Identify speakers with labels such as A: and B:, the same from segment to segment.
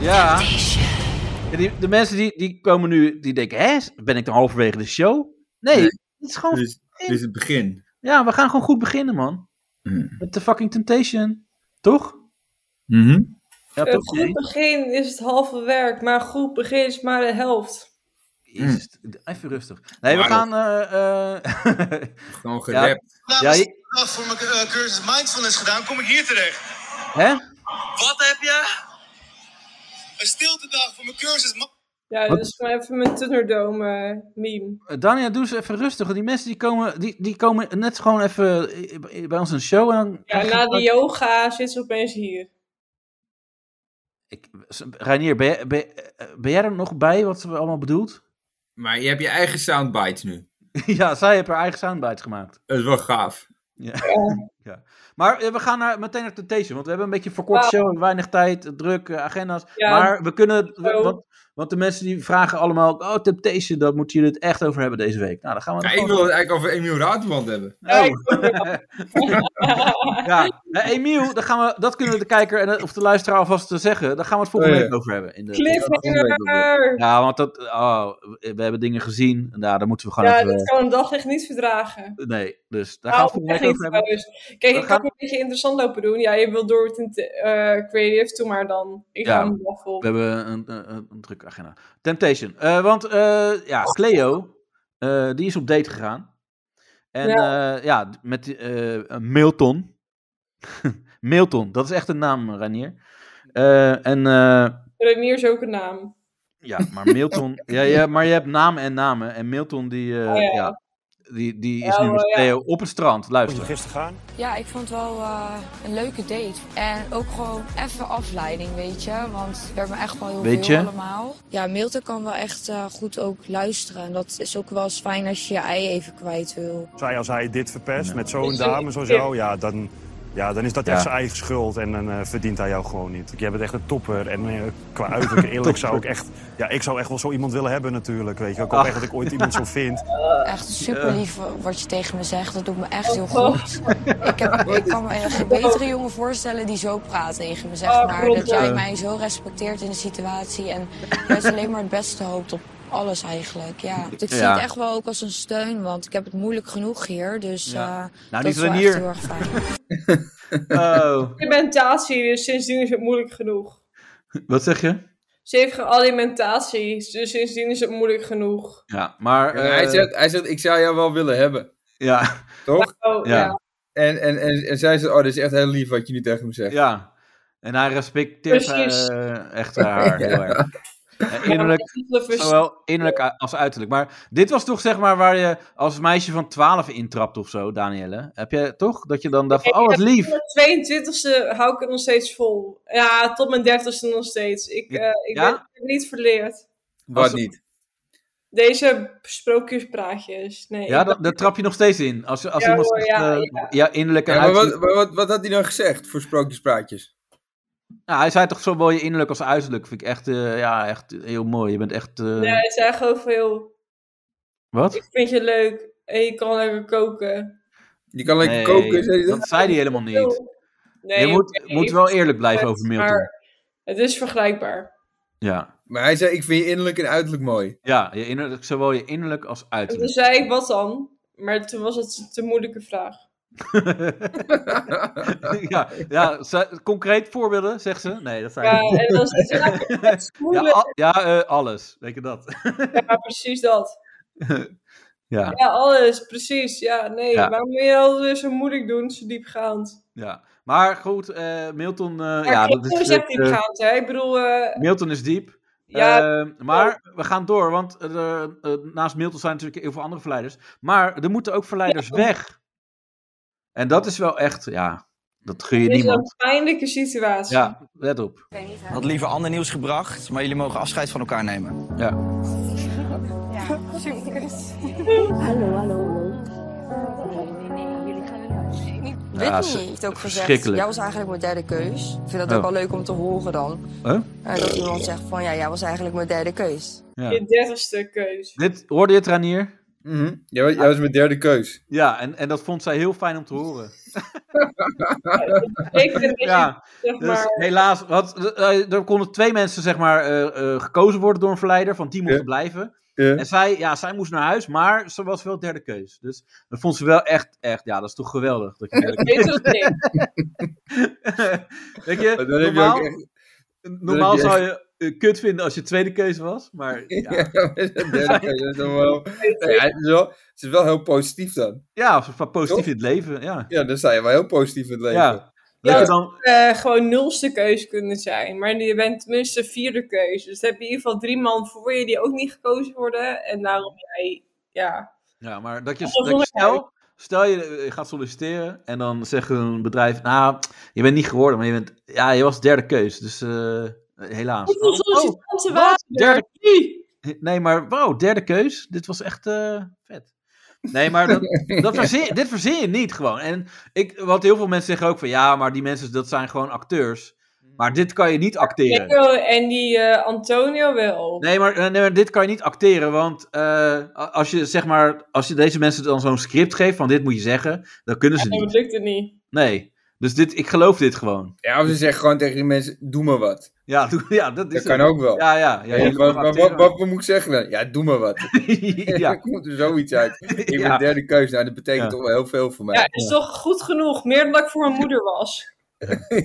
A: Ja. Ja, die- de mensen die, die komen nu, die denken, hè, ben ik dan halverwege de show? Nee,
B: Nee.
A: het is gewoon,
B: Dit is, dit is het begin.
A: ja, we gaan gewoon goed beginnen, man.
B: Mm.
A: Met de fucking Temptation, toch?
B: Mhm.
A: Ja,
C: Een
A: toch?
C: goed begin is het halve werk, maar een goed begin is maar de helft.
A: Jezus, even rustig. Nee, we
B: Wauw.
A: gaan, eh, eh,
B: Gewoon
A: Ja.
B: gerapt.
D: Nou,
A: ja,
D: als ik
A: je-
D: dag voor mijn eh, cursus mindfulness gedaan, kom ik hier terecht.
A: hè?
D: Wat heb je? Een stilte dag voor mijn cursus. ma-
C: Ja,
A: Wat?
C: dat is gewoon even mijn Thunderdome eh, meme.
A: Dania, doe eens even rustig, want die mensen die komen, die, die komen net gewoon even eh, bij ons een show en dan...
C: Ja, na de yoga zit ze opeens hier.
A: Ik, Reinier, ben, jij- ben, eh, ben jij er nog bij wat we allemaal bedoelt?
B: Maar je hebt je eigen soundbites nu.
A: ja, zij heeft haar eigen soundbites gemaakt.
B: Dat is wel gaaf.
A: Maar eh, we gaan naar, meteen naar Temptation, want we hebben een beetje een verkort
C: Wauw.
A: show, we hebben weinig tijd, eh, druk, eh, agenda's.
C: Oh. Ja.
A: Maar we kunnen, we-
C: Zo.
A: want, want de mensen die vragen allemaal, oh Temptation, daar moeten jullie het echt over hebben deze week. Nou, dan gaan we
B: Ja,
A: het
B: ik
A: gewoon-
B: wil het eigenlijk over Emiel Raadwand hebben.
C: Ja,
A: Oh.
C: ik vond het
A: Ja, Eh, Emiel, dan gaan we, dat kunnen we de kijker en, de- of de luisteraar alvast eh, zeggen, daar gaan we het volgende
B: Oh, ja.
A: week over hebben. In de,
C: Cliffhanger!
A: Ja, want dat, oh, we we hebben dingen gezien, en daar, daar moeten we gewoon
C: Ja,
A: even...
C: dat kan een daglicht niet verdragen.
A: Nee, dus daar gaan we het
C: Nou,
A: volgende
C: echt
A: week
C: niet
A: over hebben.
C: trouwens. Kijk,
A: We
C: ik
A: gaan-
C: kan een beetje interessant lopen doen. Ja, je wilt door het in te- eh, creative, toe maar dan. Ik
A: Ja.
C: ga hem waffel.
A: We hebben een, een, een- een drukke agenda. Temptation. Eh, want eh, ja, Cleo, eh, die is op date gegaan. En ja, ja met die, eh, Milton. Milton, dat is echt een naam, Ranier. Eh, en eh,
C: Renier is ook een naam.
A: ja, maar Milton. ja, ja, maar je hebt namen en namen. En Milton, die, eh,
C: Oh,
A: ja.
C: ja.
A: die, die is
C: Ja,
A: nu met
C: wel, ja.
A: Cleo op het strand. Luister.
E: gisteren gaan?
F: Ja, ik vond het wel eh, een leuke date. En ook gewoon even afleiding, weet je. Want we hebben echt wel heel
A: Weet
F: veel
A: je?
F: allemaal. Ja, Milton kan wel echt eh, goed ook luisteren. En dat is ook wel eens fijn als je je ei even kwijt wil.
E: Zij, als hij dit verpest met
C: Dit
E: zo'n
C: is
E: dame
C: een
E: zoals
C: tip.
E: jou, ja, dan, ja, dan is dat
A: Ja.
E: echt zijn eigen schuld. En dan eh, verdient hij jou gewoon niet. Jij bent echt een topper. En eh, qua uiterlijk en eerlijk zou ik echt... Ja, ik zou echt wel zo iemand willen hebben natuurlijk, weet je. Ik hoop
A: Ach.
E: echt dat ik ooit iemand zo vind.
F: Echt super lief wat je tegen me zegt. Dat doet me echt
C: Oh,
F: heel goed. Ik, heb, ik kan me echt geen betere jongen voorstellen die zo praat tegen me. Zeg
C: Ah,
F: maar
C: klopt,
F: dat jij
C: ja.
F: mij zo respecteert in de situatie. En juist alleen maar het beste hoopt op alles eigenlijk. Ja. Ik zie
A: Ja.
F: het echt wel ook als een steun. Want ik heb het moeilijk genoeg hier. Dus
A: Ja.
F: eh,
A: Nou,
F: dat
A: niet
F: is wel
A: Ranier.
F: echt heel erg fijn.
A: Oh,
C: Alimentatie, dus sindsdien is het moeilijk genoeg.
A: wat zeg je?
C: Ze heeft geen alimentatie, dus sindsdien is het moeilijk genoeg.
A: Ja, maar...
B: En hij,
A: eh,
B: zegt, hij zegt, ik zou jou wel willen hebben.
A: ja.
B: Toch?
C: Oh,
A: Ja.
C: ja.
B: En, en, en, en zij zegt, oh, dit is echt heel lief wat je nu tegen me zegt.
A: Ja, en hij respecteert
C: Precies.
A: eh, echt haar heel erg. En innerlijk,
C: Ja, dat is wel
A: zowel innerlijk als uiterlijk. Maar dit was toch zeg maar waar je als meisje van 12 intrapt of zo, Danielle? Heb je toch? Dat je dan dacht van, oh wat lief.
C: Mijn 22e hou ik het nog steeds vol. Ja, tot mijn 30ste nog steeds. Ik, eh, ik
A: Ja?
C: ben ik heb niet verleerd.
B: Wat
A: Als-
B: niet.
C: Deze sprookjespraatjes. Nee,
A: Ja,
C: ik-
A: dat- daar trap je nog steeds in. Als, als
C: Ja,
A: iemand
C: hoor,
A: zegt,
C: ja,
A: eh, ja, innerlijk en
B: Ja, maar
A: uiterlijk.
B: wat, maar wat, wat had hij nou gezegd voor sprookjespraatjes?
A: Nou, hij zei toch zowel je innerlijk als uiterlijk. Vind ik echt, eh, ja, echt heel mooi. Je bent echt, eh,
C: nee, het zijn gewoon veel.
A: wat?
C: Ik vind je leuk en je kan lekker koken.
B: Die kan lekker
A: Nee,
B: koken, zei hij dat?
A: dat zei hij helemaal niet.
C: Nee,
A: Je moet,
C: oké,
A: moet wel eerlijk blijven over Milton.
C: Maar het is vergelijkbaar.
A: Ja.
B: Maar hij zei, ik vind je innerlijk en uiterlijk mooi.
A: Ja, je innerlijk, zowel je innerlijk als
C: En toen
A: uiterlijk.
C: zei ik wat dan, maar toen was het te moeilijke vraag.
A: ja, ja, ze- concreet voorbeelden, zegt ze? Nee, dat zijn
C: Ja, en dan zit je eigenlijk het is
A: ja,
C: moeilijk.
A: al- ja eh, alles. Weet je dat?
C: Ja, precies dat.
A: ja,
C: Ja, alles, precies. Ja, nee,
A: Ja.
C: waarom wil je altijd weer zo moeilijk doen, zo diepgaand?
A: ja. Maar goed, eh, Milton, eh,
C: Maar
A: ja,
C: ik
A: dat
C: vind
A: is,
C: het echt
A: eh,
C: diepgaand, hè? Ik bedoel, eh,
A: Milton is diep.
C: ja,
A: Eh, maar we gaan door, want eh, eh, naast Milton zijn natuurlijk heel veel andere verleiders. Maar er moeten ook verleiders weg. En dat is wel echt, ja, dat gun je
C: dit is
A: niemand.
C: een pijnlijke situatie.
A: Ja, let op.
G: Had liever ander nieuws gebracht, maar jullie mogen afscheid van elkaar nemen.
A: Ja. Ja,
F: Whitney
A: ze-
F: heeft ook gezegd,
A: verschrikkelijk.
F: jij was eigenlijk mijn derde keus. Ik vind dat
A: Oh.
F: ook wel leuk om te horen dan.
A: Huh?
F: Eh, dat iemand zegt van, ja, jij was eigenlijk mijn derde keus.
A: ja.
C: Je dertigste keus.
A: Dit, hoorde je het, Ranier?
B: Mhm. Jij was- jij was mijn derde keus.
A: Ja, en, en dat vond zij heel fijn om te horen.
C: Ik vind dat je,
A: Ja,
C: zeg
A: dus
C: maar...
A: helaas. Wat, eh, er konden twee mensen zeg maar, eh, eh, gekozen worden door een verleider, van die mochten
B: Ja.
A: blijven.
B: Ja.
A: En zij, ja, zij moest naar huis, maar ze was wel derde keus. Dus dat vond ze wel echt, echt, ja, dat is toch geweldig. Dat je, derde
C: Beter dan niks.
A: keus- Weet je,
B: Maar dan heb je
A: normaal,
B: ook echt...
A: normaal
B: heb je
A: zou je eh, kut vinden als je tweede keus was, maar ja,
B: Ja, maar dat derde keer, dat is dan wel... Nou ja, het, is wel, het is wel heel positief dan.
A: ja van positief
B: Toch?
A: in het leven, ja.
B: Ja, dan sta je wel heel positief in het leven.
A: Ja.
B: Ja,
A: Dat
C: Ja.
A: je dan,
C: eh, gewoon nulste keus kunnen zijn. Maar je bent tenminste vierde keus. Dus dan heb je in ieder geval drie man voor je die ook niet gekozen worden. En daarom jij, ja.
A: ja, maar dat je,
C: Of
A: dat je
C: zonder
A: stel, stel je eh, gaat solliciteren en dan zegt een bedrijf, nou, je bent niet geworden, maar je bent, ja, je was derde keus, dus eh, helaas.
C: Hoeveel
A: Oh,
C: sollicitanten
A: wat?
C: waren er?
A: Derde-
C: Drie!
A: Nee, maar wauw, derde keus. Dit was echt eh, vet. Nee, maar dat, dat verzin, dit verzin je niet gewoon. En ik, want heel veel mensen zeggen ook van ja, maar die mensen dat zijn gewoon acteurs. Maar dit kan je niet acteren.
C: Nico en die eh, Antonio wel.
A: Nee, maar, eh, nee, maar dit kan je niet acteren, want eh, als je zeg maar, als je deze mensen dan zo'n script geeft van dit moet je zeggen, dan kunnen ze
C: Nee, Oh, dat
A: niet.
C: lukte niet.
A: Nee, dus dit, ik geloof dit gewoon.
B: ja of ze zeggen gewoon tegen die mensen, doe maar wat.
A: Ja, doe- ja dat is
B: Dat kan
A: het.
B: ook wel.
A: Ja, ja. ja,
B: Hey,
A: je
B: wat,
A: mag
B: wat, wat,
A: acteren.
B: wat moet ik zeggen dan? Ja, doe maar wat.
A: ja,
B: Er komt er zoiets uit. Ik ben
A: Ja.
B: derde keus. Nou, dat betekent
A: Ja.
B: toch wel heel veel voor mij.
C: Ja, dat is toch goed genoeg. Meer dan dat ik voor mijn moeder was.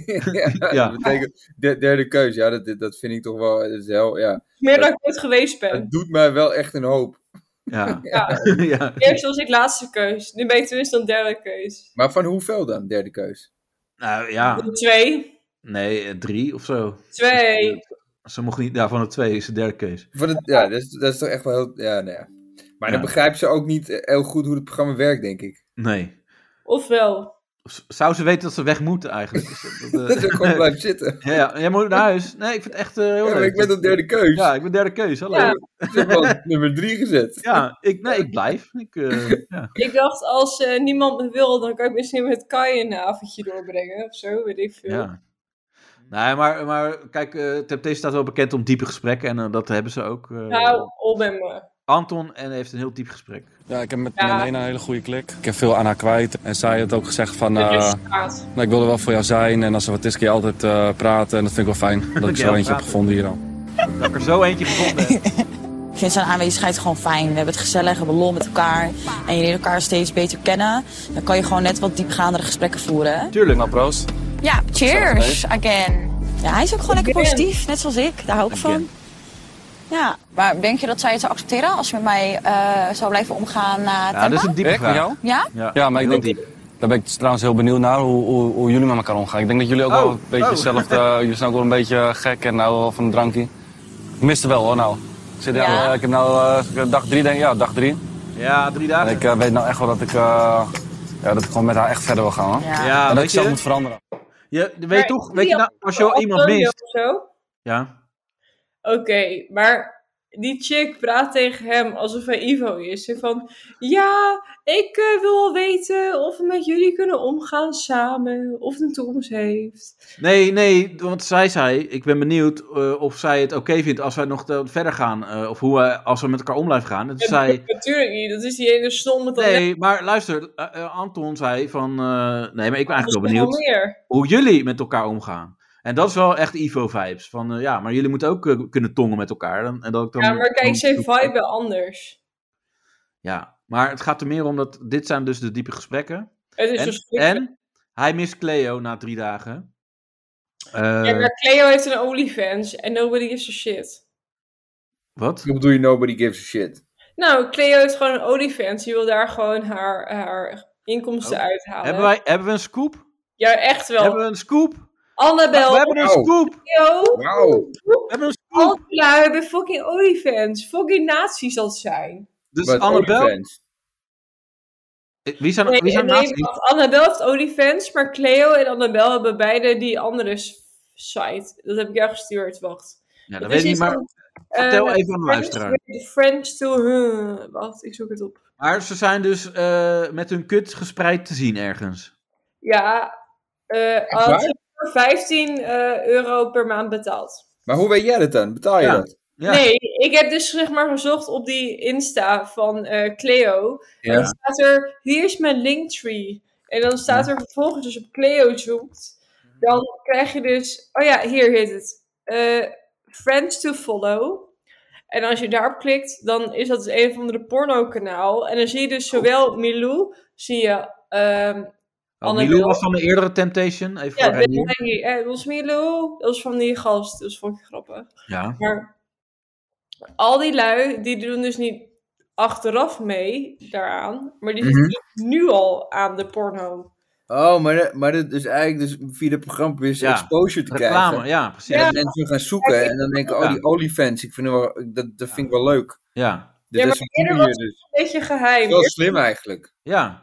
B: ja,
A: Ja.
B: Dat betekent de- derde keus. Ja, dat, dat vind ik toch wel. Dat is heel, ja.
C: Meer dan ik ooit geweest ben.
B: Het doet mij wel echt een hoop.
A: ja.
C: Ja.
A: ja.
C: Eerst was ik laatste keus. Nu ben ik tenminste een derde keus.
B: Maar van hoeveel dan, derde keus?
A: Nou ja,
C: Twee.
A: nee, eh, drie of zo.
C: Twee.
A: Ze mocht niet, ja, van de twee is de derde keus.
B: Van het, ja, dat is, dat is toch echt wel heel. Ja, nou ja. Maar
A: Ja.
B: dan begrijpen ze ook niet eh, heel goed hoe het programma werkt, denk ik.
A: Nee.
C: Ofwel.
A: S- Zou ze weten dat ze weg moeten eigenlijk? Is dat- dat, eh,
B: Dat ze gewoon blijven zitten.
A: ja, ja, jij moet naar huis. Nee, ik vind het echt eh, heel
B: Ja, maar
A: leuk.
B: ik ben op derde keus.
A: Ja, ik ben derde keus. Hallo.
C: Ja.
A: Ja,
B: Ik heb wel op nummer drie gezet.
A: ik, nee, ik blijf. Ik, eh, ja.
C: Ik dacht, als eh, niemand me wil, dan kan ik misschien met Kai een avondje doorbrengen of zo, weet ik veel.
A: ja. Nee, maar, maar kijk, eh Temptation staat wel bekend om diepe gesprekken. En eh, dat hebben ze ook. eh,
C: Nou, op met me.
A: Anton en heeft een heel diep gesprek.
H: Ja, ik heb met
C: Ja.
H: Milena een hele goede klik. Ik heb veel aan haar kwijt. En zij had ook gezegd van, eh,
C: Het is straat.
H: nou, ik wil er wel voor jou zijn. En als er wat is, kun je altijd eh, praten. En dat vind ik wel fijn, dat ik
A: Ja,
H: zo eentje heb
A: praten.
H: gevonden hier al.
A: Dat ik er zo eentje gevonden heb.
F: Ik vind zijn aanwezigheid gewoon fijn. We hebben het gezellig, we hebben lol met elkaar. En je leert elkaar steeds beter kennen. Dan kan je gewoon net wat diepgaandere gesprekken voeren. hè?
A: Tuurlijk.
H: Nou, proost.
F: Ja, cheers
H: Gezellig,
F: again. Ja, hij is ook gewoon lekker
C: Again.
F: positief, net zoals ik. Daar hou ik
A: Again.
F: van. Ja, maar denk je dat zij het zou accepteren als je met mij eh, zou blijven omgaan na
A: Ja, dat is een diepe
H: Ik, met
A: vraag.
H: jou?
F: Ja?
H: Ja, maar ik
A: heel
H: denk-
A: diep.
H: Daar ben ik trouwens heel benieuwd naar, hoe, hoe, hoe jullie met elkaar omgaan. Ik denk dat jullie ook wel
A: Oh,
H: een beetje
A: oh.
H: hetzelfde... eh, jullie zijn ook wel een beetje gek en nou wel van een drankje. Ik miste wel hoor, nou. Ik, zit echt,
F: Ja.
H: eh, ik heb nou eh, dag drie, denk ik. Ja, dag drie.
A: Ja, drie
H: En
A: dagen.
H: ik eh, weet nou echt wel dat ik, eh, ja, dat ik gewoon met haar echt verder wil gaan. Hoor.
F: Ja.
A: ja, Ah,
H: en dat ik
A: weet
H: zelf
A: je,
H: moet veranderen.
A: je, weet je
C: Maar
A: toch,
C: die
A: weet je nou, als je al iemand
C: Antonio
A: mist.
C: of zo?
A: Ja.
C: Oké, maar die chick praat tegen hem alsof hij Ivo is. Ze van, ja, ik eh, wil wel weten of we met jullie kunnen omgaan samen. Of het een toekomst heeft.
A: Nee, nee, want zij zei, ik ben benieuwd eh, of zij het oké vindt als wij nog te- verder gaan. eh, of hoe, wij- als we met elkaar om blijven gaan. En toen zei,
C: Natuurlijk niet, dat is die hele stom met dat
A: nee, maar luister, eh, eh, Anton zei van, eh, nee, maar ik ben
C: Dat
A: eigenlijk wel
C: is nog wel
A: benieuwd
C: meer.
A: hoe jullie met elkaar omgaan. En dat is wel echt Ivo-vibes. Van, eh, ja, maar jullie moeten ook eh, kunnen tongen met elkaar. En, en dat ik dan,
C: Ja, maar kijk, zijn
A: dan-
C: vibe wel anders.
A: Ja, maar het gaat er meer om dat, dit zijn dus de diepe gesprekken.
C: Het is
A: En,
C: verschrikkelijk.
A: en hij mist Cleo na drie dagen. Eh,
C: Ja, maar Cleo heeft een OnlyFans en nobody gives a shit.
A: Wat?
B: Hoe bedoel je nobody gives a shit?
C: Nou, Cleo heeft gewoon een OnlyFans. Die wil daar gewoon haar, haar inkomsten
A: Oh.
C: uithalen.
A: Hebben, wij, hebben we een scoop?
C: Ja, echt wel.
A: Hebben we een scoop?
C: Annabel,
A: We hebben een
B: Oh.
A: scoop!
C: Cleo,
B: Wauw.
A: We hebben een scoop!
C: Angela hebben fucking OnlyFans. Fucking nazi's dat zijn.
A: Dus
B: Wat
A: Annabel...
B: OnlyFans.
A: Eh, Wie zijn,
C: Nee,
A: wie zijn
C: nee,
A: naast-
C: want Annabel heeft OnlyFans, maar Cleo en Annabel hebben beide die andere s- site. Dat heb ik jou gestuurd, wacht.
A: Ja, dat weet ik niet, maar vertel
C: Eh,
A: even aan de luisteraar.
C: De French to... huh. Wacht, ik zoek het op.
A: Maar ze zijn dus eh, met hun kut gespreid te zien ergens.
C: Ja, eh
B: waar?
C: had ze voor 15 eh, euro per maand betaald.
B: Maar hoe weet jij dat dan? Betaal je
A: Ja.
B: dat?
A: Ja.
C: Nee, ik heb dus zeg maar gezocht op die Insta van eh, Cleo.
B: Ja.
C: En dan staat er, hier is mijn linktree. En dan staat er vervolgens, als je op Cleo zoekt, dan krijg je dus, oh ja, hier heet het, eh, Friends to Follow. En als je daarop klikt, dan is dat dus een of andere porno-kanaal. En dan zie je dus
B: Oh.
C: zowel Milou, zie je ehm,
A: Oh,
C: Annabel.
A: Milou was van de eerdere Temptation. Even
C: Ja,
A: voor
C: dat
A: Reinier.
C: eh, was Milo. Dat was van die gast. Dat vond ik grappig.
A: Ja.
C: Maar al die lui, die doen dus niet achteraf mee daaraan. Maar
A: Mhm.
C: die zitten nu al aan de porno.
B: Oh, maar, dat- maar dat is eigenlijk dus via de programma weer
A: Ja,
B: exposure te
A: Reclame,
B: krijgen.
A: ja, precies.
C: Ja.
A: Ja.
B: Dat mensen gaan zoeken en dan denken, oh,
A: Ja.
B: die OnlyFans, ik vind het wel, dat, dat vind ik wel leuk.
A: Ja.
B: Dus
C: Ja,
B: dat
C: maar
B: is
C: eerder
B: wat
C: was-
B: hier dus.
C: Een beetje geheim.
B: Wel slim eigenlijk.
C: Ja,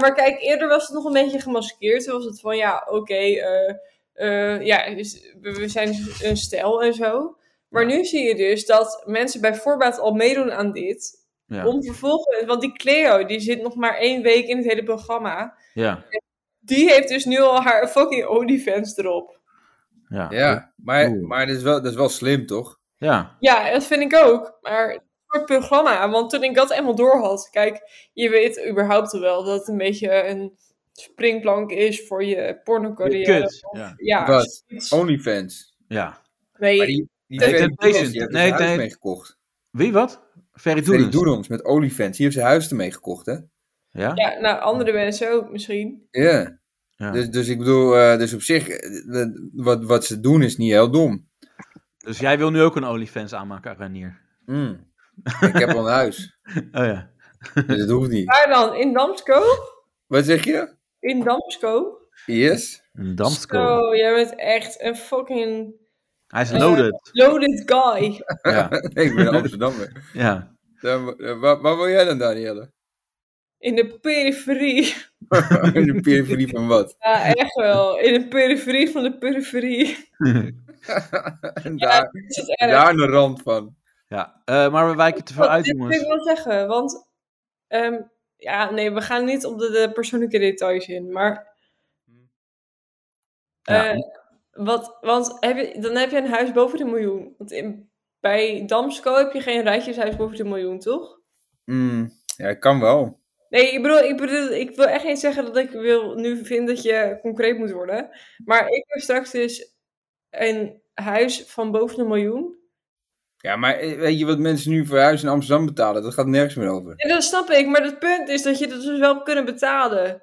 C: maar kijk, eerder was het nog een beetje gemaskeerd. Toen was het van, ja, oké, eh, eh, ja, dus we we zijn een stijl en zo. Maar nu zie je dus dat mensen bij voorbaat al meedoen aan dit.
A: Ja.
C: Om vervolgens, want die Cleo, die zit nog maar één week in het hele programma.
A: Ja.
C: Die heeft dus nu al haar fucking OnlyFans erop.
A: Ja. Ja.
B: Ja, maar,
A: Oeh.
B: maar dat, is wel, dat is wel slim, toch?
A: ja.
C: Ja, dat vind ik ook. Maar het soort programma, want toen ik dat eenmaal door had... Kijk, je weet überhaupt wel dat het een beetje een springplank is voor eh, je pornocarrière.
A: Kut. Ja.
C: Ja,
B: Wat?
C: zoiets.
B: OnlyFans.
A: ja.
C: Nee,
B: Maar die, die
A: Nee,
B: Ferry
A: Temptation.
B: Doedons, die heeft
A: Nee,
B: zijn huis
A: nee.
B: mee gekocht.
A: Wie wat? Ferry
B: Ferry
A: Doedens.
B: Doedons met OnlyFans, die heeft zijn huis ermee gekocht, hè?
A: Ja?
C: ja, nou, andere mensen ook misschien.
B: Ja.
A: Ja.
B: Dus, dus ik bedoel, eh, dus op zich, eh, eh, wat, wat ze doen is niet heel dom.
A: Dus jij wil nu ook een OnlyFans aanmaken, Renier.
B: Mm. ik heb al een huis,
A: Oh ja.
B: dus dat hoeft niet.
C: Maar dan, in Damsko?
B: Wat zeg je?
C: In Damsko?
B: Yes?
A: Een
C: Zo,
A: damsko.
C: jij bent echt een fucking
A: Hij is
C: Eh.
A: loaded.
C: loaded guy.
A: Ja.
B: Nee, ik ben Amsterdammer.
A: ja.
B: Dan, eh, waar, waar wil jij dan, Danielle?
C: In de periferie.
B: In de periferie van wat?
C: Ja, echt wel. In de periferie van de periferie.
B: En
C: Ja,
B: daar,
C: dat is het erg.
B: daar een rand van.
A: ja. Eh, maar we wijken te veel
C: Wat-
A: uit,
C: dit wil
A: jongens.
C: ik wel zeggen, want... ehm, ja, nee, we gaan niet op de, de persoonlijke details in, maar...
A: Hm. Ja.
C: eh, wat, want heb je, dan heb je een huis boven de miljoen. Want in, bij Damsco heb je geen rijtjeshuis boven de miljoen, toch?
B: Mm, ja, kan wel.
C: Nee, ik bedoel, ik bedoel, ik wil echt niet zeggen dat ik wil, nu vind dat je concreet moet worden. Maar ik heb straks dus een huis van boven de miljoen.
B: Ja, maar eh, weet je wat mensen nu voor huis in Amsterdam betalen? Dat gaat nergens meer over.
C: En dat snap ik, maar het punt is dat je dat dus wel hebt kunnen betalen.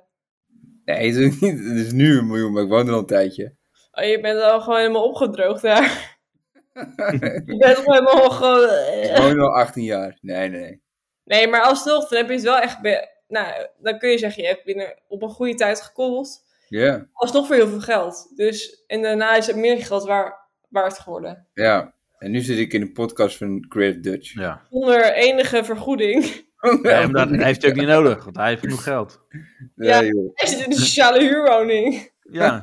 B: Nee, het is, niet, het is nu een miljoen, maar ik woon er al een tijdje.
C: Oh, je bent al gewoon helemaal opgedroogd daar. je bent gewoon helemaal gewoon... eh.
B: Ik woon er al 18 jaar. Nee, nee, nee.
C: Nee, maar alsnog, dan heb je het wel echt... be- Nou, dan kun je zeggen, je hebt binnen op een goede tijd gekocht.
B: Ja,
C: Alsnog voor heel veel geld. Dus, en daarna is het meer geld waar, waard geworden.
B: ja. En nu zit ik in een podcast van Creative Dutch.
A: Ja.
C: Zonder enige vergoeding.
A: Nee, maar dat heeft hij ook niet nodig, want hij heeft genoeg geld.
B: Nee,
C: Ja.
B: joh.
C: Hij zit in een sociale huurwoning.
A: Ja.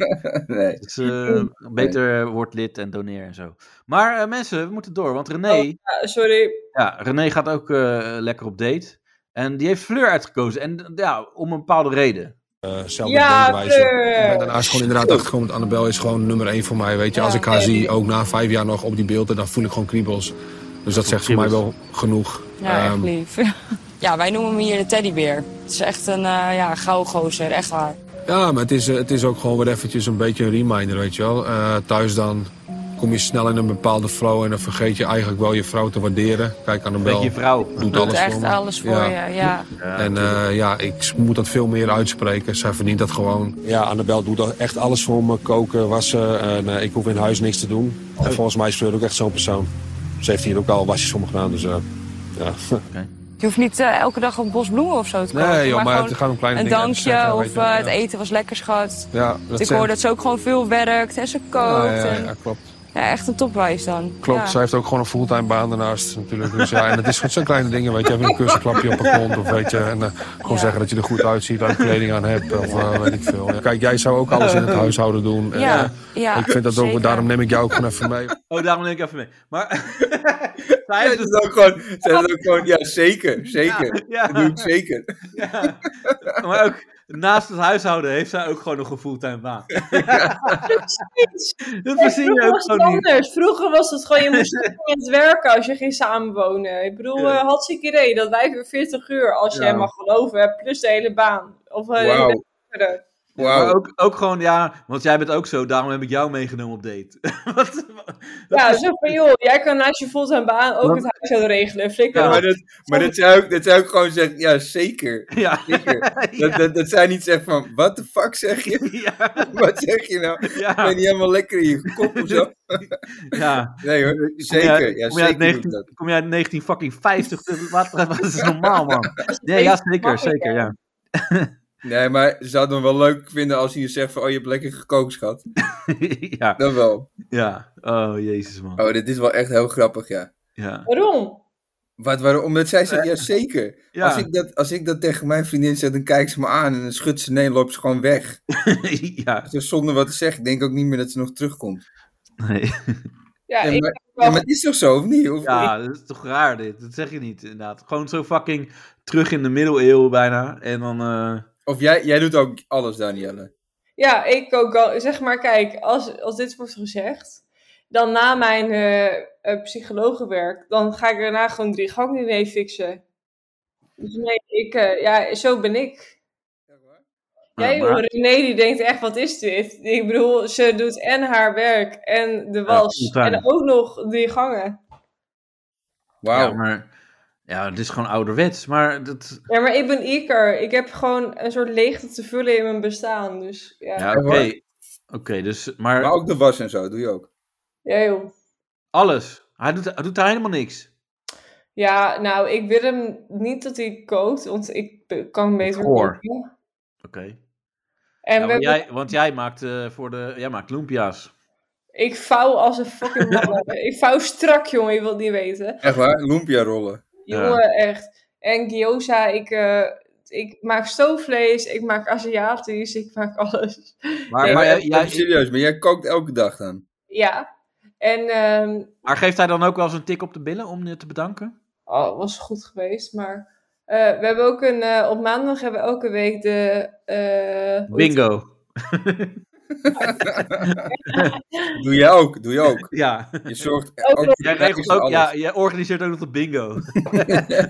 B: Nee.
A: Dus, eh, beter word lid en doneer en zo. Maar eh, mensen, we moeten door, want René...
C: Ja, sorry.
A: Ja, René gaat ook eh, lekker op date. En die heeft Fleur uitgekozen. En ja, om een bepaalde reden.
I: zelfde
C: Ja,
I: denkwijze. Ik ben
C: Fleur.
I: daarnaast gewoon inderdaad achtergekomen. dat Annabel is gewoon nummer één voor mij. Weet je,
C: Ja,
I: als ik haar
C: nee.
I: zie, ook na vijf jaar nog op die beelden, dan voel ik gewoon kriebels. Dus dat zegt voor mij wel genoeg.
F: Ja, echt
I: Ehm,
F: lief. ja, wij noemen hem hier de teddybeer. Het is echt een eh ja, gouden gozer, echt waar.
I: ja, maar het is, eh, het is ook gewoon weer eventjes een beetje een reminder, weet je wel. Eh, thuis dan kom je snel in een bepaalde flow en dan vergeet je eigenlijk wel je vrouw te waarderen. Kijk,
A: Met
I: Annabel
A: je vrouw.
I: doet
F: Doet
I: alles voor
F: echt
I: me.
F: alles voor je, ja.
I: En eh, ja, ik moet dat veel meer uitspreken. Zij verdient dat gewoon. Ja, Annabel doet dat echt alles voor me. Koken, wassen. En eh, ik hoef in huis niks te doen. En volgens mij is Fleur ook echt zo'n persoon. Ze heeft hier ook al wasjes voor me gedaan, dus eh, ja.
F: Je hoeft niet eh, elke dag een bos bloemen of zo te kopen.
I: Nee, Eh, joh, maar
F: gewoon
I: het gaat om kleine
F: een
I: dingen.
F: dankje of eh, het
I: ja.
F: eten was lekker, schat.
I: Ja, dat
F: ik
I: zijn-
F: hoor dat ze ook gewoon veel werkt en ze
I: Ja,
F: kookt.
I: ja,
F: en-
I: ja, klopt.
F: ja, echt een topwijs dan.
I: Klopt,
F: Ja.
I: zij heeft ook gewoon een fulltime baan daarnaast natuurlijk. Dus ja, en het is gewoon zo'n kleine dingen, weet je. Even een kussenklapje op haar kont of weet je. En eh, gewoon
F: Ja.
I: zeggen dat je er goed uitziet, leuke kleding aan hebt of eh, weet ik veel. Kijk, jij zou ook alles in het huishouden doen. En,
F: Ja,
I: eh,
F: ja,
I: ik vind dat
F: zeker.
I: ook, daarom neem ik jou ook gewoon even mee.
A: Oh, daarom neem ik even mee. Maar zij
B: Zij
A: heeft
B: is
A: dus...
B: het ook gewoon, zij is het ook gewoon, ja zeker, zeker. Dat doe
A: Ja,
B: ik zeker.
A: ja. Maar ook naast het huishouden heeft zij ook gewoon nog een fulltime baan. Dat verzin je
C: Vroeger
A: ook
C: was het
A: zo niet.
C: anders. Vroeger was het gewoon, je moest aan het werken als je ging samenwonen. Ik bedoel, eh had ik idee dat wij voor 40 uur, als je
B: Ja.
C: hem mag geloven, plus de hele baan. Of eh,
B: Wauw.
C: verder.
B: Wauw.
A: Maar ook, ook gewoon, ja, want jij bent ook zo, daarom heb ik jou meegenomen op date. Wat-
C: Ja, zo van joh, jij kan naast je fulltime baan ook het huis gaan regelen. Flikker
A: Ja,
C: op.
B: Maar, dat, maar dat, zou ik, dat zou ik gewoon zeggen, ja, zeker.
A: ja,
B: zeker. Dat, dat, dat zij niet zegt van, what the fuck zeg je?
A: ja,
B: Wat zeg je nou? Ben je
A: ja,
B: niet helemaal lekker in je kop of zo?
A: ja.
B: Nee hoor, zeker. Ja,
A: kom, je uit
B: zeker doe ik
A: 19,
B: dat.
A: kom je uit 1950? Wat, wat is normaal, man? Nee, ja, zeker, zeker, ja.
B: Nee, maar ze zouden hem wel leuk vinden als hij je zegt van, oh, je hebt lekker gekookt, schat.
A: ja,
B: Dan wel.
A: ja. Oh, jezus, man.
B: Oh, dit is wel echt heel grappig, ja.
A: Ja.
C: Waarom?
B: Wat, waarom? Omdat zij zegt, ja, zeker.
A: Ja.
B: Als, ik dat, als ik dat tegen mijn vriendin zeg, dan kijkt ze me aan en dan schudt ze nee, loopt ze gewoon weg.
A: ja,
B: Het is zonder wat te zeggen. Ik denk ook niet meer dat ze nog terugkomt.
A: nee.
C: Ja,
B: Ja,
C: ik
B: maar,
C: wel-
B: ja, maar het is toch zo, of niet? Of,
A: Ja, dat is toch raar dit. Dat zeg je niet, inderdaad. Gewoon zo fucking terug in de middeleeuwen bijna. En dan... eh,
B: of jij, jij doet ook alles, Danielle.
C: Ja, ik ook al. Zeg maar, kijk, als, als dit wordt gezegd, dan na mijn eh, eh, psychologenwerk, dan ga ik daarna gewoon drie gang diner fixen. Dus nee, ik, eh, ja, zo ben ik. Jij,
A: maar-
C: joh, René, die denkt echt, wat is dit? Ik bedoel, ze doet en haar werk en de was
A: fulltime.
C: en ook nog drie gangen.
B: Wauw.
A: Ja, maar... Ja, het is gewoon ouderwets. Maar dat...
C: Ja, maar ik ben Iker. Ik heb gewoon een soort leegte te vullen in mijn bestaan. Dus ja, ja.
A: Ja, oké.
B: hoor.
A: Oké, dus... Maar,
B: Maar ook de was en zo, doe je ook.
C: joh.
A: alles. Hij doet, hij doet daar helemaal niks.
C: Ja, nou, ik wil hem niet dat hij kookt, want ik be- kan beter
A: Goor.
C: koken.
A: Oké.
C: En
A: Ja,
C: we
A: want,
C: hebben-
A: jij, want jij maakt eh, voor de... Jij maakt lumpia's.
C: ik vouw als een fucking malle. ik vouw strak, jongen, je wilt niet weten.
B: Echt waar? Lumpia rollen.
A: Ja.
C: Jongen, echt. En gyoza, ik, eh, ik maak stoofvlees, ik maak Aziatisch, ik maak alles.
A: Maar,
B: Ja,
A: maar,
B: maar
A: jij-
B: even
A: jij-
B: serieus, maar jij kookt elke dag dan?
C: Ja. En, ehm
A: maar geeft hij dan ook wel eens een tik op de billen om je te bedanken?
C: oh, was goed geweest, maar... eh, we hebben ook een, eh, op maandag hebben we elke week de... eh, hoe heet-
A: Bingo.
B: Doe jij ook, doe je ook.
A: Ja.
B: Je zorgt
C: Ook
B: ook
A: Jij regelt ook... Ja, jij organiseert ook nog de bingo.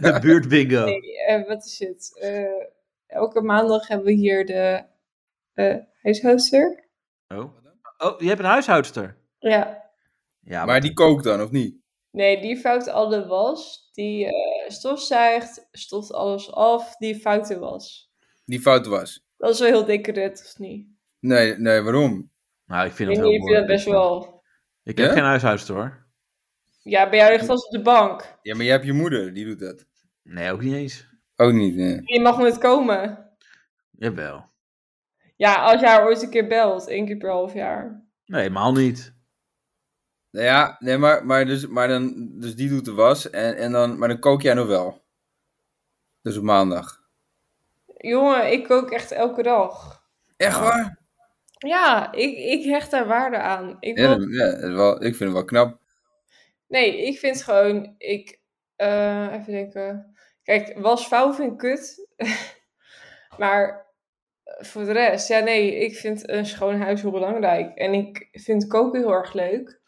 A: de buurtbingo.
C: Nee, eh, wat is het? Eh, elke maandag hebben we hier de eh huishoudster.
A: Oh. oh, je hebt een huishoudster.
C: Ja.
A: Ja,
B: Maar die kookt dan, of niet?
C: Nee, die vouwt al de was. Die eh stofzuigt, stoft alles af. Die vouwt de was.
B: Die fout was.
C: Dat is wel heel decoratief, of niet?
B: Nee, nee, waarom?
A: nou, ik vind
C: Ik
A: het heel
C: vind, ik vind
A: mooi.
C: dat best wel...
A: Ik heb
B: Ja?
A: geen huishoudster hoor.
C: Ja, bij jou ligt vast op de bank.
B: Ja, maar jij hebt je moeder, die doet dat.
A: Nee, ook niet eens.
B: Ook niet, nee.
C: Je mag nooit komen.
A: Jawel.
C: Ja, als jij haar ooit een keer belt. één keer per half jaar.
A: Nee, helemaal niet.
B: Nou ja, nee, maar, maar, dus, maar dan, dus die doet de was, en, en dan, maar dan kook jij nog wel. Dus op maandag.
C: Jongen, ik kook echt elke dag.
B: Echt waar?
C: Ja, ik, ik hecht daar waarde aan. Ik
B: Ja,
C: wil
B: dan- ja, dat is wel, ik vind het wel knap.
C: Nee, ik vind gewoon, ik, eh, even denken. Kijk, wasvouw vind ik kut. maar eh, voor de rest, ja nee, ik vind een schoon huis heel belangrijk. En ik vind koken heel erg leuk.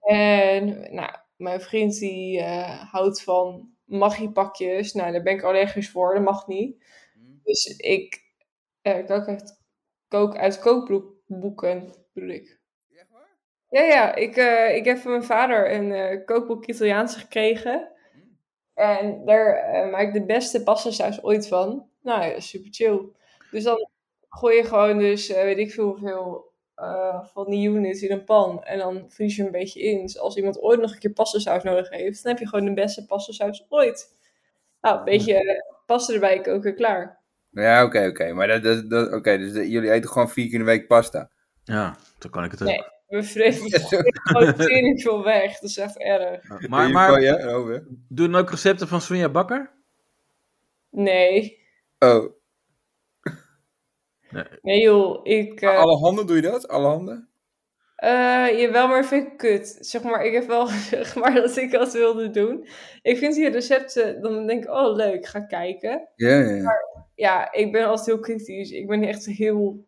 C: En nou, mijn vriend die eh, houdt van maggiepakjes. Nou, daar ben ik allergisch voor, dat mag niet. Dus ik eh, kook, uit, kook uit kookboeken, bedoel ik. Ja, ja. Ik, eh, ik heb van mijn vader een eh, kookboek Italiaans gekregen. En daar eh, maak ik de beste pastasaus ooit van. Nou ja, super chill. Dus dan gooi je gewoon dus, eh, weet ik veel hoeveel, eh, van die units in een pan. En dan vries je een beetje in. Dus als iemand ooit nog een keer pastasaus nodig heeft, dan heb je gewoon de beste pastasaus ooit. Nou, een beetje eh, pasta erbij koken, klaar.
B: Ja, oké, oké. Maar dat, dat, dat, oké, dus de- jullie eten gewoon vier keer in de week pasta.
A: Ja, dan kan ik het ook.
C: Nee. We vreten gewoon tering veel weg. Dat is echt erg.
A: Maar,
B: Je
A: maar
B: kan- ja, oh, hè?
A: doen ook recepten van Sonja Bakker?
C: Nee.
B: oh.
C: Nee joh, ik... eh,
B: Alle handen doe je dat? Alle handen?
C: Eh, jawel, maar vind ik kut. Zeg maar, ik heb wel gezegd maar dat ik dat wilde doen. Ik vind die recepten, dan denk ik, oh leuk, ga kijken.
B: Ja, ja, ja.
C: Ja, ik ben altijd heel kritisch. Ik ben echt heel,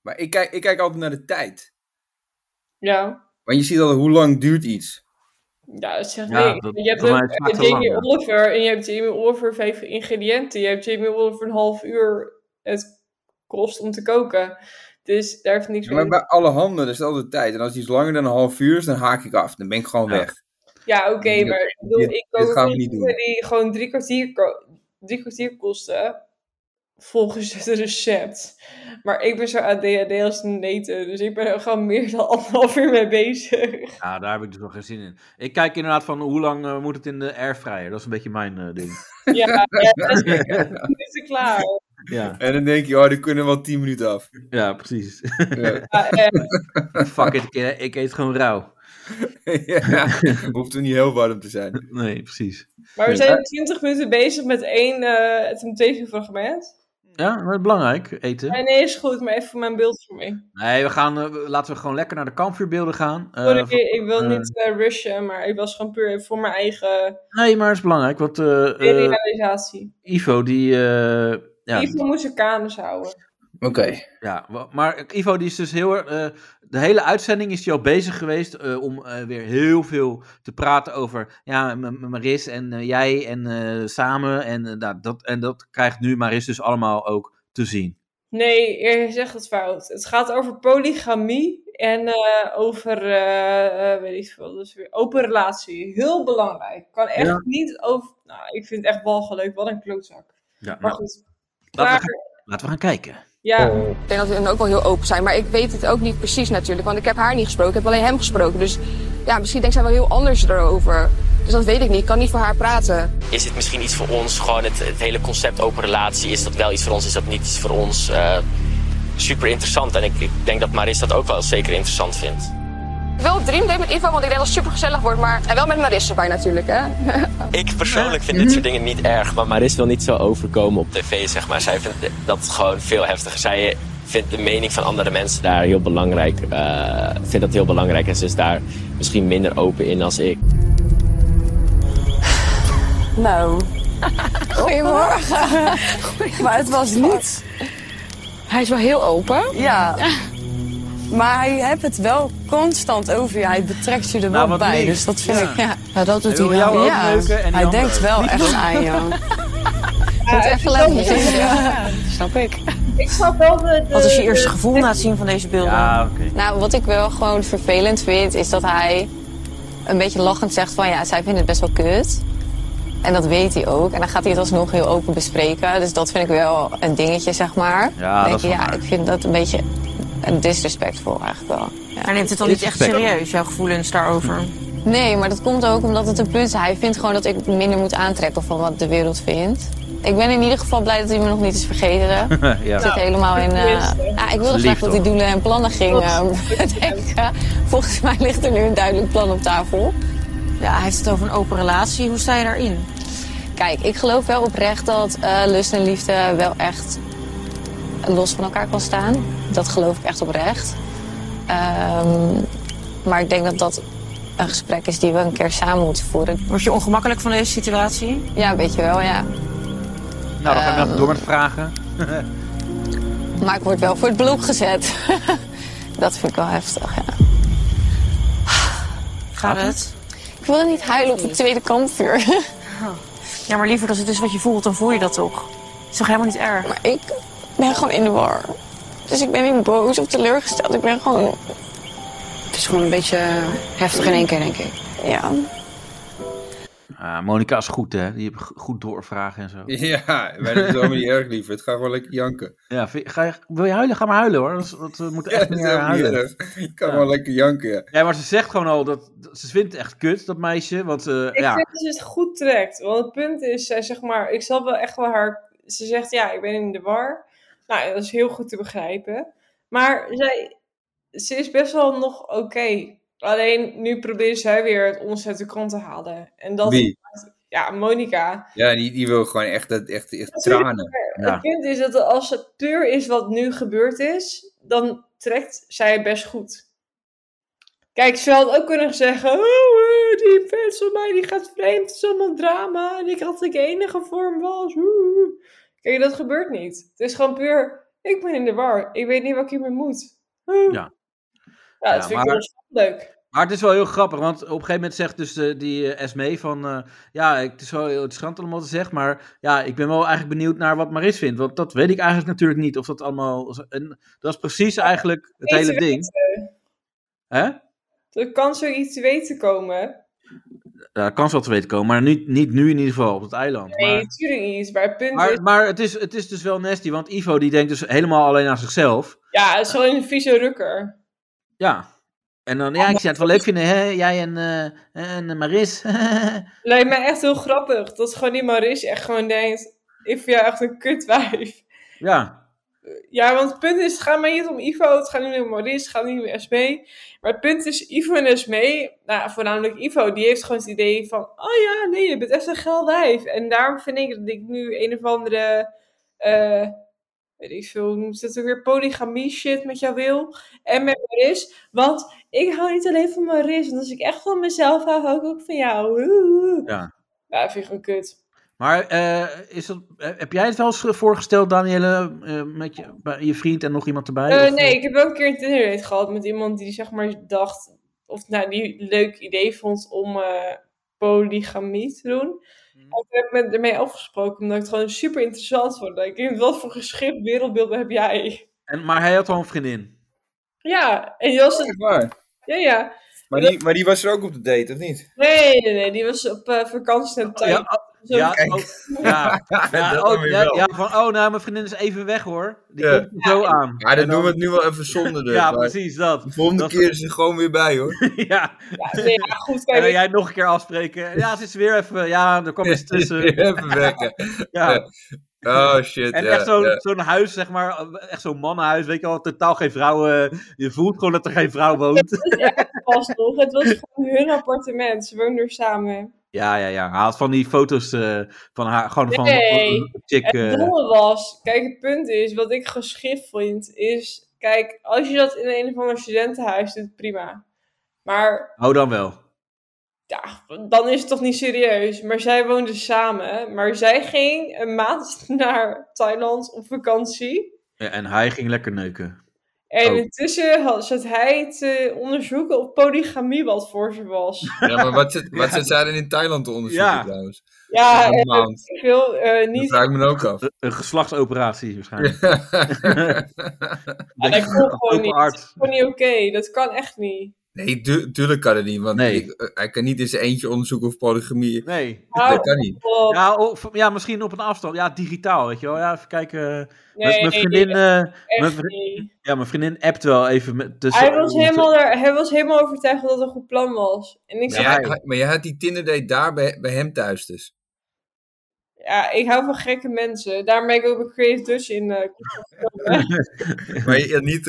B: Maar ik kijk, ik kijk altijd naar de tijd.
C: ja,
B: Want je ziet al hoe lang duurt iets.
C: ja, het zegt
A: Ja,
C: niks.
A: dat-
C: je hebt
A: voor
C: ook
A: mij is het maar
C: eh,
A: te
C: Jamie
A: lang, ja.
C: Oliver en je hebt Jamie Oliver vijf ingrediënten. Je hebt Jamie Oliver een half uur het grof stond te koken. Dus daar heeft niks
B: Ja, maar
C: mee.
B: bij alle handen is het altijd tijd. En als iets langer dan een half uur is, dan haak ik af. Dan ben ik gewoon
A: Ja.
B: weg.
C: Ja, oké,
B: Dit-
C: maar ik bedoel,
B: dit-
C: ik
B: dit
C: kook
B: gaan we
C: ook
B: niet doen.
C: dingen die gewoon drie kwartier, ko- drie kwartier kosten volgens het recept. Maar ik ben zo ADHD als een neten, dus ik ben er gewoon meer dan anderhalf uur mee bezig.
A: Ja, daar heb ik dus nog geen zin in. Ik kijk inderdaad van hoe lang eh, moet het in de airfryer. Dat is een beetje mijn eh, ding.
C: Ja, ja, dus dat is dan is het klaar.
A: Ja,
B: En dan denk je, oh, die kunnen wel 10 minuten af.
A: ja precies.
B: Ja.
C: Ja, eh,
A: Fuck it, ik, eh, ik eet gewoon rauw.
B: ja. Hoeft er niet heel warm te zijn.
A: Nee, precies.
C: maar we zijn 20 minuten bezig met één eh temptation-fragment.
A: Ja, maar belangrijk, eten.
C: Nee, nee, is goed, maar even voor mijn beeldvorming.
A: Nee, we gaan, eh, laten we gewoon lekker naar de kampvuurbeelden gaan. Eh,
C: Sorry,
A: van-
C: ik wil
A: eh,
C: niet eh, rushen, maar ik was gewoon puur even voor mijn eigen
A: nee, maar het is belangrijk, want eh, eh,
C: realisatie.
A: Ivo die... eh, ja,
C: Ivo moest zijn kamers houden.
B: Oké.
A: Ja, wa- maar Ivo die is dus heel erg. eh, de hele uitzending is hij al bezig geweest eh, om eh, weer heel veel te praten over. Ja, M- M- Maris en eh, jij en eh, samen. En, eh, nou, dat, en dat krijgt nu Maris dus allemaal ook te zien.
C: Nee, je zegt het fout. Het gaat over polygamie en eh, over, eh, eh, weet ik veel, dus weer open relatie. Heel belangrijk. Kan echt
A: Ja.
C: niet over... Nou, ik vind het echt walgelijk. Wat een klootzak.
A: Ja,
C: Maar
A: nou,
C: goed.
A: laten, we
C: Maar,
A: gaan, Oh. laten we gaan kijken.
C: ja,
F: Ik denk dat we dan ook wel heel open zijn. Maar ik weet het ook niet precies natuurlijk. Want ik heb haar niet gesproken. Ik heb alleen hem gesproken. Dus ja, misschien denkt zij wel heel anders erover. Dus dat weet ik niet. Ik kan niet voor haar praten.
J: Is het misschien iets voor ons? Gewoon het, het hele concept open relatie. Is dat wel iets voor ons? Is dat niet iets voor ons? Eh, super interessant. En ik, ik denk dat Maris dat ook wel zeker interessant vindt.
F: Ik wil op Dream Date met Ivo, want ik denk dat het super gezellig wordt. Maar... En wel met Marissa bij natuurlijk, hè?
J: Ik persoonlijk vind dit soort dingen niet erg. Maar Maris wil niet zo overkomen op tv, zeg maar. Zij vindt dat gewoon veel heftiger. Zij vindt de mening van andere mensen daar heel belangrijk. eh, vindt dat heel belangrijk. En ze is daar misschien minder open in als ik.
K: Nou,
F: Goedemorgen.
K: maar het was niet.
F: Hij is wel heel open.
K: Ja. Maar hij hebt het wel constant over je. Hij betrekt je er wel
A: Nou, wat
K: bij.
A: lief.
K: Dus dat vind
A: Ja.
K: ik. Ja,
F: dat
A: Hij wil jou ook neuken en die
K: hij
A: andere
K: denkt
A: ook.
K: wel
A: Niet
K: echt
A: leuk.
K: aan jou.
C: ja, het
F: even
C: is
F: laten
C: wel-
F: zien.
K: Ja, snap ik.
C: ik snap wel de... de-
K: Wat is je eerste
C: de-
K: gevoel na het zien van deze beelden?
A: Ja, oké.
F: Nou, wat ik wel gewoon vervelend vind, is dat hij een beetje lachend zegt van ja, zij vindt het best wel kut. En dat weet hij ook. En dan gaat hij het alsnog heel open bespreken. Dus dat vind ik wel een dingetje, zeg maar.
A: Ja,
F: Dan denk
A: dat is
F: ik,
A: wel
F: ja,
A: waar.
F: ik vind dat een beetje eh, disrespectful eigenlijk wel.
K: Hij neemt het al niet echt
A: Disrespect.
K: serieus, jouw gevoelens daarover.
F: Nee, maar dat komt ook omdat het een punt is. Hij vindt gewoon dat ik minder moet aantrekken van wat de wereld vindt. Ik ben in ieder geval blij dat hij me nog niet is vergeten.
A: ja.
F: Ik zit
K: Nou,
F: helemaal in. eh, ah, ik wilde
A: Lief,
F: graag dat die
A: toch?
F: doelen en plannen ging eh, bedenken. Volgens mij ligt er nu een duidelijk plan op tafel.
K: Ja, hij heeft het over een open relatie. Hoe sta je daarin?
F: Kijk, ik geloof wel oprecht dat eh, lust en liefde wel echt los van elkaar kan staan. Dat geloof ik echt oprecht. Ehm, maar ik denk dat dat een gesprek is die we een keer samen moeten voeren.
K: Word je ongemakkelijk van deze situatie?
F: Ja, weet je wel, ja.
A: Nou, dan gaan we even door met vragen.
F: Maar ik word wel voor het blok gezet. dat vind ik wel heftig, ja.
K: Gaat het?
F: Ik wil niet huilen op het tweede kampvuur.
K: Oh. Ja, maar liever als het is wat je voelt, dan voel je dat toch? Is toch helemaal niet erg?
F: Maar ik ben gewoon in de war. Dus ik ben niet boos of teleurgesteld. Ik ben gewoon,
K: Het is gewoon een beetje heftig in één keer, denk ik.
F: ja.
A: Ah, Monika is goed, hè? Die heeft go- goed doorvragen en zo.
B: Ja, maar dat is helemaal niet erg lief. Het gaat gewoon lekker janken.
A: Ja, vind- ga je, wil je huilen? Ga maar huilen, hoor. Dat, is- dat- we moeten echt
B: dat is
A: meer
B: helemaal niet
A: huilen.
B: erg. Je kan gewoon lekker janken, ja.
A: Ja, maar ze zegt gewoon al dat, dat- ze vindt het echt kut, dat meisje. Want eh,
C: Ik
A: ja,
C: vind dat ze het goed trekt. Want het punt is, zij zeg maar, ik zal wel echt wel haar. Ze zegt ja, ik ben in de war. Nou, dat is heel goed te begrijpen. Maar zij, ze is best wel nog oké. Alleen nu probeert zij weer het ons uit de krant te halen. En dat,
B: Wie?
C: ja, Monica.
B: Ja, die, die wil gewoon echt, dat- echt, echt tranen.
A: ja.
C: Het punt is dat als het puur is wat nu gebeurd is, dan trekt zij het best goed. Kijk, ze had ook kunnen zeggen, oh, eh, die fans van mij die gaat vreemd, het is allemaal drama en ik had dat ik de enige vorm was. oeh. Kijk, dat gebeurt niet. Het is gewoon puur, ik ben in de war, ik weet niet wat ik hiermee moet. Oeh.
A: Ja.
C: Eh. Ja,
A: Ja,
C: dat vind
A: maar-
C: ik wel leuk.
A: Maar het is wel heel grappig, want op een gegeven moment zegt dus eh, die eh, Esme van... eh, ja, ik- het is wel heel interessant allemaal te zeggen, maar ja, ik ben wel eigenlijk benieuwd naar wat Maris vindt. Want dat weet ik eigenlijk natuurlijk niet, of dat allemaal... En dat is precies eigenlijk het
C: Iets
A: hele ding.
C: weten.
A: Hè?
C: Er kan zoiets te weten komen.
A: Ja, kan zo te weten komen, maar niet, niet nu in ieder geval, op het eiland.
C: Nee,
A: maar...
C: natuurlijk niet. Maar het punt is...
A: Maar, maar het, is, het is dus wel nasty, want Ivo die denkt dus helemaal alleen aan zichzelf.
C: Ja, het is wel een vieze rukker.
A: Ja. En dan, ja, ik zou het wel leuk vinden, hè? jij en, eh, en eh, Maris.
C: Lijkt mij echt heel grappig. Dat gewoon die Maris echt gewoon denkt... Ik vind jou echt een kutwijf.
A: ja.
C: Ja, want het punt is, het gaat mij niet om Ivo, het gaat niet meer om Maurice, het gaat niet meer om SB. Maar het punt is, Ivo en SB, nou, voornamelijk Ivo, die heeft gewoon het idee van, oh ja, nee, je bent echt een geil wijf. En daarom vind ik dat ik nu een of andere, eh, weet ik veel, hoe noemt ze dat ook weer, polygamie shit met jou wil. En met Maurice, want ik hou niet alleen van Maurice, want als ik echt van mezelf hou, hou ik ook van jou. Oeh.
A: ja.
C: Ja, dat vind ik gewoon kut.
A: Maar eh, is dat, heb jij het wel eens voorgesteld, Danielle, eh, met je, bij je vriend en nog iemand erbij?
C: Eh,
A: Of-
C: nee, ik heb wel een keer een Tinder gehad met iemand die zeg maar dacht, of nou die een leuk idee vond om eh, polygamie te doen. En toen heb ik me ermee afgesproken, omdat ik het gewoon super interessant vond. Ik denk, wat voor geschikt wereldbeeld heb jij?
A: eh, En, maar hij had al een vriendin.
C: Ja, en die was het.
B: Waar?
C: Ja, ja.
B: Maar die, maar die was er ook op de date, of niet?
C: Nee, nee, nee, die was op eh, vakantie naar Thailand. Zo-
A: ja, oh, ja. Ja,
B: dat
A: oh,
B: dan weer
A: ja,
B: wel.
A: ja, van, oh, nou, mijn vriendin is even weg, hoor. Die
B: Ja.
A: komt er zo aan.
B: Ja, dan doen we het nu wel even zonder. dus,
A: ja,
B: maar
A: precies, dat.
B: De volgende
A: Dat-
B: keer is er gewoon weer bij, hoor.
A: ja.
C: Ja, nee, ja, goed,
A: En
C: kijk,
A: dan jij nog een keer afspreken. Ja, zit ze weer even. Ja, er kwam iets tussen.
B: even wekken.
A: dus, eh, Ja.
B: Oh, shit,
A: En
B: ja,
A: echt zo'n
B: ja.
A: zo'n huis, zeg maar. Echt zo'n mannenhuis. Weet je wel, totaal geen vrouwen. Je voelt gewoon dat er geen vrouw woont.
C: pas nog. Het was gewoon hun appartement. Ze woonden er samen.
A: Ja, ja, ja. Hij had van die foto's eh, van haar. Gewoon van
C: Nee.
A: een chick. eh,
C: Het domme was, kijk, het punt is, wat ik geschift vind, is, kijk, als je dat in een of ander studentenhuis doet, prima. Maar
A: oh, dan wel.
C: ja, dan is het toch niet serieus. Maar zij woonden samen, maar zij ging een maand naar Thailand op vakantie.
A: Ja, en hij ging lekker neuken.
C: En
A: Oh.
C: intussen had, zat hij te onderzoeken of polygamie wat voor ze was.
B: Ja, maar wat zit, wat zit zij dan in Thailand te onderzoeken,
A: Ja.
B: trouwens?
C: Ja,
B: Een
C: eh,
B: maand.
C: ik wil eh,
B: Dat
C: niet
B: vraag ik me dan ook af.
A: Een geslachtsoperatie waarschijnlijk.
C: Ja,
A: Dat je-
C: dat klopt gewoon
A: open
C: niet. Dat
A: arts.
C: is gewoon niet oké. Dat kan echt niet.
B: Nee, tu- tuurlijk kan het niet, want
A: Nee.
B: ik- eh, hij kan niet in zijn eentje onderzoeken of polygamie.
A: Nee.
C: Oh.
B: Dat kan niet.
C: op.
A: Ja, of, ja, misschien op een afstand. Ja, digitaal, weet je wel. Ja, even kijken.
C: Nee,
A: mijn, mijn vriendin, eh, mijn,
C: Echt
A: vri-
C: niet.
A: ja, mijn vriendin appt wel even met, tussen.
C: hij, was helemaal daar, hij was helemaal overtuigd dat het een goed plan was. En ik
B: Maar,
C: zei,
B: jij-
C: ja,
B: maar jij, had die Tinder date daar bij, bij hem thuis dus.
C: ik hou van gekke mensen. Daarom ben ik ook bij Creative Dutch in eh, contact gekomen.
B: Maar je had niet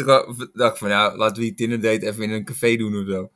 B: gedacht van, nou, laten we die Tinder date even in een café doen of zo.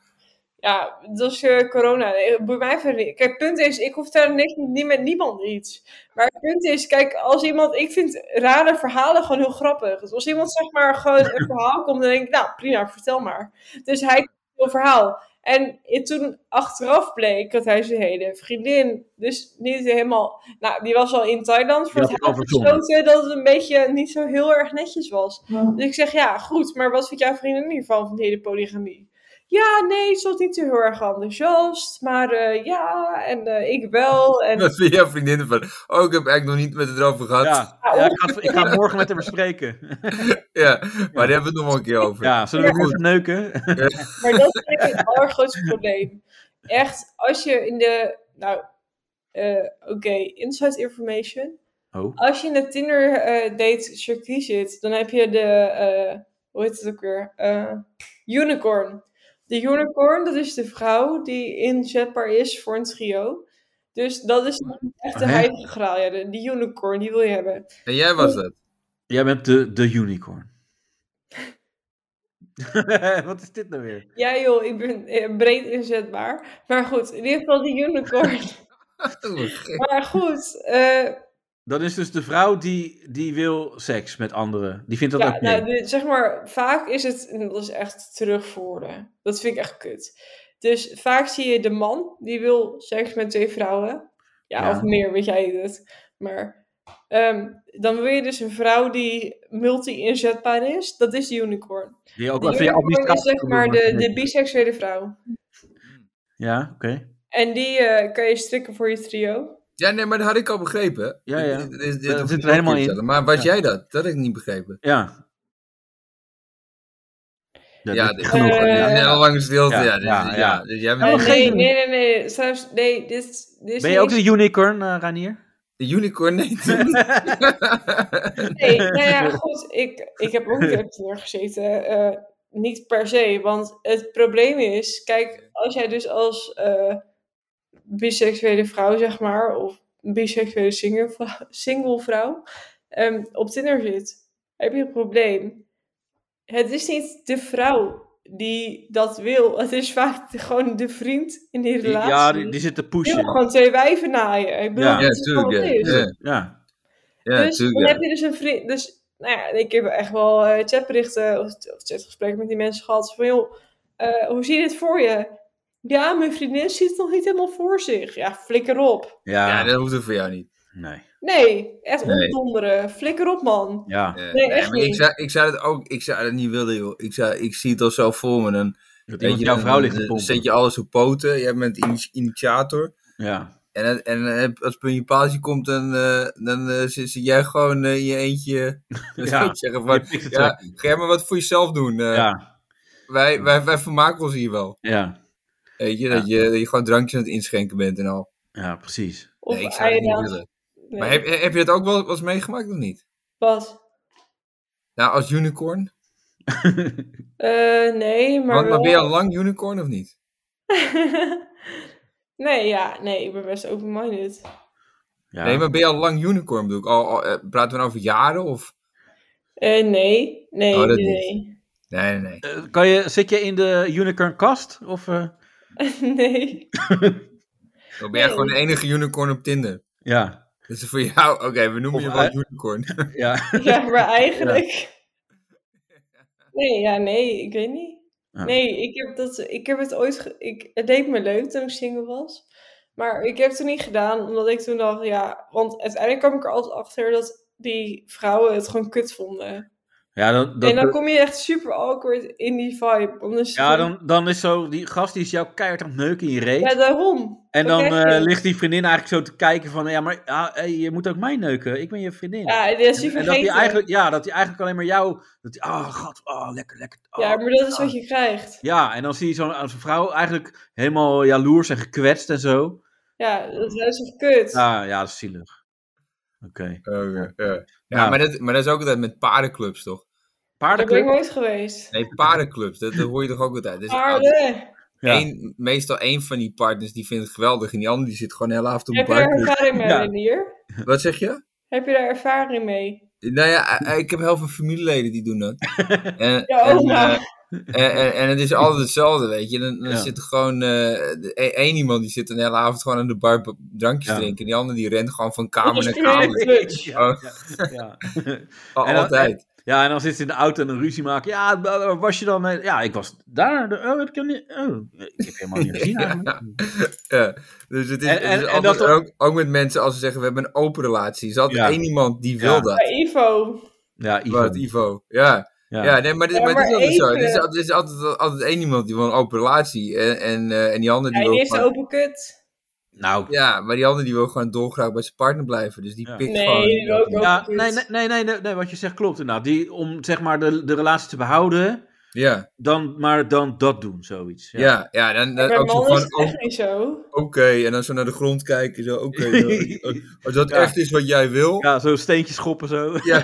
C: Ja, dat is eh, corona. Nee, het boeit mij verder niet. Kijk, het punt is, ik hoef daar niks niet met niemand iets. Maar het punt is, kijk, als iemand... Ik vind rare verhalen gewoon heel grappig. Dus als iemand zeg maar gewoon een verhaal komt, dan denk ik, nou prima, vertel maar. Dus hij komt met een verhaal. En i- toen achteraf bleek dat hij zijn hele vriendin, dus niet helemaal... Nou, die was al in Thailand, voor
A: had
C: het
A: het al
C: huis
A: verzonnen.
C: besloten dat het een beetje niet zo heel erg netjes was. Dus ik zeg, ja, goed, maar wat vindt jouw vriendin hiervan, van de hele polygamie? Ja, nee, ze was niet zo heel erg enthousiast, maar eh, ja, en eh, ik wel. En,
B: Dat vind jouw vriendinnen van, oh, ik heb eigenlijk nog niet met het erover gehad.
A: Ja, ja, ik, ga, ik ga het morgen met haar bespreken.
B: Ja, maar daar hebben we het nog wel een keer over.
A: Ja, zullen we
B: Ja.
A: even neuken?
C: maar dat is echt het allergrootste probleem. Echt, als je in de, nou, eh, oké, inside information.
A: Oh.
C: Als je in de Tinder eh, date circuit zit, dan heb je de, eh, hoe heet het ook weer? Eh, unicorn. De unicorn, dat is de vrouw die inzetbaar is voor een trio. Dus dat is echt de
A: Hè?
C: heilige graal. Ja, de, die unicorn, die wil je hebben.
B: En jij was dat.
A: Jij bent de, de unicorn. Wat is dit nou weer?
C: Ja joh, ik ben eh, breed inzetbaar. Maar goed, in ieder geval die unicorn.
B: Oh,
C: maar goed, eh,
A: Dat is dus de vrouw die, die wil seks met anderen. Die vindt dat
C: ja,
A: oké.
C: nou, de- zeg maar, vaak is het, en dat is echt terugvoeren. Dat vind ik echt kut. Dus vaak zie je de man, die wil seks met twee vrouwen. Ja,
A: Ja.
C: of meer, weet jij het. Maar ehm, dan wil je dus een vrouw die multi-inzetbaar is. Dat is de unicorn.
A: dus Die ook
C: De
A: wel even je
C: unicorn is
A: administratie
C: zeg
A: kan
C: maar
A: doen,
C: de, de biseksuele vrouw.
A: Ja, oké.
C: En die eh, kan je strikken voor je trio.
B: Ja, nee, maar dat had ik al begrepen.
A: Ja, ja.
B: Dit- dit- dit- dit
A: Dat
B: hoef
A: zit
B: ik
A: er
B: ook
A: helemaal
B: niet te
A: in.
B: vertellen. Maar was
A: Ja.
B: jij dat? Dat had ik niet begrepen.
A: Ja.
B: Ja,
A: dit-
B: dit is
A: genoeg,
B: genoeg.
A: hè? Ja.
B: Een heel lange stilte. Ja,
A: Ja,
B: dit-
A: ja,
B: ja,
A: ja.
B: Dus jij
C: nee,
B: bent
C: nee, nee, nee, nee. Zelfs, nee dit, dit is
A: Ben je ook
C: niks.
A: de unicorn, eh, Ranier?
B: De unicorn? Nee.
C: Nee, nou ja, goed. Ik, ik heb ook direct neergezeten. eh, niet per se, want het probleem is... Kijk, als jij dus als eh, biseksuele vrouw, zeg maar... of biseksuele single vrou- single vrouw ehm, op Tinder zit... heb je een probleem. Het is niet de vrouw die dat wil. Het is vaak gewoon de vriend in die
A: Die-
C: relatie.
A: ja, die, die zit te
C: Die wil
A: pushen.
C: gewoon twee wijven naaien. Ik bedoel,
A: Ja,
C: dat is
B: natuurlijk. Ja,
C: gewoon wat het is
B: ja.
A: Ja.
B: Ja,
C: dus dan
B: natuurlijk.
C: heb je dus een vriend. Dus nou ja, ik heb echt wel eh, chatberichten of, of chatgesprekken met die mensen gehad. Van joh, eh, hoe zie je dit voor je? Ja, mijn vriendin ziet het nog niet helemaal voor zich. Ja, flikker op.
A: Ja.
B: ja, dat hoeft ook voor jou niet.
A: Nee.
C: Nee, echt
B: Nee.
C: opdonderen. Flikker op, man.
A: Ja.
B: Eh,
C: Nee,
B: nee,
C: echt
B: maar ik
C: niet.
B: zou, ik zou dat ook ik zou dat niet willen, joh. Ik, zou, ik zie het al zo voor me. Dan, weet
A: iemand
B: je,
A: jouw
B: dan-
A: vrouw ligt te
B: dan
A: pompen.
B: zet je alles op poten. Jij bent ini- initiator.
A: Ja.
B: En, dan- en dan heb- als het bij je paaltje komt, dan, eh, dan eh, zit, zit jij gewoon eh, in je eentje. Dan zou ik zeggen van,
A: je pikt het
B: ja,
A: wel.
B: ga jij maar wat voor jezelf doen. eh.
A: Ja.
B: wij, wij, wij vermaken ons hier wel.
A: Ja.
B: Weet je, dat, je, dat je gewoon drankjes aan het inschenken bent en al.
A: Ja, precies.
C: Of
B: nee, ik zou dat niet
C: eieren.
B: willen.
C: Nee.
B: Maar heb, heb je dat ook wel wel eens meegemaakt of niet?
C: Wat?
B: Nou, als unicorn?
C: Eh, nee, maar.
B: Want, maar ben je
C: wel-
B: al lang unicorn of niet?
C: nee, ja, nee, ik ben best open-minded.
A: Ja.
B: Nee, maar ben je al lang unicorn bedoel ik? Al, al, eh, praten we nou over jaren of?
C: Eh, nee, nee,
B: Oh, dat
C: nee.
B: Nee, nee, nee.
A: Eh, kan je, zit je in de unicorn kast? Of, eh,
C: nee.
B: Dan ben jij gewoon de enige unicorn op Tinder.
A: Ja.
B: Dus voor jou, oké, we noemen
A: Of
B: je wel
A: ei-
B: unicorn.
A: Ja.
C: Ja, maar eigenlijk. Nee, ja, nee, ik weet niet.
A: Ja.
C: Nee, ik heb, dat, ik heb het ooit. ge- Ik, het deed me leuk toen ik single was. Maar ik heb het toen niet gedaan, omdat ik toen dacht, ja. Want uiteindelijk kwam ik er altijd achter dat die vrouwen het gewoon kut vonden.
A: ja, dan, dan,
C: en dan kom je echt super awkward in die vibe. Omdat je
A: ja
C: gewoon-
A: dan, dan is zo, die gast die is jou keihard aan het neuken in je reet.
C: Ja, daarom.
A: en
C: Dat
A: dan
C: krijg je.
A: eh, ligt die vriendin eigenlijk zo te kijken van, ja, maar ja, hey, je moet ook mij neuken. Ik ben je vriendin.
C: Ja, en dat is je
A: en, en dat hij
C: vergeten.
A: eigenlijk, ja, dat hij eigenlijk alleen maar jou, dat hij, oh, god, oh, lekker, lekker. oh.
C: Ja, maar dat is wat je krijgt.
A: Ja, en dan zie je zo'n als een vrouw eigenlijk helemaal jaloers en gekwetst en zo.
C: Ja, dat is echt kut.
A: Ja, ja, dat is zielig. Oké.
B: Oké, Oh, ja, ja
A: Nou.
B: maar, dat, maar dat is ook altijd met paardenclubs, toch?
C: Daar ben ik
A: Paardenclub?
C: nooit geweest.
B: Nee, paardenclubs, dat, dat hoor je toch ook altijd. Dus
C: Paarden.
A: Ja.
B: één, meestal één van die partners die vindt het geweldig en die andere die zit gewoon de hele avond op een
C: Heb je daar
B: paardenclub.
C: ervaring mee,
A: Ja.
C: Renier?
B: Wat zeg je?
C: Heb je daar ervaring mee?
B: Nou ja, eh, eh, ik heb heel veel familieleden die doen dat. En,
C: Ja,
B: en,
C: oma.
B: eh, en, en, en het is altijd hetzelfde, weet je. Dan, dan
A: Ja.
B: zit er gewoon eh, de- e- één iemand die zit een hele avond gewoon aan de bar b- drankjes
A: Ja.
B: drinken. Die andere die rent gewoon van
C: Dat
B: kamer
C: is
B: naar
C: geen
B: kamer.
C: clutch.
A: Ja,
B: Oh.
A: ja, ja.
B: Al-
A: En dan-
B: altijd.
A: Ja, en dan zit ze in de auto en een ruzie maken. Ja, waar was je dan? eh, Ja, ik was daar. De- Oh, heb ik, hem niet, oh, ik heb helemaal niet gezien eigenlijk.
B: Ja. Dus het is,
A: En-
B: het is
A: en- en
B: altijd
A: dat-
B: ook, ook met mensen als ze zeggen we hebben een open relatie. Er is altijd
A: Ja.
B: één iemand die
A: Ja.
B: wil dat.
C: Bij Ivo.
A: Ja, Ivo.
B: Wat, Ivo. Ja.
A: Ja.
B: Ja. nee, maar, dit-
C: Ja,
B: maar het is
C: maar
B: altijd zo. Er is,
C: even.
B: al- er is altijd, altijd één iemand die wil een open relatie. En, en, eh, en die andere die
C: Hij
B: wil
C: is
B: gewoon-
C: open kut.
A: Nou,
B: Ja, maar die andere die wil gewoon dolgraag bij zijn partner blijven. Dus die
A: Ja.
B: pikt
C: Nee,
B: gewoon.
C: die ook wel.
A: ja, nee, nee, nee, nee, nee, nee, wat je zegt klopt inderdaad. Die, om zeg maar de, de relatie te behouden,
B: Ja,
A: dan maar dan dat doen, zoiets.
B: ja, ja. dan,
A: Eh,
B: dan
C: Bij
B: ook zo
C: mannen is het
B: gewoon,
C: echt
B: oh,
C: niet zo.
B: oké. en dan zo naar de grond kijken. Zo, oké. eh, als dat
A: Ja.
B: echt is wat jij wil.
A: Ja, zo steentjes schoppen zo.
B: Ja.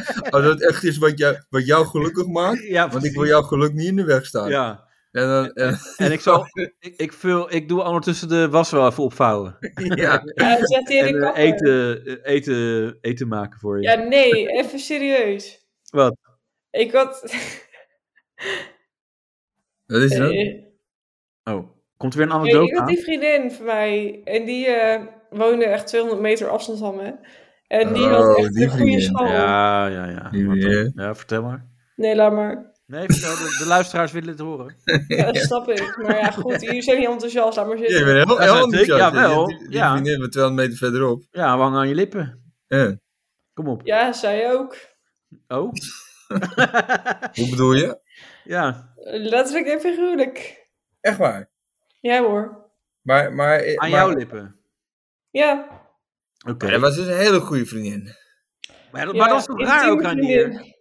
B: als dat echt is wat, jij, wat jou gelukkig maakt.
A: Ja,
B: Want ik wil
A: precies.
B: jouw geluk niet in de weg staan.
A: Ja.
B: En dan, eh, en,
A: En ik zal, ik, ik, vul, ik doe ondertussen de was wel even opvouwen.
B: ja.
C: Ja, dan zegt hij
A: En
C: in de
A: eh,
C: kapper.
A: eten, eh, eten, eten maken voor je.
C: Ja, nee, even serieus.
A: Wat?
C: Ik had...
B: Wat is dat?
C: Eh,
A: Oh, komt er weer een
C: Nee,
A: anekdote
C: ik had
A: aan?
C: die vriendin van mij. En die eh, woonde echt 200 meter afstand van me. En die had
B: Oh,
C: echt
B: die
C: een goede
B: vriendin.
C: school.
A: Ja, ja, ja.
B: Ja.
A: Wat dan? Ja, vertel maar.
C: Nee, laat maar.
A: Nee, vertel, de, de luisteraars willen het horen.
C: Ja, dat snap ik. Maar ja, goed, jullie zijn niet enthousiast. Laat maar
B: Ja,
C: zitten.
B: je bent heel,
A: Ja,
B: heel
A: natuurlijk.
B: enthousiast.
A: Jawel,
B: Die, die, die
A: ja.
B: vriendin van 200 meter verderop. Eh,
A: Ja, wang aan je lippen.
B: Ja.
A: Kom op.
C: Ja, zij ook.
A: Oh,
B: Hoe bedoel je?
A: ja.
C: Letterlijk en figuurlijk.
B: Echt waar?
C: Ja hoor.
B: Maar, maar,
A: Aan
B: maar-
A: jouw lippen.
C: Ja.
A: Oké.
B: Dat was dus een hele goede vriendin.
A: Maar, dat-
C: Ja,
A: maar dat is toch raar
C: intieme
A: ook aan
C: vriendin.
A: hier?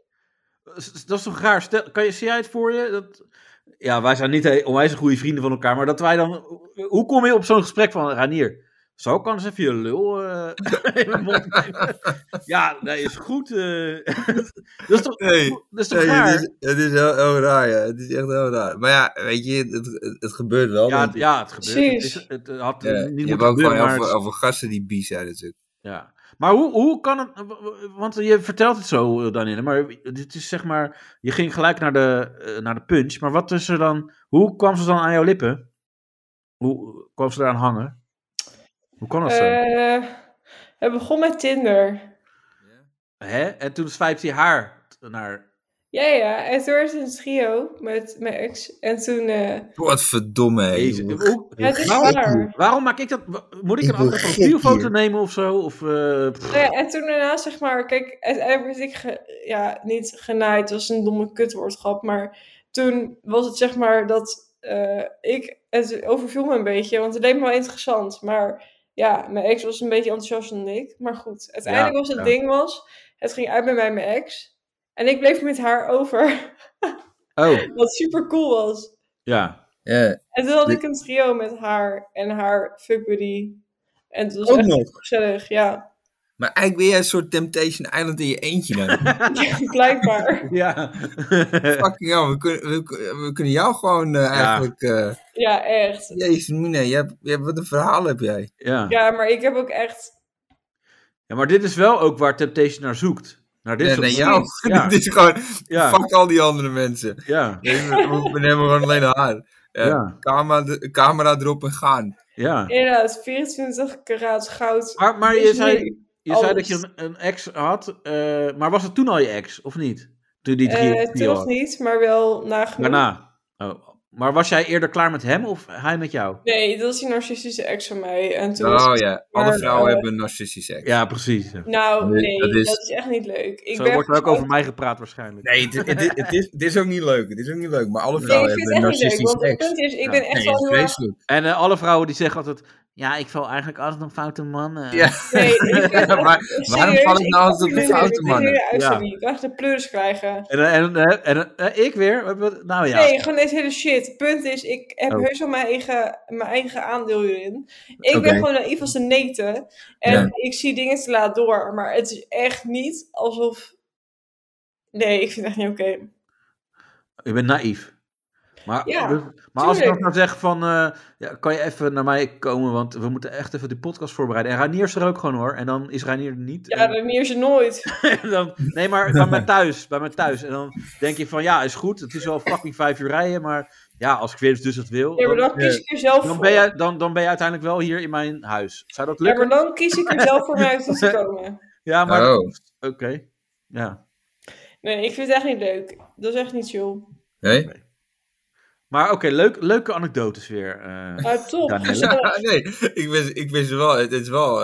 A: Dat is toch raar? Stel, kan je, zie jij het voor je? Dat, ja, wij zijn niet he- onwijs goede vrienden van elkaar, maar dat wij dan... Hoe kom je op zo'n gesprek van Ranier? Zou ik anders even je lul eh, in mijn mond nemen? Ja, dat is goed. eh. dat is toch, dat is toch
B: Nee,
A: raar?
B: Het is, het is heel, heel raar, ja. Het is echt heel raar. Maar ja, weet je, het, het, het gebeurt wel.
A: ja, het,
B: natuurlijk.
A: ja, het gebeurt. Het,
C: Precies.
A: is, het had
B: Oh, Ja,
A: niet
B: je hebt
A: moeten
B: ook gewoon
A: gebeuren,
B: heel
A: maar...
B: veel, heel veel gasten die bi zijn natuurlijk.
A: Ja. Maar hoe, hoe kan het. Want je vertelt het zo, eh, Danielle, maar dit is zeg maar. Je ging gelijk naar de, eh, naar de punch. Maar wat is er dan. Hoe kwam ze dan aan jouw lippen? Hoe kwam ze eraan hangen? Hoe kan dat zo?
C: Eh, het begon met Tinder.
A: Hè? En toen swipte hij haar t- naar.
C: Ja, ja. En toen werd het een trio met mijn ex. En toen... eh,
B: Wat verdomme, hé.
A: Jezus,
B: Hoe-
A: hoe-
B: hoe
C: het is
B: gek
C: waar.
A: Waarom maak ik dat? wa- Moet ik
B: Ik
A: een andere
B: word gek
A: profielfoto
B: hier.
A: nemen of zo? Of, eh, pff,
C: Nou ja, en toen daarna, zeg maar, kijk, uiteindelijk werd ik ge- ja, niet genaaid, het was een domme kutwoordgrap, maar toen was het zeg maar dat eh, ik, het overviel me een beetje, want het leek me wel interessant, maar ja, mijn ex was een beetje enthousiaster dan ik, maar goed, uiteindelijk
A: Ja,
C: was het
A: ja.
C: ding was, het ging uit bij mij en mijn ex, en ik bleef met haar over,
A: Oh,
C: wat super cool was.
A: ja.
B: Ja.
C: En toen had
B: Dit-
C: ik een trio met haar en haar fuckbuddy, en het was
B: Ook
C: echt
B: nog.
C: gezellig, ja,
B: Maar eigenlijk ben jij een soort Temptation Island in je eentje dan.
C: blijkbaar.
A: ja.
B: Fucking hell, we kunnen, we, kun- we kunnen jou gewoon eh, eigenlijk... eh
C: Ja, echt.
B: Jezus, Mina, jij hebt- jij hebt- wat een verhaal heb jij.
A: ja.
C: Ja, maar ik heb ook echt.
A: Ja, maar dit is wel ook waar Temptation naar zoekt. Naar dit
B: Ja,
A: soort
B: naar jou.
A: Ja.
B: Dit is gewoon...
A: Ja.
B: Fuck al die andere mensen.
A: Ja,
B: We we- we nemen gewoon alleen haar. Eh,
A: Ja.
B: camera, camera erop en gaan.
A: ja.
C: Inderdaad, 24 karaat goud.
A: Maar, maar je,
C: Is
A: zei,
C: nu
A: je zei dat
C: alles.
A: je een, een ex had, eh, maar was het toen al je ex, of niet? Toen die drie
C: Eh,
A: of vier
C: toen nog
A: had.
C: niet, maar wel nagenoeg.
A: Daarna. Oh. Maar was jij eerder klaar met hem of hij met jou?
C: Nee, dat is die narcistische ex van mij. En toen was
B: Oh
C: het-
B: ja,
C: maar,
B: alle vrouwen
C: eh,
B: hebben narcistisch seks.
A: Ja, precies. ja.
C: Nou,
B: Nee,
C: nee,
B: dat
C: dat
B: is-
C: is, echt niet leuk. Ik
A: Zo
C: ben
A: wordt er ook
C: gewoon-
A: over mij gepraat waarschijnlijk.
B: Nee, het, het, het- het is, het is ook niet leuk. Het is ook niet leuk. Maar alle
C: Nee,
B: vrouwen
C: ik vind
B: hebben
C: het echt niet
B: narcistisch
C: leuk. Want het
B: seks.
C: punt is, ik
A: Ja.
C: ben echt
B: Nee, dat
C: wel
B: is
C: heel erg.
B: vreselijk.
A: En eh, alle vrouwen die zeggen altijd, ja, ik val eigenlijk altijd op foute eh." mannen.
B: Ja.
C: Nee, ik vind het echt-
B: Maar waarom
C: serieus,
B: val ik nou
C: kan
B: altijd op
C: niet
B: de
C: meer-
B: foute mannen?
C: Ik ben eruit,
A: Ja.
C: sorry. Ik kan echt de pleurs krijgen.
A: En, eh, en, eh, en, eh, ik weer? Wat- wat- Nou ja.
C: Nee, gewoon deze hele shit. Punt is, ik heb
A: Oh.
C: heus wel mijn eigen, mijn eigen aandeel hierin. Ik
B: Oké.
C: ben gewoon naïef als de neten. En
B: Ja.
C: ik zie dingen te laat door. Maar het is echt niet alsof... Nee, ik vind het echt niet oké.
A: Je bent naïef. Maar,
C: Ja,
A: maar als ik dan
C: tuurlijk.
A: nou zeg van, eh, ja, kan je even naar mij komen, want we moeten echt even die podcast voorbereiden. En Rainier is er ook gewoon hoor, en dan is Rainier er niet.
C: Ja,
A: En-
C: dat meer ze nooit.
A: en dan, nee, maar bij mij thuis, bij mij thuis. En dan denk je van, ja, is goed, het is wel fucking vijf uur rijden, maar ja, als ik weer dus dat wil,
C: Ja, maar
A: dan,
C: dan kies ik er zelf
A: dan,
C: voor.
A: ben je, dan, dan ben je uiteindelijk wel hier in mijn huis. Zou dat
C: Ja,
A: lukken?
C: maar dan kies ik er zelf voor mij uit om te komen.
A: Ja, maar...
B: Oh.
A: Oké, ja.
C: Nee, ik vind het echt niet leuk. Dat is echt niet chill.
B: Nee?
A: Maar oké, leuk, leuke anekdotes weer. eh.
C: Maar toch,
A: Danielle.
C: gezellig.
B: nee, ik wist, ik wist wel. Het, het is wel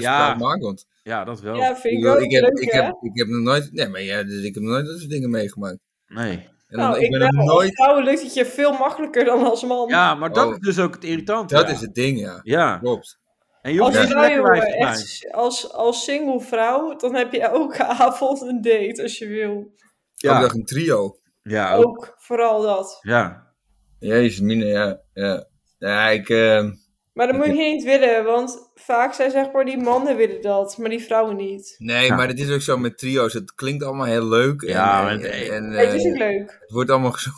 A: Ja.
B: ja. spelmakend.
A: ja, dat wel.
C: Ja, vind
B: Ik,
C: ik
B: bedoel,
C: ook
B: ik, heb,
C: leuk,
B: ik,
C: hè?
B: heb, ik heb nog nooit... Nee, maar ja, dus ik heb nog nooit dat soort dingen meegemaakt.
A: Nee.
B: En dan,
C: nou,
B: ik ben
C: wel.
B: nog
C: Als
B: nooit...
C: vrouw lukt het je veel makkelijker dan als man.
A: Ja, maar dat
B: Oh.
A: is dus ook het irritante.
B: Dat
A: ja.
B: is het ding, ja.
A: Ja.
B: Klopt.
A: En je hoeft
C: Als,
A: niet een
C: je nou,
A: lekker
C: jongen,
A: wijf te zijn.
C: echt, als, als single vrouw, dan heb je elke avond een date als je wil.
A: Ja.
B: Ja. Ook nog een trio.
A: Ja, ook.
C: Ook vooral dat.
A: Ja.
B: Jezus, Mina, ja. Ja, ja ik... eh,
C: Maar dat moet je niet willen, want vaak zijn zeg maar die mannen willen dat, maar die vrouwen niet.
B: Nee,
A: Ja.
B: maar het is ook zo met trio's. Het klinkt allemaal heel leuk.
A: Ja,
B: en,
A: maar-
B: en, en,
C: Nee, het is
B: eh,
C: niet leuk.
B: het wordt allemaal zo,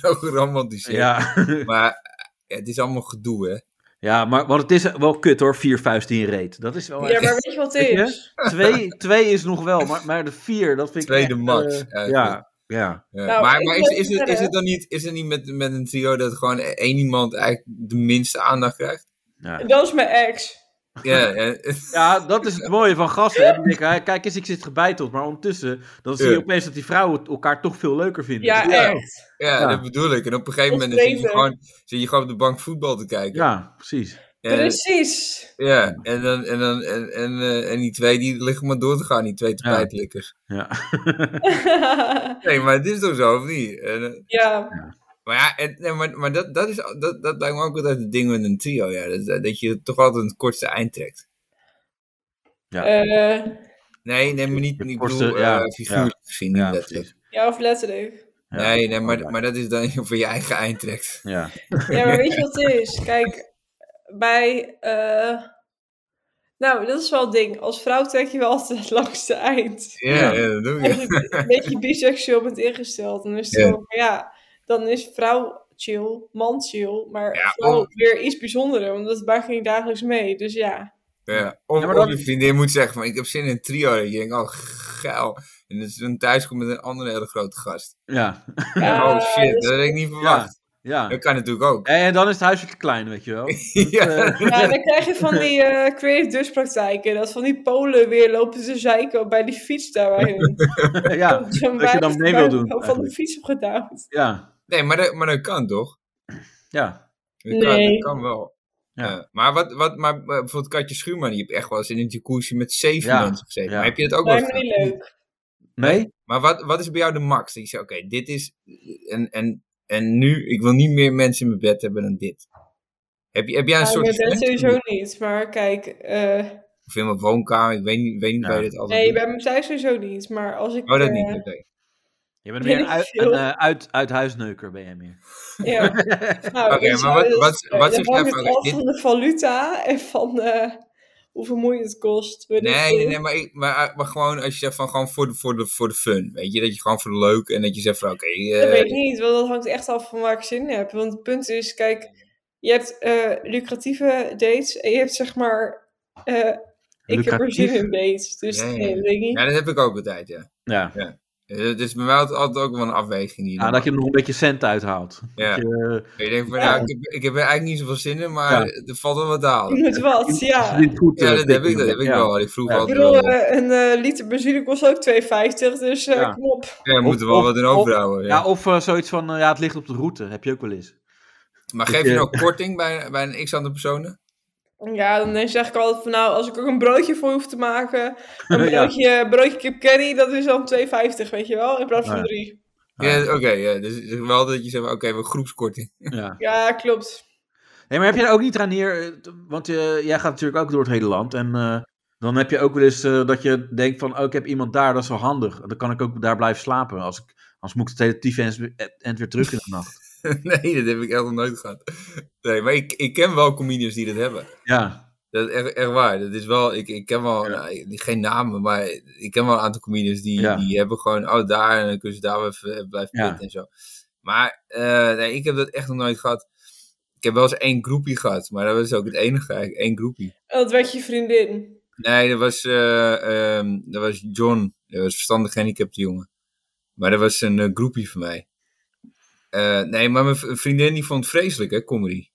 B: zo geromantiseerd.
A: Ja.
B: Maar eh, het is allemaal gedoe, hè?
A: ja, maar want het is wel kut hoor, vier vuisten in je reet. Dat is wel
C: Ja,
A: oh, echt-
C: maar weet je wat het
A: Weet je?
C: is?
A: Twee, twee is nog wel, maar, maar de vier, dat vind
B: Tweede
A: ik echt,
B: max,
A: eh,
B: eigenlijk.
A: ja, ja.
B: Ja,
C: Nou,
B: maar
C: ik
B: maar is, is,
C: wil
B: het, is
C: verder.
B: het dan niet, is het niet met, met een trio dat gewoon e-, één iemand eigenlijk de minste aandacht krijgt?
A: ja.
C: Dat is mijn ex.
B: Ja, ja.
A: Ja, dat is het mooie van gasten. Hè? Die denken, hè, Kijk eens, ik zit gebeiteld. Maar ondertussen, dan zie je
B: Ja.
A: opeens dat die vrouwen elkaar toch veel leuker vinden.
C: Ja,
B: Ja.
C: echt.
B: ja,
A: Ja.
B: dat bedoel ik. En op een gegeven moment dan
C: Ons
B: zit je,
C: leven.
B: gewoon, zit je gewoon op de bank voetbal te kijken.
A: Ja, precies.
B: En,
C: Precies.
B: ja, en, dan, en, dan, en, en, eh, en die twee die liggen maar door te gaan, die twee
A: Ja.
B: tapijtlikkers.
A: Ja.
B: Nee, maar het is toch zo, of niet? En, eh,
C: ja.
B: Maar ja, en, nee, maar, maar dat, dat, is, dat, dat lijkt me ook altijd het ding met een trio. Ja. Dat, dat je toch altijd het kortste eind trekt.
C: Eh,
B: Nee, nee, maar niet, ik
A: kortste-
B: bedoel, eh
A: ja,
B: figuurlijk
A: ja.
B: gezien, niet
A: Ja,
B: letterlijk.
C: ja, of letterlijk.
B: nee, nee maar, maar dat is dan voor je eigen eind trekt.
A: Ja.
C: Ja, maar weet je wat het is? Kijk, bij. eh, Nou, dat is wel het ding. Als vrouw trek je wel altijd het langste eind.
B: Ja, ja, dat doe ik.
C: Als je een beetje biseksueel bent ingesteld, dan is het
B: Ja.
C: gewoon van, ja, dan is vrouw chill, man chill, maar
B: Ja,
C: vrouw
B: om-
C: weer iets bijzonders, want dat maak je dagelijks mee. Dus ja.
B: Ja. Of,
C: Ja, maar dat-
B: of je vriendin moet zeggen van ik heb zin in een trio. En je denkt, oh geil. En dus dan thuis komt met een andere hele grote gast.
A: Ja.
B: Ja, oh shit, dat had ik niet verwacht.
A: Ja.
B: Dat kan natuurlijk ook.
A: En, en dan is het huisje te klein, weet je wel.
B: ja.
C: Ja, dan krijg je van die eh, creative dus praktijken. Dat van die Polen weer lopen te zeiken bij die fiets daar waar hun.
A: eh, ja, dat je dan mee wil doen.
C: Van de
A: eigenlijk.
C: fiets opgedaan.
A: Ja,
B: Nee, maar dat, maar dat kan toch?
A: ja.
B: Dat, kan,
C: Nee.
B: dat kan wel. Ja. Maar, wat, wat, maar eh, bijvoorbeeld Katje Schuurman, die heb echt wel eens in een jacuzzi met zeven
A: Ja.
B: mensen gezeten.
A: Ja.
B: Maar heb je dat ook wel
C: Lijkt
B: eens
C: me
B: gedaan?
C: niet leuk.
A: Nee?
B: Maar wat, wat is bij jou de max? Dat je zegt, oké, dit is... En, en, en nu, ik wil niet meer mensen in mijn bed hebben dan dit. Heb, je, heb jij een
C: Ja,
B: soort...
C: Nou, ik ben
B: grens?
C: sowieso niet, maar kijk, eh,
B: Of in mijn woonkamer, ik weet niet, weet niet waar je dit altijd
C: nee,
B: doet.
C: bij mijn thuis sowieso niet, maar als ik...
B: Oh, dat
C: eh,
B: niet, oké.
A: Je bent
C: Weet
A: meer een,
C: ik
A: uit,
C: veel.
A: een eh, uit, uit huisneuker, ben jij meer.
C: Ja. Nou,
B: Oké,
C: weet je
B: maar
C: wel,
B: wat-
C: dat-
B: wat-
C: eh,
B: wat
C: dan
B: zeg jij
C: hangt
B: van-
C: het af
B: dit-
C: van de valuta en van eh, hoeveel moeite het kost. weet ik
B: Nee,
C: veel.
B: nee, nee, maar, ik, maar, maar gewoon als je zegt van gewoon voor de, voor, de, voor de fun. Weet je, dat je gewoon voor de leuk en dat je zegt van oké. eh,
C: Dat weet ik niet, want dat hangt echt af van waar ik zin in heb. Want het punt is, kijk, je hebt eh, lucratieve dates en je hebt zeg maar... eh, ik heb er zin
B: Lucratief?
C: in dates, dus
B: Ja, ja,
C: nee, dat weet ik niet.
B: ja, dat heb ik ook altijd, ja.
A: Ja.
B: ja. Eh, Het is bij mij altijd, altijd ook wel een afweging hier.
A: Ja, Ah, dat je er nog een beetje cent uithaalt.
B: Ja.
A: Dat je, eh,
B: Je denkt van,
A: Ja.
B: nou, ik, heb, ik heb er eigenlijk niet zoveel zin in, maar
A: Ja.
B: er valt wel wat te halen.
C: Je moet wat, ja.
A: als je dit goed,
B: Ja,
A: eh,
B: dat heb ik, dat
A: tekenen.
B: heb ik
A: Ja.
B: wel. Ik vroeg
A: Ja.
C: Ik
B: altijd
C: bedoel,
B: wel. Ja,
C: eh, een eh, liter benzine kost ook 2,50, dus eh
A: Ja.
C: kom op.
B: we moeten wel wat in
A: of-
B: overhouden.
A: Ja,
B: ja.
A: of eh, zoiets van, eh, ja, het ligt op de route. Heb je ook wel eens.
B: Maar
A: dat
B: geef je
A: je-
B: nou korting bij, bij een x aantal personen?
C: Ja, dan zeg ik altijd van nou, als ik ook een broodje voor je hoef te maken, een
A: Ja.
C: broodje, broodje kip curry, dat is dan 2,50, weet je wel, in plaats van
A: Ja.
C: 3.
B: Ja, oké. ja. Dus het is wel dat je zegt, oké, we hebben groepskorting.
A: Ja.
C: Ja, klopt.
A: Nee, maar heb je er ook niet aan neer... eh, t- Want eh, jij gaat natuurlijk ook door het hele land. En eh, dan heb je ook wel eens eh, dat je denkt van... Oh, ik heb iemand daar, dat is wel handig. Dan kan ik ook daar blijven slapen. Als ik, anders moet ik het hele tief end- end weer terug in de nacht.
B: nee, dat heb ik echt nog nooit gehad. Nee, maar ik, ik ken wel comedians die dat hebben.
A: Ja,
B: Dat is echt, echt waar. Dat is wel, ik, ik ken wel, nou, geen namen, maar ik ken wel een aantal comedians die,
A: Ja.
B: die hebben gewoon, oh daar, en dan kunnen ze daar wel even eh, blijven
A: Ja.
B: pitten en zo. Maar eh, nee, ik heb dat echt nog nooit gehad. Ik heb wel eens één groepie gehad, maar dat was ook het enige eigenlijk, één groepie.
C: En dat werd je vriendin.
B: Nee, dat was, eh, ehm, dat was John. Dat was een verstandig gehandicapte jongen. Maar dat was een eh, groepie van mij. Eh, nee, maar mijn v- vriendin die vond het vreselijk, hè, comedy.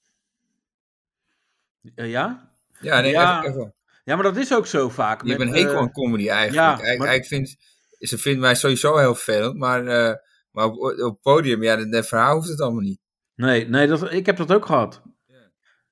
A: Eh, ja?
B: Ja, nee,
A: Ja.
B: echt, echt wel.
A: Ja, maar dat is ook zo vaak.
B: Je hebt
A: met,
B: een hekel
A: eh,
B: aan comedy eigenlijk.
A: ja,
B: Eigenlijk-
A: maar-
B: eigenlijk vindt, ze vindt mij sowieso heel vervelend, maar, eh, maar op, op het podium, ja, dat, dat verhaal hoeft het allemaal niet.
A: Nee, nee dat, ik heb dat ook gehad.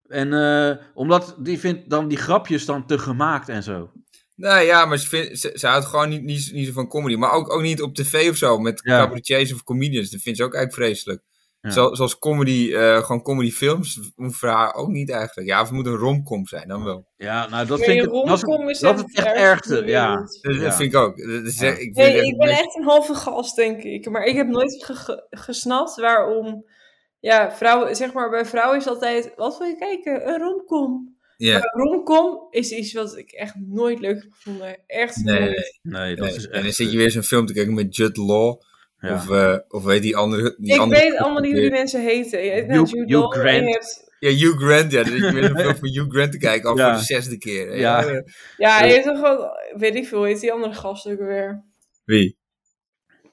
A: En eh, omdat die vindt dan die grapjes dan te gemaakt en zo.
B: Nou ja, maar ze, vindt, ze, ze houdt gewoon niet, niet, niet zo van comedy. Maar ook, ook niet op tv of zo, met
A: Ja.
B: cabaretiers of comedians. Dat vindt ze ook eigenlijk vreselijk.
A: Ja.
B: Zo- zoals comedy, eh, gewoon comedyfilms, hoeft voor haar ook niet eigenlijk. Ja, of het moet een romcom zijn, dan wel.
A: Ja, nou dat
C: Nee,
A: vind ik
C: romcom
A: dat is,
C: is
A: dat
C: echt
A: is echt
C: het
A: het
C: ergste
A: ergste.
C: van de
A: Ja.
C: wereld.
B: Dus
A: Ja.
B: dat vind ik ook. Dat is,
A: Ja.
B: ik vind het
C: Nee,
B: echt
C: ik
B: het
C: ben
B: meest-
C: echt een halve gast, denk ik. Maar ik heb nooit ge- gesnapt waarom, ja, vrouwen, zeg maar, bij vrouwen is altijd, wat wil je kijken? Een romcom.
B: Ja.
C: Maar een romcom is iets wat ik echt nooit leuk heb gevonden. Echt
B: Nee, nee,
C: nooit.
B: nee.
A: Nee, dat
B: Nee.
A: is
B: En dan
A: echt... eh,
B: zit je weer zo'n film te kijken met Judd Law.
A: Ja.
B: Of, eh, of weet die andere... Die
C: ik
B: andere
C: weet allemaal niet hoe die mensen heten. Je hebt nou
A: Hugh-
C: Jude
A: Hugh
C: Law en je
A: Grant.
C: hebt-
B: Ja, Hugh Grant, ja. dus Dan zit je weer zo'n film van Hugh Grant te kijken, al
A: Ja.
B: voor de zesde keer. hè. Eh,
A: Ja.
C: Ja, je hebt toch wel... Weet ik veel, hoe heet die andere gast ook weer?
B: Wie?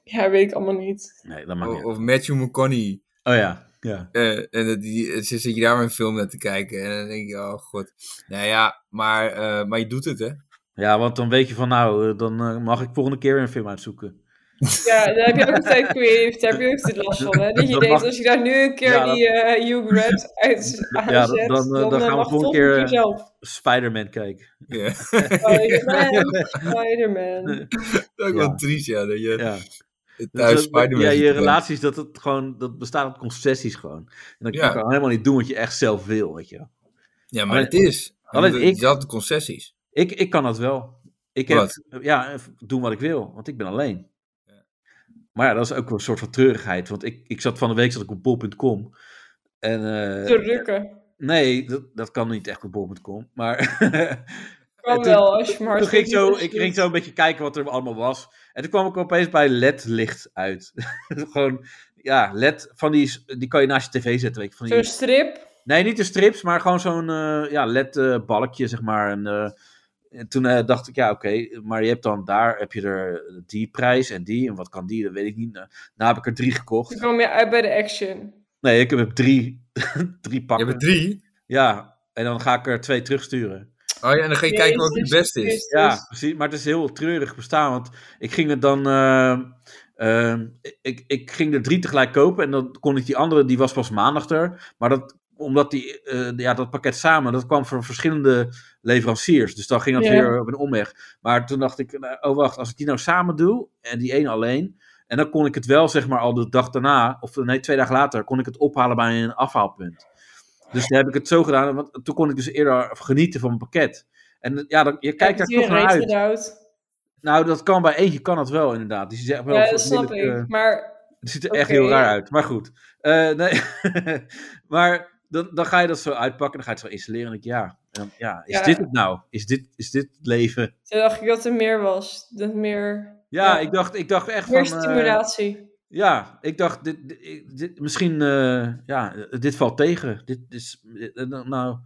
C: Ja, weet ik allemaal niet.
A: Nee, dat maakt
B: Of,
A: niet uit.
B: of Matthew McConaughey.
A: Oh ja, ja.
B: Eh, en dat die, ze zit je daar maar een film naar te kijken. En dan denk je, oh god. Nou ja, maar, eh, maar je doet het, hè?
A: Ja, want dan weet je van nou, eh, dan eh, mag ik volgende keer weer een film uitzoeken.
C: Ja, daar heb je ook altijd creative, daar heb je ook altijd last van. Hè? Dat je
A: Dat
C: denkt,
A: mag-
C: als je daar nu een keer
A: Ja, dat-
C: die eh, Hugh Grant uit aanzet,
A: Ja, dan, eh, dan,
C: eh,
A: gaan we
C: mag
A: gewoon een
C: toch
A: keer
C: met
A: eh,
C: jezelf.
A: Spider-Man kijken.
B: Ja.
C: Spider-Man, Spider-Man.
B: Dat is
A: Ja.
B: ook wel triest, ja. Dat je,
A: Ja. Dat is ook bij-
B: Spider-Man
A: ja, je
B: ziet, eh,
A: relaties, dat, het gewoon, dat bestaat uit concessies gewoon. En dan
B: Ja.
A: kan je gewoon helemaal niet doen wat je echt zelf wil, weet je wel.
B: Ja, maar
A: Alleen-
B: het is.
A: Alleen ik,
B: Zelfde concessies.
A: ik, ik kan dat wel. Ik heb,
B: Wat?
A: ja, doen wat ik wil, want ik ben alleen. Maar ja, dat is ook wel een soort van treurigheid. Want ik, ik zat van de week zat ik op bol.com. En, eh,
C: Te rukken.
A: Nee, dat, dat kan niet echt op bol.com. Maar
C: Kan
A: En
C: wel, als je maar
A: Toen ging ik, zo,
C: hartstikke
A: ik
C: goed
A: ging zo een beetje kijken wat er allemaal was. En toen kwam ik opeens bij LED-licht uit. Gewoon, ja, LED, van die, s- die kan je naast je tv zetten. Weet je, van die,
C: Zo'n strip.
A: Nee, niet de strips, maar gewoon zo'n eh, ja, LED-balkje, zeg maar. En, eh, en toen eh, dacht ik, ja, oké, maar je hebt dan daar, heb je er die prijs en die. En wat kan die, dat weet ik niet. Nou, nou heb ik er drie gekocht.
C: Toen kwam je uit bij de action.
A: Nee, ik heb drie, drie pakken.
B: Je hebt er drie?
A: Ja, en dan ga ik er twee terugsturen.
B: Oh ja, en dan ga je kijken wat het
A: Jezus
B: beste is.
A: Ja, precies. Maar het is heel treurig bestaan, want ik ging het dan... eh, ehm, ik, ik ging er drie tegelijk kopen en dan kon ik die andere, die was pas maandag er. Maar dat, omdat die, eh, ja, dat pakket samen, dat kwam van verschillende leveranciers. Dus dan ging dat
L: Ja.
A: weer op een omweg. Maar toen dacht ik, nou, oh wacht, als ik die nou samen doe en die één alleen... En dan kon ik het wel, zeg maar, al de dag daarna, of nee, twee dagen later, kon ik het ophalen bij een afhaalpunt. Dus daar heb ik het zo gedaan, want toen kon ik dus eerder genieten van mijn pakket. En ja, dan, je kijkt daar
C: Heb je
A: toch naar
C: reeds
A: uit.
C: gedouwd?
A: Nou, dat kan bij eentje, kan dat wel inderdaad. Die ziet echt wel
C: Ja, dat snap
A: lelijk, eh,
C: ik. Maar
A: het ziet er
C: Oké.
A: echt heel raar uit, maar goed. Eh, nee. maar dan, dan ga je dat zo uitpakken, dan ga je het zo installeren. En ik, ja, en dan- ja is
C: Ja.
A: dit het nou? Is dit, is dit het leven?
C: toen dacht ik dat er meer was. Dat meer...
A: Ja, Ik, dacht, ik dacht echt
C: Meer
A: van... eh,
C: stimulatie.
A: ja, ik dacht, dit, dit, dit- misschien, eh, ja, dit valt tegen. Dit is, eh, nou,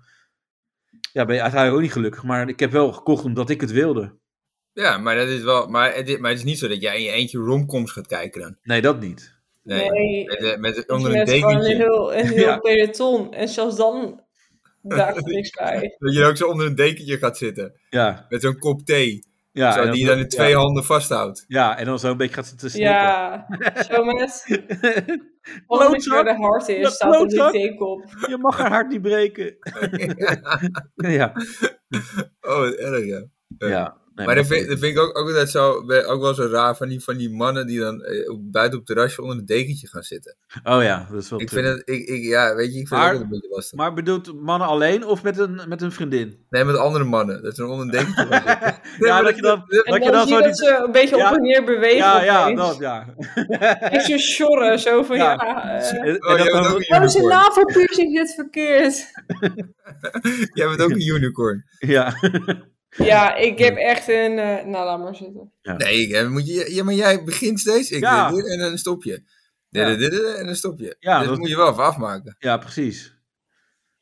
A: ja, ben je uiteindelijk ook niet gelukkig. Maar ik heb wel gekocht omdat ik het wilde.
B: Ja, maar, dat is wel, maar, het is, maar het is niet zo dat jij in je eentje romcoms gaat kijken dan.
A: Nee, dat niet.
B: Nee,
C: Nee.
B: met, eh, met,
C: Je
B: onder een
C: hebt gewoon een
B: dekentje.
C: heel, een heel
B: Ja.
C: peloton. En zelfs dan daar komt niks bij.
B: Dat je ook zo onder een dekentje gaat zitten.
A: Ja.
B: Met zo'n kop thee.
A: Ja,
B: zo,
A: en
B: die je
A: dan-
B: dan in twee
A: ja.
B: handen vasthoudt.
A: Ja, en dan zo een beetje gaat zitten snikken.
C: Ja, zo met. Volgende keer waar de hart
A: Ja,
C: is, staat er die
A: klootzak.
C: theekop.
A: Je mag haar hart niet breken. ja.
B: Oh, wat erg, ja. Eh,
A: Ja, nee,
B: maar
A: maar
B: dat
A: dat
B: vind, dat vind ik ook, ook, altijd zo, ben- ook wel zo raar van die, van die mannen die dan eh, op- buiten op het terrasje onder een dekentje gaan zitten.
A: Oh ja, dat is wel
B: Ik vind
A: treurig.
B: het, ik, ik, ja, weet je, ik vind
A: Maar-
B: het ook een beetje lastig.
A: Maar bedoelt mannen alleen of met een, met een vriendin?
B: Nee, met andere mannen. Dat ze onder een dekentje gaan zitten.
A: ja, dat je dan,
C: En
A: dat je
C: dan,
A: dan
C: zie
A: zo
C: je
A: die...
C: dat ze een beetje
A: Ja.
C: op en neer bewegen.
A: ja, ja,
C: opeens.
A: dat, ja.
C: Echt zo sjorren, zo van ja.
A: Ja.
C: eh,
A: En- en dat dan-
C: Waarom is een navelpiercing dit verkeerd?
B: Jij bent ook een unicorn.
A: Ja.
C: Ja, ik heb echt een... eh, nou, laat maar zitten.
B: Nee, ik- eh, moet je, ja, maar jij begint steeds. Ik
C: Ja.
B: dit, dit, en dan stop je. Dit,
A: Ja.
B: dit, dit, dit, en dan stop je.
A: Ja,
B: dat
A: dat-
B: Dus moet je wel even afmaken.
A: Ja, precies.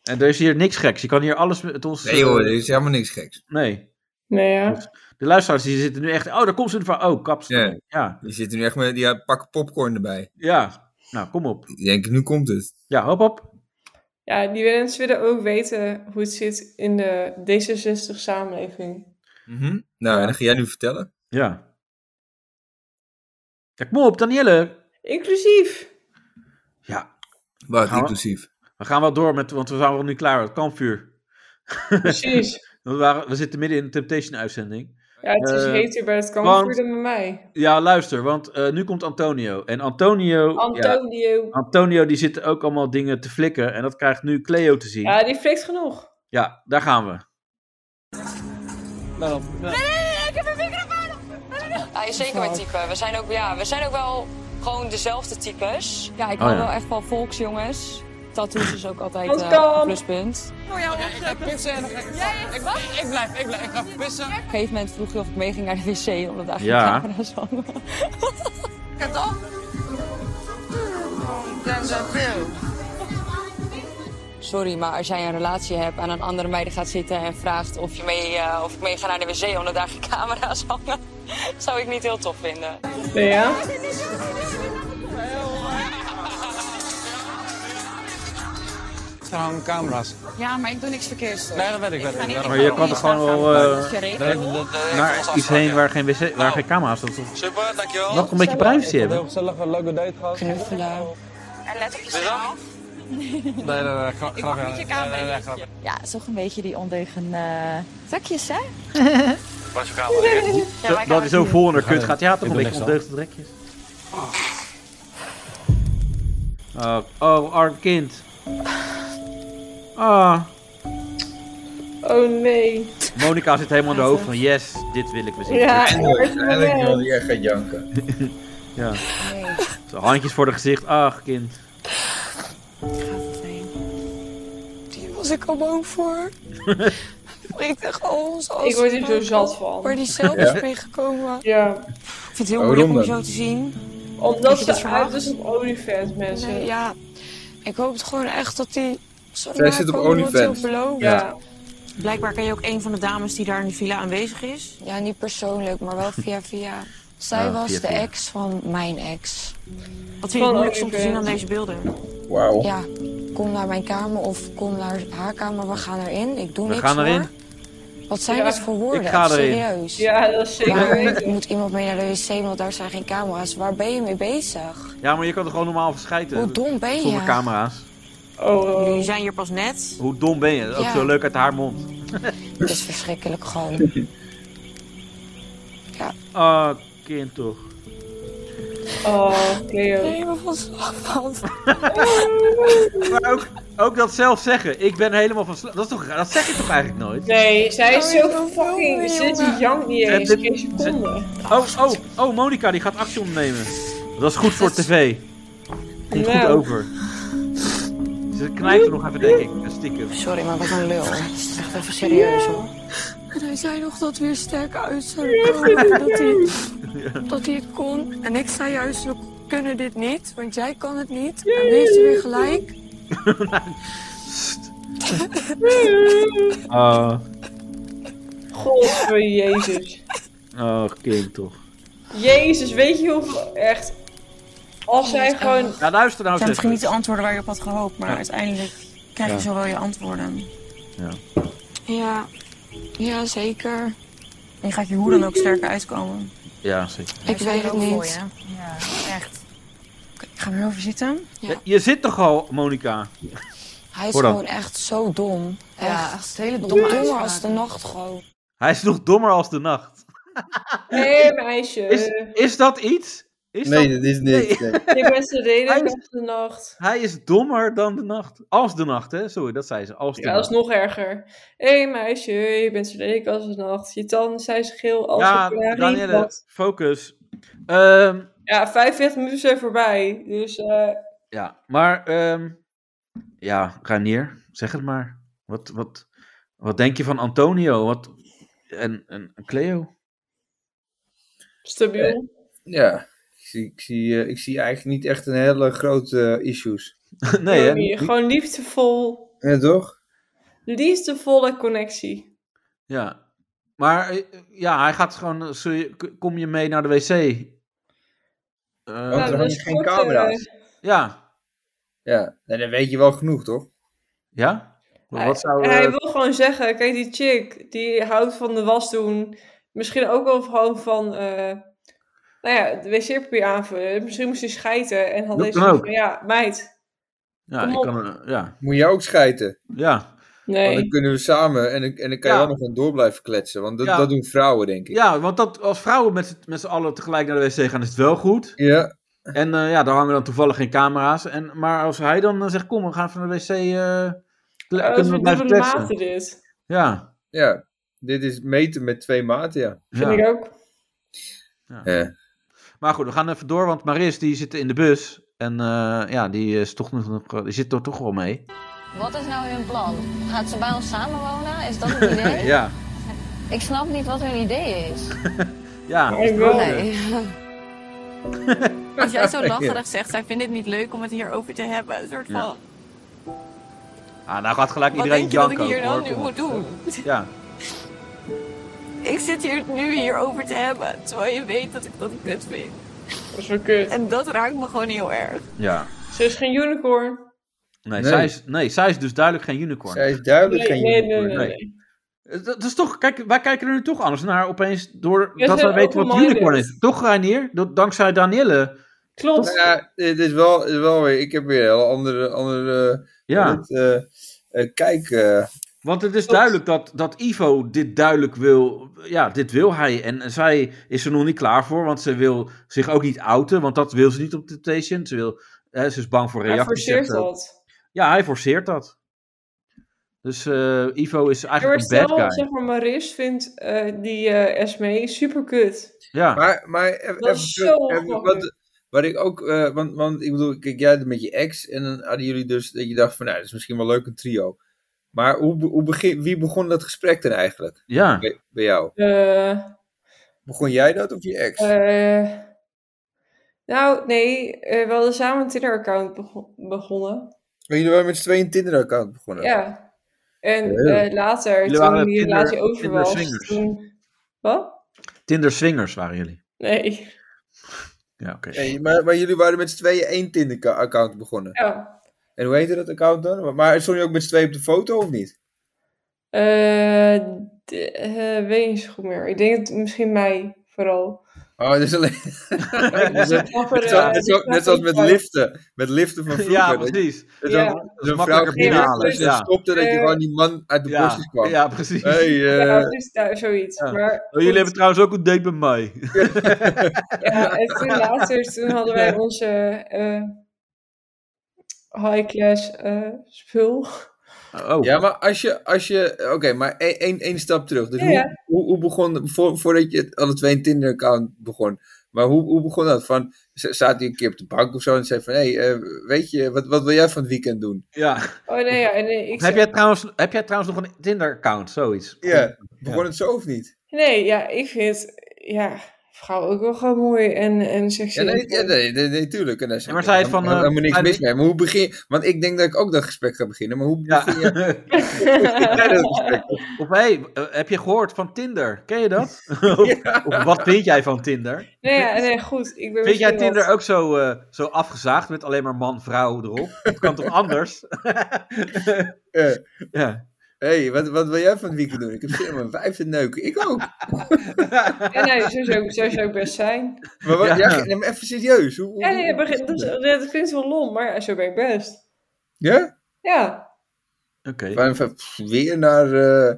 A: En er is hier niks geks. Je kan hier alles met ons...
B: Nee hoor,
A: eh,
B: er is helemaal niks geks.
A: Nee.
C: Nee, ja.
A: De luisteraars die zitten nu echt... Oh, daar komt ze van. Oh, kaps.
B: Ja.
A: Ja.
B: Die zitten nu echt met, die pakken popcorn erbij.
A: Ja. Nou, kom op.
B: Ik denk, nu komt het.
A: Ja, hop hop.
C: Ja, die mensen willen ook weten hoe het zit in de D66-samenleving.
B: Mhm. Nou, en dan ga jij nu vertellen.
A: Ja. Ja, kom op, Danielle.
C: Inclusief.
A: Ja.
B: Wat,
A: Gaan we-
B: inclusief.
A: We gaan wel door met... Want we zijn wel nu klaar. Het kampvuur.
C: Precies.
A: we, waren, we zitten midden in de Temptation-uitzending.
C: Ja, het is
A: Eh,
C: heter bij het kampvuur
A: want-
C: dan bij mij.
A: Ja, luister, want eh, nu komt Antonio. En Antonio... ja,
C: Antonio. Ja,
A: Antonio die zit ook allemaal dingen te flikken. En dat krijgt nu Cleo te zien. Ja,
C: die flikt genoeg.
A: daar gaan we.
K: ik heb een microfoon Ja, zeker mijn type. We zijn, ook, ja, we zijn ook wel gewoon dezelfde types. Ja, ik
F: Oh,
K: hou
F: ja.
K: wel echt van volksjongens. Tattoos is ook altijd
F: Hans
K: eh,
F: Kam.
K: een pluspunt.
F: ik ga pissen en dan ga ik... ik, ik blijf, ik blijf, ik ga pissen.
K: Op een gegeven moment vroeg je of ik mee ging naar de wc, omdat daar geen
F: Ja.
K: camera's hangen.
F: Gaat op. Dat is veel.
K: Sorry, maar als jij een relatie hebt en een andere meiden gaat zitten en vraagt of, je mee, eh, of ik mee ga naar de wc, omdat daar geen camera's hangen, zou ik niet heel tof vinden.
C: Nee, ja?
H: Er hangen camera's.
F: Ja, maar ik doe niks verkeerds. hoor.
H: Nee, dat weet ik, weet
F: ga
H: ik.
F: niet
H: Ja,
F: in
A: Maar je
F: de
A: kan er gewoon
F: politie
A: wel
F: staan.
A: eh,
F: Dat is je regel.
A: naar iets heen waar geen, wc, waar geen camera's zijn. Dat is toch
H: Super, dankjewel.
A: Nog een beetje privacy
H: Ik vond het
A: hebben.
H: heel gezellig, een leuke date gehad. Knuffelen.
K: En let op jezelf.
H: Nee, nee, nee, gra-
K: Ik
H: grapje.
K: mag niet je kamer
H: Nee, nee, nee,
K: in.
H: grapje.
K: Ja, het is toch een beetje die ondeugen zakjes, hè?
H: Wat is je kamer?
A: Zo- dat hij zo vol naar kut gaat. Ja,
H: Ik
A: toch een
H: doe
A: beetje
H: niks
A: ondeugde trekjes. Oh, oh, arm kind. Ah.
C: Oh nee.
A: Monika zit helemaal in de hoofd van yes, dit wil ik weer zien.
C: Ja,
B: Uiteindelijk wilde jij gaan janken.
A: Ja. Zo, handjes voor de gezicht. Ach, kind.
F: Hier was ik al bang voor. ik dacht, oh, zoals
C: Ik word hier zo zat van.
F: Waar die zelf is
C: Ja?
F: meegekomen.
C: Ja.
F: Ik vind het heel
C: Waarom
F: moeilijk om
C: dan?
F: zo te zien.
C: Omdat
F: je dat
C: ze
F: verwacht?
C: uit is op OnlyFans, mensen.
F: Nee, ja, ik hoop het gewoon echt dat die... Sorry,
B: Zij
F: maar
B: zit
F: ik
B: op
F: hoop dat hij
B: OnlyFans.
F: beloond.
B: Ja.
F: Blijkbaar ken je ook een van de dames die daar in de villa aanwezig is. Ja, niet persoonlijk, maar wel via via. Zij
B: Ah,
F: was
B: via
F: de
B: via.
F: ex van mijn ex.
C: vind
F: Wat
C: je het moeilijkst om te zien aan
F: deze beelden?
B: Wauw.
F: Ja, kom naar mijn kamer of kom naar haar kamer. We gaan erin. Ik doe
A: We
F: niks
A: gaan
F: hoor.
A: erin.
F: Wat zijn
C: Ja.
F: dit voor woorden?
A: Ik ga erin.
F: Serieus.
C: Ja, dat is zeker
F: Maar
C: weten.
F: er moet iemand mee naar de wc, want daar zijn geen camera's. Waar ben je mee bezig?
A: Ja, maar je kan er gewoon normaal verschijten.
F: Hoe dom ben je?
A: Zonder camera's.
C: Oh,
F: Jullie zijn hier pas net.
A: Hoe dom ben je? Ook
F: Ja.
A: zo leuk uit haar mond.
F: Het is verschrikkelijk gewoon.
A: Ah, kind toch.
C: Oh, Cleo.
F: Nee, maar van slag van.
A: Maar ook, ook dat zelf zeggen. Ik ben helemaal van slag. Dat, is toch, raar? dat zeg ik toch eigenlijk nooit?
C: Nee, zij is
F: Oh,
C: zo
F: ik wil
C: fucking...
F: filmen,
C: Ze
F: jongen.
C: jankt niet
A: En
C: eens.
A: dit-
C: Geen seconde.
A: Oh, oh, oh, Monika die gaat actie ondernemen. Dat is goed voor tv. Komt goed
F: Nou.
A: over. Ze knijpt er nog even, denk ik. Stiekem.
F: Sorry, maar wat een lul. Echt even serieus hoor. En hij zei nog dat we er sterk uit zouden komen. Dat hij, dat hij het kon. En ik zei juist, we kunnen dit niet, want jij kan het niet. En nu heeft hij weer gelijk.
A: Ah,
C: God voor Jezus.
A: oh, kind toch.
C: Jezus, weet je hoeveel... Echt... Als zij gewoon...
A: Ja, luister nou eens even.
F: de antwoorden waar je op had gehoopt,
A: Ja.
F: uiteindelijk
A: Ja.
F: wel je antwoorden.
A: Ja.
F: Ja, ja zeker. Je gaat je hoe dan ook sterker uitkomen.
A: Ja, zeker.
F: Ik weet het niet. Ja, echt. Ik ga weer over zitten.
A: Je zit toch al, Monika?
F: Hij is
A: Hoor dan.
F: gewoon echt zo dom.
M: Ja,
F: echt
M: hele
F: Nog
M: domme
F: dommer
M: uitspraken.
F: als de nacht gewoon.
A: Hij is nog dommer als de nacht.
C: Nee, meisje.
A: Is, is dat iets? Is
B: Nee,
A: dat
B: dat is niks.
A: Nee.
B: nee.
C: Ik ben ze redelijk op de nacht.
A: Hij is dommer dan de nacht. Als de nacht, hè? Sorry, dat zei ze. Als de
C: Ja, dat
A: nacht.
C: is nog erger. Hé meisje, je bent zo lelijk als een nacht. Je tanden zijn zo geel als eh,
A: ja,
C: een prairie.
A: Danielle, focus. Ehm,
C: Ja, 45 minuten zijn voorbij. Dus eh,
A: ja, maar... ehm ja, Ranier, zeg het maar. Wat, wat, wat denk je van Antonio? Wat, en, en en Cleo?
C: stabiel.
B: Ja. Ik zie, ik, zie, eh, ik zie eigenlijk niet echt een hele grote eh, issues.
A: nee,
C: Gewoon hier, Gewoon liefdevol,
B: Ja, toch?
C: liefdevolle connectie.
A: Ja. Maar eh, ja, hij gaat gewoon... eh, zul je- k- kom je mee naar de wc? Eh,
B: Want
C: Nou,
B: er hangen geen
C: eh,
B: camera's.
A: Ja.
B: Ja, en dan weet je wel genoeg, toch?
A: Ja? Wat zou...
C: En hij
A: eh,
C: wil gewoon zeggen, kijk die chick, die houdt van de was doen. Misschien ook wel gewoon van, eh, nou ja, de wc-papier aanvullen. Misschien moest hij schijten en had
A: Dat
C: deze
A: kan
C: zoiets
A: ook.
C: van, ja, meid.
A: ja,
C: kom
A: ik
C: op.
A: kan, er- ja,
B: Moet je ook schijten.
A: ja.
B: Want
C: Nee.
B: dan kunnen we samen en, dan- en dan kan
A: Ja.
B: je wel nog gewoon door blijven kletsen. Want dat,
A: Ja.
B: dat doen vrouwen, denk ik.
A: Ja, want dat, als vrouwen met, z'n- met z'n allen tegelijk naar de wc gaan, is het wel goed.
B: Ja.
A: En eh, ja, daar hangen dan toevallig geen camera's. En, maar als hij dan eh, zegt, kom, we gaan van de wc... eh, kle-
C: Oh, dat
A: kunnen
C: is
A: we
C: een
A: blijven
C: dubbele
A: kletsen.
C: mate dit.
A: Ja.
B: Ja, dit is meten met twee maten, ja.
C: Vind ik ook.
A: Ja.
B: Ja.
A: Maar goed, we gaan even door, want Maris die zit in de bus. En eh, ja, die, is toch nog, die zit er toch wel mee.
N: Wat is nou hun plan? Gaat ze bij ons samenwonen? Is dat het idee?
A: ja.
N: Ik snap niet wat hun idee is.
A: Ja.
C: Ik wil
F: Als jij zo
A: lacherig
F: zegt, zij vinden het niet leuk om het hierover te hebben. Een soort
A: Ja. van, Ah, nou gaat gelijk iedereen janken ook, hoor, kom op. Ja.
F: Ik zit hier nu hierover te hebben, terwijl je weet dat ik dat kut vind.
C: Dat is wel kut.
F: En dat raakt me gewoon heel erg.
A: ja.
C: Ze is geen unicorn.
A: Nee,
B: Nee.
A: Zij is, nee, zij is dus duidelijk geen unicorn. Eh,
B: Zij is duidelijk
C: Nee,
B: geen
C: nee, nee,
B: unicorn.
C: nee. nee.
A: Dat, dat is toch, kijk, wij kijken er nu toch anders naar opeens door
C: Ja,
A: dat
C: ze
A: we weten wat
C: open-minded.
A: unicorn is. Toch, Reinier? Dat, dankzij Danielle.
C: Klopt.
B: Ja, dit is wel, dit is wel weer, ik heb weer een hele andere, andere
A: Ja.
B: eh, eh, kijk eh,
A: Want het is duidelijk dat, dat Ivo dit duidelijk wil. Ja, dit wil hij. En zij is er nog niet klaar voor, want ze wil zich ook niet outen. Want dat wil ze niet op de station. Ze, wil, hè, ze is bang voor
C: Hij
A: reacties.
C: forceert
A: zegt ze ook.
C: dat.
A: Ja, hij forceert dat. Dus eh, Ivo is
C: Ja, maar
A: eigenlijk een bad
C: stel,
A: guy.
C: zeg maar, Maris vindt eh, die eh, Esme super kut.
A: Ja.
B: Maar, maar even,
C: Dat
B: even
C: is
B: terug,
C: zo
B: even
C: ongemakkelijk.
B: wat, wat ik ook, eh, want, want ik bedoel, kijk, jij met je ex en dan hadden jullie dus dat je dacht van, nou, dat is misschien wel leuk een trio. Maar hoe, be- hoe begin, wie begon dat gesprek dan eigenlijk?
A: Ja.
B: Bij, bij jou.
C: Eh,
B: Begon jij dat of je ex?
C: eh, nou, nee, eh, we hadden samen een Tinder-account bego- begonnen.
B: Maar jullie waren met z'n tweeën een Tinder-account begonnen.
C: Ja. En
B: Heel.
C: eh, later,
A: Jullie
C: toen
A: waren
C: die
A: Tinder-
C: relatie over was,
A: Tinder-swingers.
C: toen... Wat?
A: Tinder swingers waren jullie.
C: Nee.
A: Ja, oké.
B: Nee, maar, maar jullie waren met z'n tweeën één Tinder-account begonnen.
C: Ja.
B: En hoe heette dat account dan? Maar- Maar stond je ook met z'n tweeën op de foto of niet?
C: Eh, d- eh, weet niet zo goed meer. Ik denk het misschien mij vooral.
B: Oh, dat is alleen... dat is-
C: Grappere,
B: net, zoals, net, zoals,
C: eh,
B: net zoals met liften. Met liften van vroeger.
A: Ja,
B: dat je-
A: precies.
B: Dat
C: Ja.
B: dan-
C: Dat
A: is
B: dat een vrouw
A: makkelijker
B: naar binnen
A: binnenhalen,
B: en
A: ja.
B: stopte dat je
C: Eh,
B: gewoon die man uit dus de
A: ja.
B: bosjes kwam.
A: Ja, precies.
B: Hey, eh,
C: Ja, dus daar, zoiets.
A: Ja.
C: Maar
A: Oh, jullie hebben trouwens ook een date bij mij.
C: Ja, eh, en toen later, toen hadden wij onze eh, high-class eh, spul.
A: Oh.
B: Ja, maar als je... Als je Oké, maar één- één één stap terug. Dus
C: Ja,
B: hoe,
C: ja.
B: Hoe, hoe begon... Voor, voordat je het alle twee een Tinder-account begon. Maar hoe, hoe begon dat? Van, z- zaten jullie een keer op de bank of zo en zei van... Hé, hey, eh, weet je, wat, wat wil jij van het weekend doen?
A: Ja.
C: Oh nee, ja, en, eh, ik
A: Heb
C: zei-
A: jij, trouwens, heb jij trouwens nog een Tinder-account, zoiets?
B: Ja, begon het zo of niet?
C: Nee, ja, ik vind ja, vrouw ook wel gewoon mooi en, en
B: Ja,
C: sexy.
B: nee, ja, nee, nee, nee, tuurlijk. En daar is
A: Ja, maar zei het van,
B: helemaal-
A: eh,
B: helemaal niks
A: zei
B: mis mee. Maar hoe begin Want ik denk dat ik ook dat gesprek ga beginnen. Maar hoe begin je... Ja, dat is gesprek.
A: Of hey, eh, heb je gehoord van Tinder? Ken je dat? Of- of wat vind jij van Tinder?
C: nee, ja, nee, goed. Ik ben
A: Vind jij
C: misschien
A: Tinder
C: wat-
A: ook zo, eh, zo afgezaagd met alleen maar man-vrouw erop? Het kan toch anders?
B: Eh,
A: ja.
B: Hé, hey, wat, wat wil jij van het weekend doen? Ik heb zin om een vijf te neuken. Ik ook.
C: Ja, nee, zo zou, zo zou ik best zijn.
B: Maar, wat,
A: Ja.
B: ja. nee, maar even serieus. Hoe, hoe-
C: Ja, nee, dat, begint- dat, is- dat klinkt wel lom, maar zo ben ik best.
B: Ja?
C: Ja,
A: Oké.
B: Waarom van- pff, weer naar... eh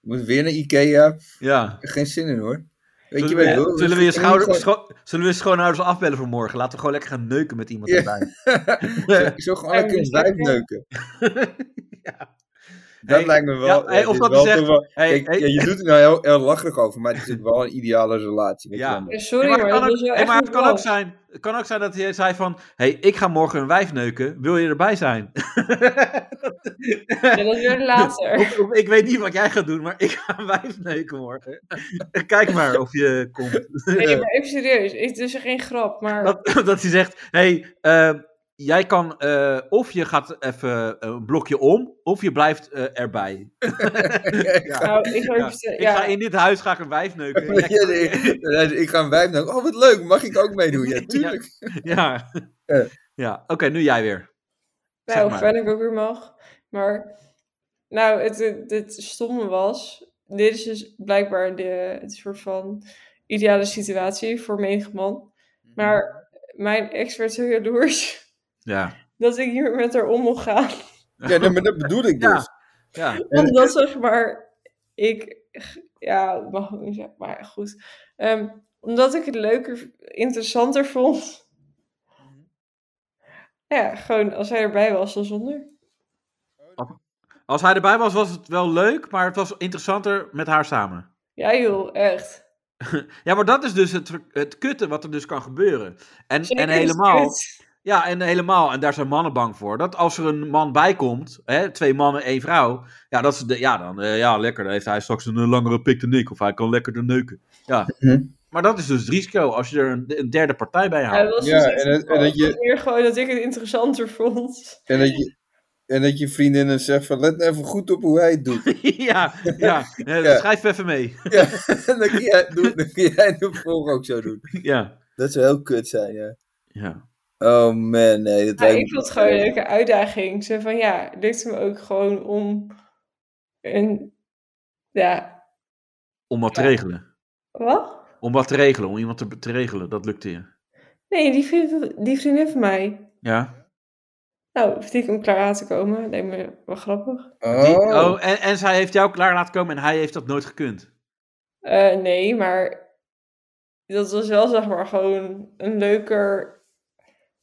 B: moet weer naar Ikea.
A: Ja.
B: Geen zin in hoor. Weet je
A: Zullen
B: wel,
A: we,
B: hoor.
A: zullen we je
B: Ik-
A: schouder,
B: ik-
A: scho- zullen we je schoonouders afbellen voor morgen? Laten we gewoon lekker gaan neuken met iemand
B: Ja.
A: erbij.
B: Ik zou gewoon lekker een vijf neuken. Dat
A: Hey,
B: lijkt me wel.
A: ja, hey,
B: eh,
A: of
B: dit
A: dat
B: is wel
A: je zegt,
B: toch wel-
A: hey,
B: kijk,
A: hey.
B: ja, je doet er nou heel, heel lacherig over, maar het is natuurlijk wel een ideale relatie. weet je
A: Ja.
B: wel.
C: Ja, sorry,
A: Nee,
C: maar,
A: het kan
C: dat
A: ook,
C: is wel
A: nee,
C: echt
A: maar het
C: niet
A: kan
C: wat.
A: ook zijn, het kan ook zijn dat hij zei van... hey, ik ga morgen een wijf neuken. Wil je erbij zijn?
C: Ja, dat is weer later.
A: Of- of ik weet niet wat jij gaat doen, maar ik ga een wijf neuken morgen. Eh, Kijk maar of je komt.
C: Nee, maar even serieus. Het is dus geen grap, maar...
A: Dat, dat hij zegt, hey, eh, jij kan... eh, of je gaat even eh, een blokje om, of je blijft eh, erbij. Ja.
C: Nou, ik, wil
A: Ja.
C: even zeggen,
A: Ik
C: ja.
A: ga in dit huis ga ik een wijf neuken.
B: Ja,
A: Ja,
B: nee, ik- ik ga een wijf neuken. Oh, wat leuk. Mag ik ook meedoen? Ja, tuurlijk.
A: ja.
B: Eh.
A: ja. oké, nu jij weer.
C: Nou,
A: Zeg
C: of
A: maar.
C: wel ik ook weer mag. Maar, nou, het, het, het stomme was... Dit is dus blijkbaar de, het soort van ideale situatie voor menig man.
A: Mhm.
C: Maar mijn ex werd zo jaloers
A: Ja.
C: dat ik hier met haar om mocht gaan.
B: Ja, nee, maar dat bedoel ik dus.
A: Ja. ja.
C: Omdat, zeg maar, ik... Ja, dat mag ik niet zeggen, maar goed. Ehm, omdat ik het leuker, interessanter vond.
A: Mhm.
C: Ja, gewoon als hij erbij was dan zonder.
A: Als hij erbij was, was het wel leuk, maar het was interessanter met haar samen.
C: Ja joh, echt.
A: Ja, maar dat is dus het, het kutte wat er dus kan gebeuren. En,
C: Zeker dus
A: en
C: is het
A: helemaal.
C: kut.
A: Ja, en helemaal. En daar zijn mannen bang voor. Dat als er een man bij komt, hè, twee mannen, één vrouw. Ja, dat is de, ja dan eh, ja, lekker. Dan heeft hij straks een eh, langere pik dan ik. Of hij kan lekkerder neuken. Ja.
B: Mhm.
A: Maar dat is dus het risico als je er een, een derde partij bij
C: Ja,
A: haalt.
C: dat was
B: Ja,
C: dus echt
B: en dat- en dat je-
C: het was meer gewoon dat ik het interessanter vond.
B: En dat je, en dat je vriendinnen zegt van, let nou even goed op hoe hij het doet.
A: Ja, ja, Eh,
B: Ja.
A: Schrijf even mee.
B: Ja, en dan kun jij, doen, dan kun jij de volgende ook zo doen.
A: Ja.
B: Dat zou heel kut zijn, ja.
A: ja.
B: Oh man, nee. Dat
C: Ja,
B: lijkt
C: ik
B: me-
C: vond het gewoon een leuke uitdaging. Zo van ja, lukt het me ook gewoon om een. Ja,
A: Om wat te regelen.
C: wat?
A: Om wat te regelen. Om iemand te, te regelen. Dat lukte je.
C: Nee, die, vriend, die vriendin van mij.
A: Ja.
C: Nou, verdiep om klaar aan te komen. Lijkt me wel grappig.
A: Die- oh, en, en zij heeft jou klaar laten komen en hij heeft dat nooit gekund.
C: Eh, nee, maar dat was wel zeg maar gewoon een leuker,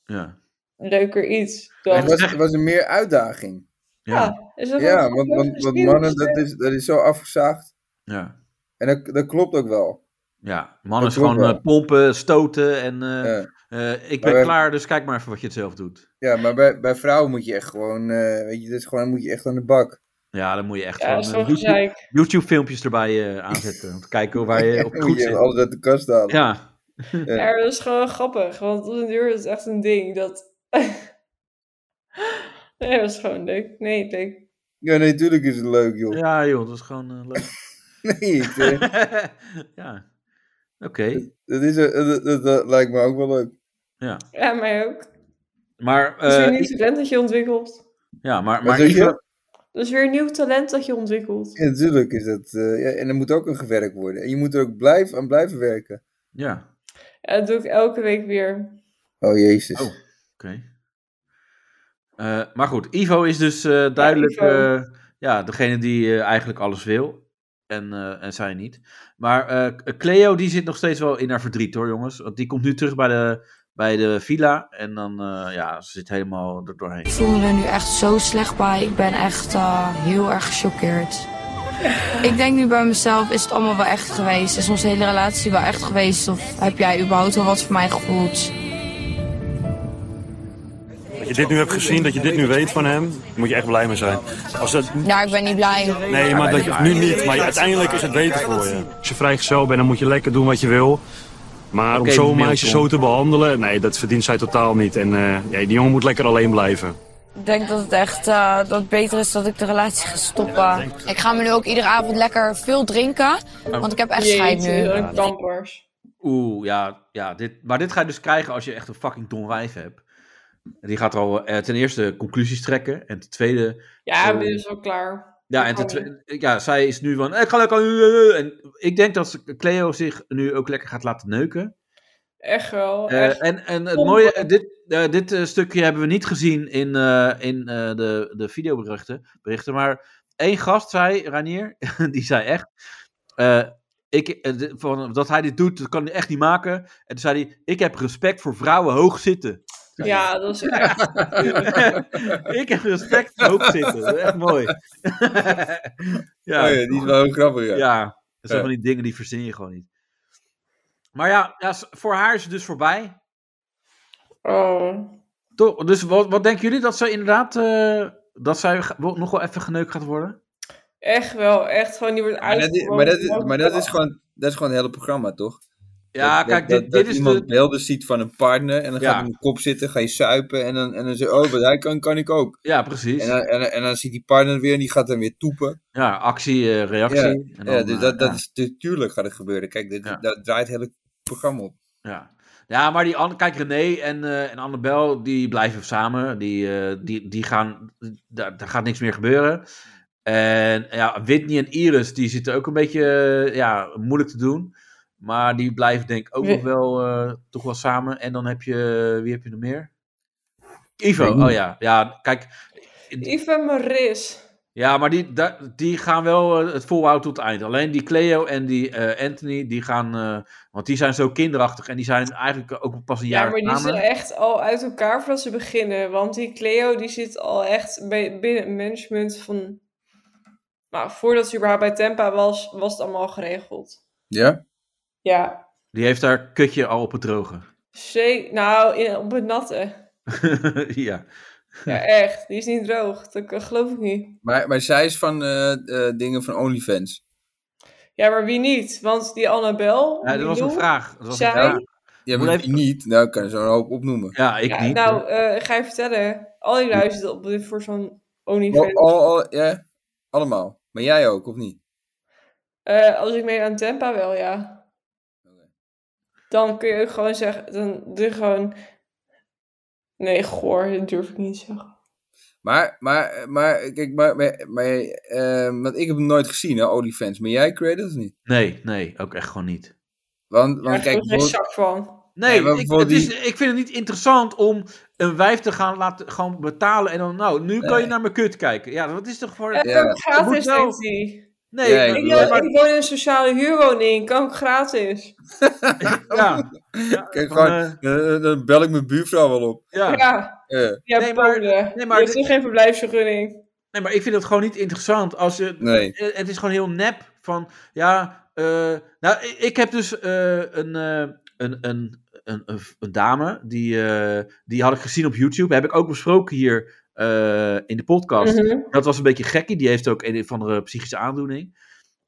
A: Ja.
C: leuker iets. Dan...
B: Het was, het was een meer uitdaging.
C: Ja, is dat
B: Ja,
C: wel-
B: want, want, want mannen, dat is, dat is zo afgezaagd.
A: Ja.
B: En dat, dat klopt ook wel.
A: Ja, mannen
B: Dat klopt
A: gewoon
B: wel.
A: eh, pompen, stoten en eh, eh, ik ben
B: wij-
A: klaar, dus kijk maar even wat je het zelf doet.
B: Ja, maar bij, bij vrouwen moet je echt gewoon, eh, weet je, dat is gewoon, moet je echt aan de bak.
A: Ja, dan moet je echt
B: Ja,
A: gewoon
B: dat is
A: eh,
B: wel
A: YouTube,
B: gelijk.
A: filmpjes erbij eh, aanzetten. Om te kijken waar je op
B: Moet
A: goed
B: je
A: zit.
B: alles uit de kast halen.
A: Ja.
C: Ja, maar dat is gewoon grappig, want op een duur is het echt een ding dat... nee, dat is gewoon leuk. Nee, leuk.
B: Ja, nee, tuurlijk is het leuk, joh.
A: Ja, joh, dat is gewoon eh, leuk.
B: nee, ik, eh,
A: ja. Oké.
B: dat, is, eh, dat, dat, dat lijkt me ook wel leuk.
A: Ja.
C: Ja, mij ook.
A: Maar,
C: dat is weer
A: eh,
C: een nieuw talent dat je ontwikkelt.
A: ja, maar,
B: Wat
A: maar
B: zeg je?
A: Ivo-
C: Dat is weer een nieuw talent dat je ontwikkelt.
B: Ja, natuurlijk is dat, eh, ja, en er moet ook aan gewerkt worden. En je moet er ook blijf, aan blijven werken.
A: Ja.
C: Ja, dat doe ik elke week weer.
B: Oh, jezus.
A: Oh, oké. Eh, maar goed, Ivo is dus eh, duidelijk
C: Ivo.
A: eh, ja, degene die eh, eigenlijk alles wil. En, eh, en zij niet. Maar eh, Cleo die zit nog steeds wel in haar verdriet hoor, jongens. Want die komt nu terug bij de, bij de villa. En dan eh, ja, ze zit helemaal er doorheen.
F: Ik voel me er nu echt zo slecht bij. Ik ben echt eh, heel erg gechoqueerd. Ik denk nu bij mezelf, is het allemaal wel echt geweest? Is onze hele relatie wel echt geweest? Of heb jij überhaupt wel wat voor mij gevoeld?
E: Dat je dit nu hebt gezien, dat je dit nu weet van hem, daar moet je echt blij mee zijn. Als dat,
F: Nou, ik ben niet blij.
E: nee, maar dat je, nu niet, maar uiteindelijk is het beter voor je. Als je vrijgezel bent, dan moet je lekker doen wat je wil. Maar
A: Oké,
E: om zo'n
A: Milton.
E: meisje zo te behandelen, nee, dat verdient zij totaal niet. En eh, ja, die jongen moet lekker alleen blijven.
F: Ik denk dat het echt eh, dat het beter is dat ik de relatie ga stoppen. Ik ga me nu ook iedere avond lekker veel drinken. Want ik heb echt scheid nu.
C: Jeetje, wat een kampers.
A: Oeh, ja, ja dit, maar dit ga je dus krijgen als je echt een fucking dom wijf hebt. Die gaat al eh, ten eerste conclusies trekken. En ten tweede.
C: Ja,
A: eh,
C: ik ben dus wel klaar.
A: Ja, en
C: Ik
A: ten
C: hou
A: tweede- ja, zij is nu van. "Eh, Ik ga lekker. En ik denk dat ze- Cleo zich nu ook lekker gaat laten neuken.
C: Echt wel.
A: Eh,
C: Oh, echt.
A: en, en het
C: Kom,
A: mooie,
C: hoor.
A: eh, dit, eh, dit eh, stukje hebben we niet gezien in, eh, in eh, de, de videoberichten. Berichten, maar één gast zei, Ranier, die zei echt. eh, ik, eh, dit- van, dat hij dit doet, dat kan hij echt niet maken. En toen zei hij: Ik heb respect voor vrouwen hoog zitten.
C: Ja, dat is echt.
A: ik heb respect voor hoog zitten. Dat is Echt mooi.
B: Oh ja, die is wel heel grappig, ja.
A: Ja, dat zijn
B: Ja.
A: van die dingen die verzin je gewoon niet. Maar ja, ja, s- voor haar is het dus voorbij.
C: Oh.
A: Toch, dus wat, wat denken jullie dat zij inderdaad eh, dat zij ge- wel- nog wel even geneukt gaat worden?
C: Echt wel, echt gewoon, die wordt
B: Maar dat, is, maar, dat is, maar dat is
C: uitgewoond.
B: gewoon dat is gewoon het hele programma, toch?
A: Ja,
B: Dat-
A: kijk,
B: dat,
A: dit-
B: dat
A: dit is
B: iemand
A: de-
B: beelden ziet van een partner en dan
A: Ja.
B: gaat hij in de kop zitten, ga je suipen en dan, en dan zeg je, oh, wat hij kan, kan ik ook.
A: Ja, precies.
B: En dan, en, dan- en dan ziet die partner weer en die gaat dan weer toepen.
A: Ja, actie, eh, reactie.
B: Ja,
A: en dan,
B: ja, dus
A: eh,
B: dat, dat
A: ja.
B: is natuurlijk gaat het gebeuren. Kijk, dit, daar draait het hele programma op.
A: Ja. Ja, maar die an- kijk, René en, eh en Annabel, die blijven samen. Die, eh, die, die gaan, daar, daar gaat niks meer gebeuren. En ja, Whitney en Iris, die zitten ook een beetje eh, ja, moeilijk te doen. Maar die blijven denk ik ook
C: Wie-
A: nog wel, eh, toch wel samen. En dan heb je, wie heb je nog meer? Ivo,
C: Weet niet.
A: oh ja. Ja, kijk,
C: Yves en Maris.
A: ja, maar die, da- die gaan wel eh, het volhouden tot het eind. Alleen die Cleo en die eh, Anthony, die gaan... eh, want die zijn zo kinderachtig en die zijn eigenlijk ook pas een jaar
C: Ja, maar die
A: samen.
C: zijn echt al uit elkaar voordat ze beginnen. Want die Cleo die zit al echt bij, binnen het management van... Nou, voordat ze überhaupt bij Tempa was, was het allemaal geregeld.
B: Ja?
C: Ja,
A: Die heeft haar kutje al op het droge.
C: ze, nou, in, op het natte.
A: ja.
C: Ja, echt. Die is niet droog. Dat eh, geloof ik niet.
B: Maar, maar zij is van eh, eh, dingen van OnlyFans.
C: Ja, maar wie niet? Want die Annabel.
B: Ja, dat
C: die
B: was een
C: Lou,
A: vraag. Dat was
C: zij,
B: een vraag. Ja, maar wie niet, nou ik kan er zo een hoop opnoemen.
A: Ja, ik
C: Ja, nou, eh, ga je vertellen. Al die lui zitten op dit voor zo'n OnlyFans.
B: Oh, ja, allemaal. Maar jij ook, of niet?
C: Eh, als ik mee aan Tempa wel, ja. Dan kun je ook gewoon zeggen, dan doe je gewoon... Nee, goor, dat durf ik niet te zeggen.
B: Maar, maar, maar, kijk, maar, maar, maar eh, want ik heb hem nooit gezien, hè, OnlyFans. Maar jij creëert het niet?
A: Nee, nee, ook echt gewoon niet.
B: Want, want kijk,
C: ik er geen
B: bijvoorbeeld-
C: zak van.
A: Nee,
O: maar
A: ik, het
O: bijvoorbeeld
A: is,
O: die-
A: ik vind het niet interessant om een wijf te gaan laten gewoon betalen en dan, nou, nu kan je naar mijn kut kijken. Ja, dat is toch voor...
C: Eh,
A: Ja.
C: Gratis
A: Moet wel-
C: denkt hij.
A: Nee, Ja, ik
C: ik,
A: bedoel-
C: woon- ik woon in een sociale huurwoning, kan ook gratis.
A: Ja.
B: Kijk, gewoon, eh, dan bel ik mijn buurvrouw wel op. Eh,
A: Ja.
C: Ja,
B: Ja.
C: ja
A: Nee, maar-
C: Polen.
A: nee, maar
C: Je hebt
A: dit-
C: toch geen verblijfsvergunning?
A: Nee, maar ik vind het gewoon niet interessant. Als je,
B: Nee.
A: eh, Het is gewoon heel nep. Van ja, eh, nou, ik, ik heb dus eh, een, eh, een, een, een, een, een dame die, eh, die had ik gezien op YouTube. Heb ik ook besproken hier eh, in de podcast.
C: Mhm.
A: Dat was een beetje gekkie. Die heeft ook een of andere psychische aandoening.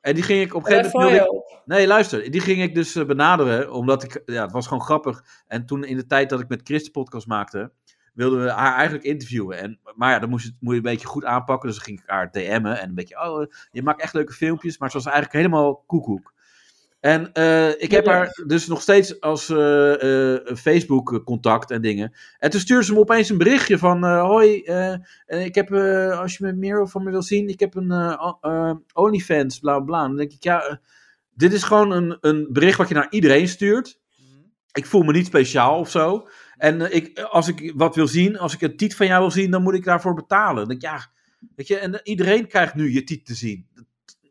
A: En die ging ik op een gegeven
C: Daar
A: moment.
C: val je
A: wilde ik- Nee, luister. Die ging ik dus eh, benaderen. Omdat ik. Ja, het was gewoon grappig. En toen in de tijd dat ik met Chris de podcast maakte. wilden we haar eigenlijk interviewen. En, maar ja, dan moest je, het- moet je een beetje goed aanpakken. Dus dan ging ik haar DM'en. En een beetje. Oh, eh, je maakt echt leuke filmpjes. Maar ze was eigenlijk helemaal koekoek. En eh, ik heb
C: Ja.
A: haar dus nog steeds als eh, eh, Facebook-contact en dingen. En toen stuurde ze me opeens een berichtje van... eh, Hoi, eh, eh, ik heb, eh, als je me meer van me wil zien... Ik heb een eh, o- eh, OnlyFans, bla bla, bla. Dan denk ik, ja... eh, dit is gewoon een, een bericht wat je naar iedereen stuurt. Ik voel me niet speciaal of zo. En eh, ik, als ik wat wil zien, als ik een tiet van jou wil zien... dan moet ik daarvoor betalen. Dan denk ik, ja... Weet je, en eh, iedereen krijgt nu je tiet te zien.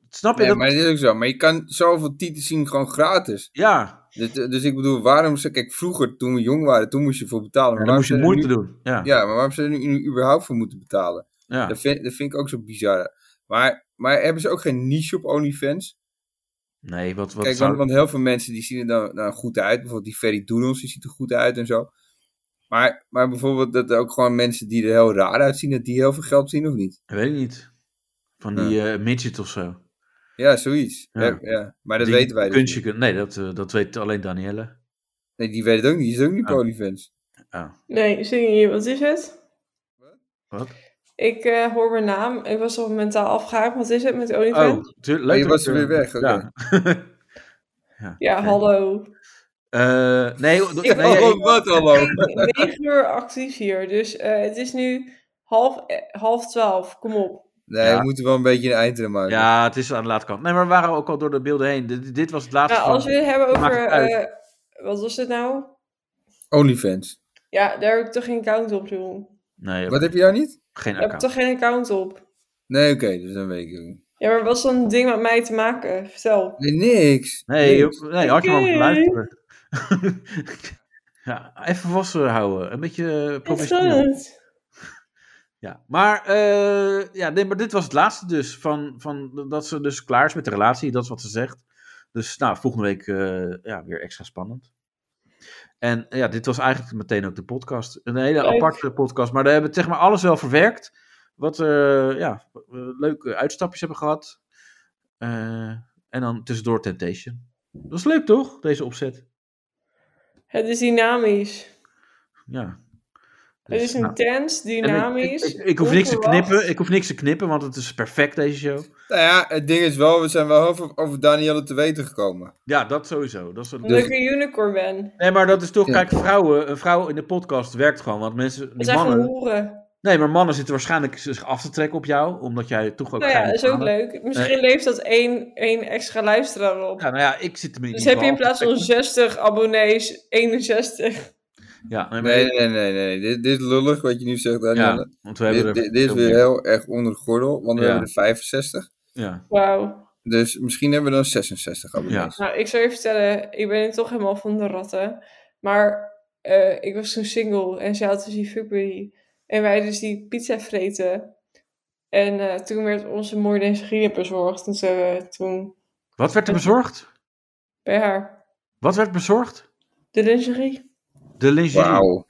A: Snap je
B: Nee,
A: dat?
B: maar dat is ook zo. Maar je kan zoveel titels zien gewoon gratis.
A: Ja.
B: Dus, dus ik bedoel, waarom... ze- Kijk, vroeger, toen we jong waren, toen moest je voor betalen. Maar
A: dan
B: waarom
A: moest je
B: ze er
A: moeite
B: nu-
A: doen, ja.
B: maar waarom ze er nu, nu überhaupt voor moeten betalen?
A: Ja.
B: Dat, vind, dat vind ik ook zo bizar. Maar, maar hebben ze ook geen niche op OnlyFans?
A: Nee, wat, wat
B: Kijk,
A: zou-
B: want, want heel veel mensen die zien er dan, dan goed uit. Bijvoorbeeld die Ferry Doedels, die ziet er goed uit en zo. Maar, maar bijvoorbeeld dat er ook gewoon mensen die er heel raar uitzien, dat die heel veel geld zien of niet?
A: Ik weet niet. Van die eh, midget of zo.
B: Ja, zoiets. Ja. ja. Maar dat
A: Die
B: weten wij dus
A: kunstje kun- Nee, dat, eh, dat weet alleen Danielle.
B: Nee, die weet het ook niet. Die is ook niet oh. OnlyFans.
C: Nee, zie je hier, wat is het?
A: Wat?
C: Ik eh, hoor mijn naam. Ik was al mentaal afgehaakt. Wat is het
A: Oh.
C: met OnlyFans?
A: tuur-
B: Maar je
A: dat
B: was er weer weg, oké.
A: Ja.
C: ja, hallo.
A: Eh, nee, dat-
C: Ik-
A: nee,
C: Oh,
A: ik-
B: Wat hallo?
C: 9 uur actief hier. Dus eh, het is nu half, eh, half 12. Kom op.
B: Nee,
A: Ja.
B: we moeten wel een beetje een eind aan maken.
A: Ja, het is aan de late kant. Nee, maar we waren ook al door de beelden heen. Dit, dit was het laatste.
C: Nou,
A: van-
C: als we het hebben
A: Maakt
C: over.
A: het uit.
C: eh, wat was het nou?
B: OnlyFans.
C: Ja, daar heb ik toch geen account op, doen.
A: Nee,
B: Wat heb je daar niet?
A: Geen
C: Daar heb ik toch geen account op.
B: Nee, oké, dus dan weet ik het niet.
C: Ja, maar wat is dan een ding met mij te maken? Vertel.
B: Nee, niks.
A: Nee,
B: niks.
A: joh, nee had je maar
C: Oké.
A: moeten luisteren. ja, even wassen houden. Een beetje eh, professioneel.
C: Interessant.
A: Ja, maar, eh, ja, nee, maar dit was het laatste dus. Van, van dat ze dus klaar is met de relatie. Dat is wat ze zegt. Dus nou, volgende week eh, ja, weer extra spannend. En ja, dit was eigenlijk meteen ook de podcast. Een hele
C: Leuk.
A: aparte podcast. Maar daar hebben we zeg maar alles wel verwerkt. Wat eh, ja, eh, leuke uitstapjes hebben gehad. Eh, en dan tussendoor Temptation. Dat is leuk toch, deze opzet?
C: Het is dynamisch.
A: Ja.
C: het is
A: nou,
C: intens,
A: en ik-
C: dynamisch.
A: Ik, ik, ik hoef niks te
C: onverwacht.
A: knippen. Ik hoef niks te knippen, want het is perfect deze show.
B: Nou ja, het ding is wel, we zijn wel heel veel over Danielle te weten gekomen.
A: Ja, dat sowieso. Dat is een...
C: Omdat ik een unicorn ben.
A: Nee, maar dat is toch,
B: Ja.
A: kijk, vrouwen, een vrouw in de podcast werkt gewoon, want mensen,
C: Dat
A: die
C: zijn gewoon
A: mannen,
C: hoeren.
A: nee, maar mannen zitten waarschijnlijk zich af te trekken op jou, omdat jij toch ook
C: Nou ja,
A: geheime
C: dat is ook
A: plannen-
C: leuk. Misschien
A: Nee.
C: leeft dat één, één extra luisteraar op.
A: Ja, nou ja, ik zit er
C: dus heb je in plaats van 60 abonnees, 61.
A: Ja, nee, maar-
B: Nee, nee, nee, nee. Dit, dit is lullig wat je nu zegt, Danielle.
A: Ja, want we hebben
B: dit,
A: er
B: dit, dit is
A: veel
B: weer
A: meer.
B: heel erg onder de gordel, want we
A: Ja.
B: hebben er 65.
A: Ja.
C: Wauw.
B: Dus misschien hebben we dan 66 abonnees.
C: Nou, ik zou je vertellen, ik ben toch helemaal van de ratten. Maar eh, ik was toen single en zij had dus die fuckbuddy. En wij dus die pizza vreten. En eh, toen werd onze moordenesgine bezorgd. En toen hebben we toen
A: Wat werd er bezorgd?
C: bij haar
A: Wat werd bezorgd?
C: de lingerie.
A: De lingerie.
B: Wauw.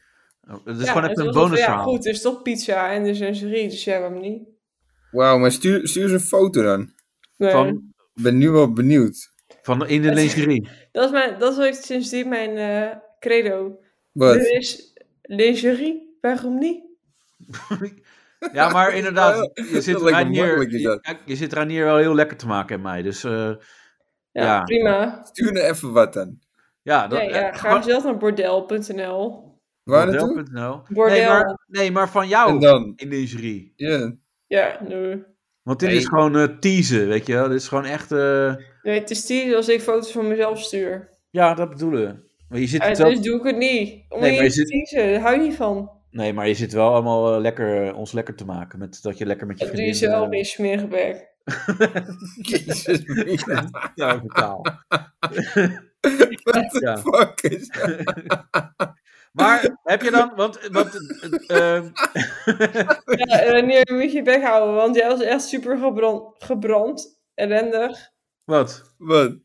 A: Oh, Het is gewoon
C: Ja, en
A: echt een
C: toen was het van,
A: bonusverhaal.
C: Ja, goed, dus toch pizza en dus lingerie. Dus ja, waarom niet?
B: Wauw, maar stuur, stuur eens een foto dan.
C: Nee.
A: Van-
B: Ik ben nu wel benieuwd.
A: Van in de lingerie.
C: Dat eh, is, mijn, dat is sindsdien mijn eh, credo.
B: Wat?
C: Er is lingerie, waarom niet?
A: Ja, maar inderdaad, je
B: Dat
A: zit,
B: lijkt me
A: Ranier,
B: makkelijk, is
A: je,
B: dat.
A: kijk, je zit Ranier wel heel lekker te maken en mij, dus eh,
C: Ja,
A: ja.
C: prima.
B: Stuur nou even wat dan.
A: Ja, dat,
C: Nee, ja,
A: eh,
C: ga zelf naar bordel.nl.
B: Waar
A: bordel.nl.
B: naartoe?
A: Nee,
C: Bordel.
A: maar, nee, maar van jou
B: En dan?
A: in lingerie.
B: Ja.
C: Ja, nee.
A: Want dit
B: Nee.
A: is gewoon eh teasen, weet je wel. Dit is gewoon echt... eh,
C: nee. Het is die als ik foto's van mezelf stuur.
A: ja, dat bedoelen we. Maar je zit
C: Eh,
A: wel...
C: dus doe ik het niet. Om
A: Nee,
C: nee,
A: maar
C: je
A: je
C: te
A: zit-
C: kiezen, daar hou ik niet van.
A: Nee, maar je zit wel allemaal eh, lekker, eh, ons lekker te maken. Met, dat je lekker met je
C: Dat doe je
A: vriendin...
C: zo
A: eh,
C: weer smeergeberg.
B: Jezus, Mina.
A: Ja, totaal.
B: What the
A: Ja.
B: fuck is dat?
A: Maar heb je dan... Want, want, eh, eh,
C: Ja, Renier, moet je je bek houden, want jij was echt super gebrand, gebrand ellendig.
A: wat?
B: Wat?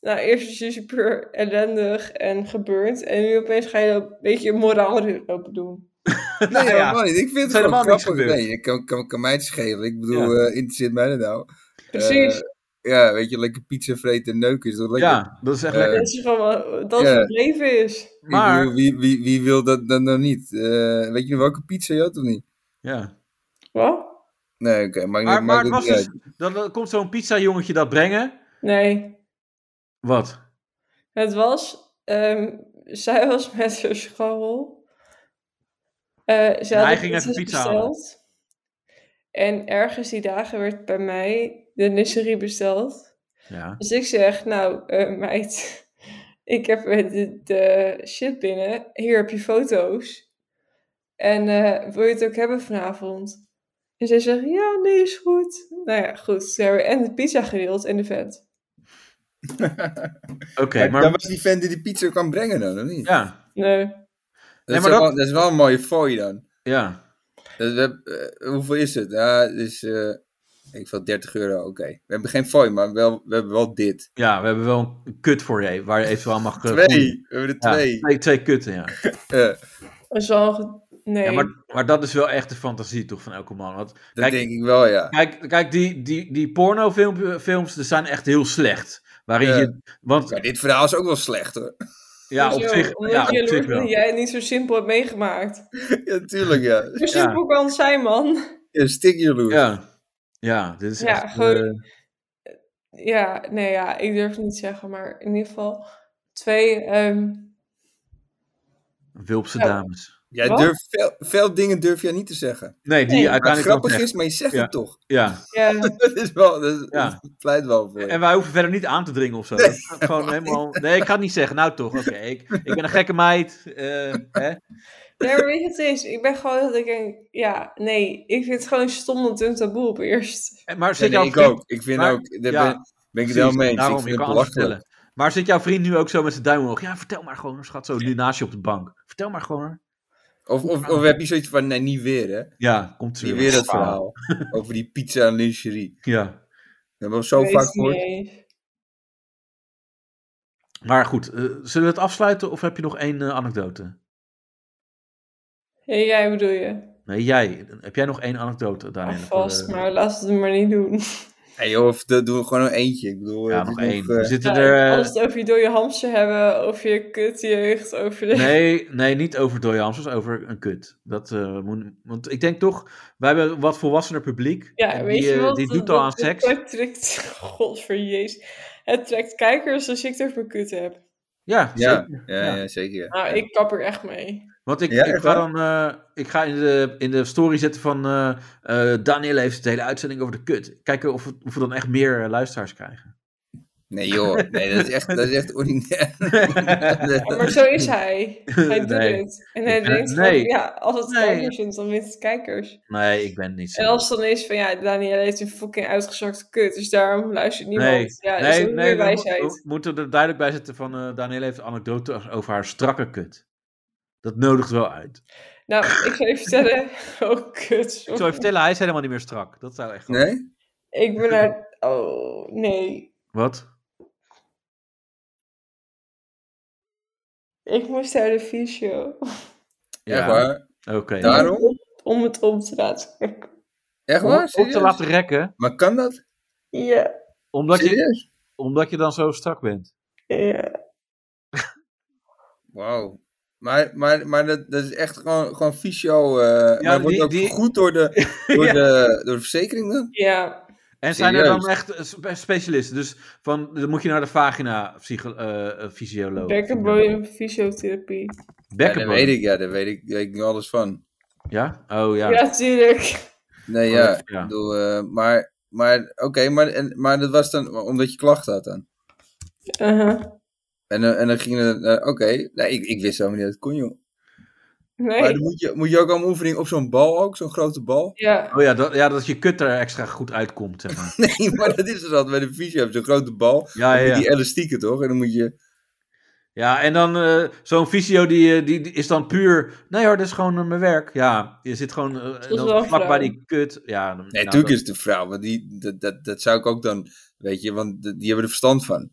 C: Nou, eerst was je super ellendig en gebeurd. En nu opeens ga je een beetje moraal lopen doen.
B: Nee,
A: Nou
B: helemaal niet. Ik vind het
A: helemaal
B: gewoon
A: niks
B: grappig.
A: gebeurd.
B: Nee, ik kan, kan, kan mij het schelen. Ik bedoel, eh interesseert mij dat nou?
C: Precies.
B: Eh, ja, weet je, lekker pizza vreten en neuken is toch lekker?
A: Ja, dat is echt
B: Eh,
A: lekker.
C: dat is gewoon wat- dat is
B: ja.
C: wat het leven is.
B: ik bedoel, wie, wie, wie wil dat dan nou niet? Eh, weet je nog welke pizza je had of niet?
A: Ja.
C: Wat?
B: Nee, oké. maakt niet-
A: Maar, maar
B: maakt
A: het was
B: het niet uit.
A: dus... Dan, dan komt zo'n pizza-jongetje dat brengen.
C: Nee,
A: Wat?
C: het was... ehm, zij was met haar scharrel. Eh, ze
A: Nou,
C: had
A: hij
C: de
A: ging even
C: pizza's
A: pizza halen.
C: En ergens die dagen werd bij mij de nisserie besteld.
A: Ja.
C: Dus ik zeg, nou eh, meid, ik heb eh, de, de shit binnen. Hier heb je foto's. En eh, wil je het ook hebben vanavond? En zij zegt, ja, nee, is goed. Nou ja, goed. Ze hebben en de pizza gedeeld en de vent.
A: Oké,
B: maar...
A: maar...
B: Dan was die vent die die pizza kan brengen dan, of niet?
A: Ja.
C: Nee.
B: Dat,
A: maar
B: is
A: dat-
B: wel, dat is wel een mooie fooi dan.
A: Ja.
B: Dat we, eh, hoeveel is het? Ja, het is, eh, ik wil 30 euro, oké. We hebben geen fooi, maar wel, we hebben wel dit.
A: Ja, we hebben wel een kut voor je, waar je eventueel mag... eh,
B: Twee,
A: voelen.
B: we hebben er
A: Ja,
B: twee.
A: twee, twee kutten, ja.
C: Dat is wel... ge- Nee.
A: Ja, maar, maar dat is wel echt de fantasie toch van elke man. Want, dat
B: denk ik wel, ja.
A: Kijk, kijk die, die, die pornofilms films, die zijn echt heel slecht. Waarin je, want,
B: maar dit verhaal is ook wel slecht hoor.
A: Ja, op
C: Hoezo?
A: zich,
C: Omdat
A: ja,
C: je
A: op zich
C: Lord-
A: wel.
C: jij het niet zo simpel hebt meegemaakt.
B: Ja, tuurlijk, ja.
C: Zo simpel kan het zijn, man.
B: ja stik jaloers.
A: Ja. ja, dit is
C: Ja,
A: echt...
C: gewoon-
A: eh,
C: Ja, nee, ja, ik durf het niet zeggen, maar in ieder geval twee. ehm,
A: Wilpse
C: Ja.
A: dames.
B: Jij
C: Wat?
B: durft veel, veel dingen durf jij niet te zeggen.
A: Nee, die
C: Nee.
B: Wat
A: uiteindelijk
B: grappig
A: wel
B: is,
A: terecht.
B: maar je zegt
A: Ja.
B: het toch.
A: Ja,
C: ja,
B: dat is wel, dat, is-
A: Ja.
B: dat pleit wel voor.
A: en wij hoeven verder niet aan te dringen of zo. Dat is Gewoon helemaal... Nee, ik ga het niet zeggen. Nou toch, oké. Ik, ik ben een gekke meid. eh, hè?
C: nee, maar weet je wat het is? Ik ben gewoon dat ik denk, ja, nee, ik vind het gewoon stom dat het een taboe op eerst.
A: En- Maar
B: Nee,
A: zit
B: nee,
A: jouw
B: ik
A: vriend-
B: ook. Ik vind
A: maar-
B: ook, daar
A: ja,
B: ben, ben ik het
A: precies,
B: helemaal mee eens.
A: Daarom,
B: ik
A: je
B: vind
A: kan
B: het
A: alles
B: belachelijk.
A: vertellen. Maar zit jouw vriend nu ook zo met zijn duim omhoog? Ja, vertel maar gewoon, schat, zo nu naast je op de bank. Vertel maar gewoon.
B: Of, of, of heb je zoiets van, nee, niet weer hè.
A: Ja, komt ze
B: Niet weer dat verhaal. Over die pizza en lingerie.
A: Ja.
B: Dat hebben we zo
C: Weet
B: vaak
C: het niet
B: gehoord.
C: eens.
A: Maar goed, eh, zullen we het afsluiten of heb je nog één eh, anekdote?
C: Ja, jij bedoel je?
A: Nee, jij. Heb jij nog één anekdote, Daniel?
C: Vast,
A: Voor, eh,
C: maar laat het maar niet doen.
B: Hey, joh, of dat doen we gewoon nog eentje. Ik bedoel,
A: Ja,
B: het is
A: nog één.
B: eh,
A: We zitten
C: Ja,
A: er... eh,
C: Als het over je dode hamster hebben, over je kutjeugd, over de...
A: Nee, nee, niet over dode hamsters, over een kut. Dat, eh, moet, want ik denk toch, wij hebben een wat volwassener publiek.
C: Ja,
A: en
C: weet
A: die,
C: je
A: eh,
C: wat?
A: die
C: Dat-
A: doet al
C: dat-
A: aan seks.
C: Het trekt, god voor jezus. Het trekt kijkers als ik het over mijn kut heb.
A: Ja,
B: Ja,
A: zeker.
B: ja,
A: Ja.
B: ja, zeker. ja.
C: Nou, ik kap er echt mee.
A: Want ik,
B: Ja,
A: ik
B: echt
A: ga
B: waar?
A: dan eh, ik ga in de, in de story zetten van eh eh, Daniel heeft de hele uitzending over de kut. Kijken of, we- of we dan echt meer eh, luisteraars krijgen.
B: Nee joh, nee, dat is echt, dat is echt ordinair.
C: Ja, maar zo is hij. Hij doet
A: Nee.
C: het. En hij
A: Ik ben-
C: denkt van,
A: nee.
C: ja, als het
A: Nee.
C: kijkers is, dan wint het kijkers.
A: Nee, ik ben het niet zo.
C: En als het dan is van, ja, Daniel heeft een fucking uitgezakte kut, dus daarom luistert niemand.
A: nee,
C: ja, dat is
A: nee,
C: ook
A: nee
C: weer
A: we, mo-
C: wijsheid.
A: we moeten er duidelijk bij zetten van eh Daniel heeft een anekdote over haar strakke kut. Dat nodigt wel uit.
C: Nou, ik zal je vertellen. Oh, kut.
A: Ik zou je vertellen, hij is helemaal niet meer strak. Dat zou echt...
B: Nee?
C: Ik ben naar... Oh, nee.
A: Wat?
C: Ik moest naar de fysio.
B: Echt waar?
A: Oké.
B: Daarom?
C: Om het om te laten trekken.
B: Echt
A: Om,
B: waar?
A: om te
B: Serieus?
A: laten rekken,
B: Maar kan dat?
C: Ja.
A: omdat je,
B: Serieus?
A: omdat je dan zo strak bent.
C: Ja.
B: Wauw. Maar, maar, maar dat, dat is echt gewoon, gewoon fysio. eh, maar het wordt
A: die-
B: ook
A: die-
B: goed door de, door,
A: Ja.
B: de, door de verzekering dan?
C: Ja.
A: En zijn er
B: Serieus?
A: dan echt eh, spe- specialisten? Dus van, dan moet je naar de vagina psycho, eh, eh, fysioloog.
C: Bekkenbodem fysiotherapie.
B: Ja, dat
A: Bekkenbodem.
B: weet ik, ja, daar weet ik, weet ik nu alles van.
A: Ja? Oh ja.
C: Ja, tuurlijk.
B: Nee,
A: Correct,
B: ja. Ik
A: ja.
B: bedoel, eh, maar, maar oké, maar, en- maar dat was dan omdat je klachten had dan?
C: Uh-huh.
B: En, eh, en dan ging het, eh, oké, nee, ik, ik wist helemaal niet dat het kon, joh.
C: Nee.
B: Maar dan moet je, moet je ook allemaal oefening op zo'n bal ook, zo'n grote bal.
C: Ja.
A: Oh ja dat, ja, dat je kut er extra goed uitkomt. Zeg maar.
B: Nee, maar dat is dus altijd bij de fysio, heb je zo'n grote bal.
A: Ja,
B: Dan
A: Ah, ja,
B: moet je
A: ja.
B: Die elastieken, toch? En dan moet je...
A: Ja, en dan eh, zo'n visio die, eh, die, die is dan puur. Nee hoor, dat is gewoon eh, mijn werk. Ja, je zit gewoon eh,
B: is
A: dan
B: wel
A: vlak
B: vrouw.
A: bij die kut. Ja, dan-
B: Nee,
A: nou, dat-
B: natuurlijk is het een vrouw, want die, dat, dat, dat zou ik ook dan, weet je, want de- die hebben er verstand van.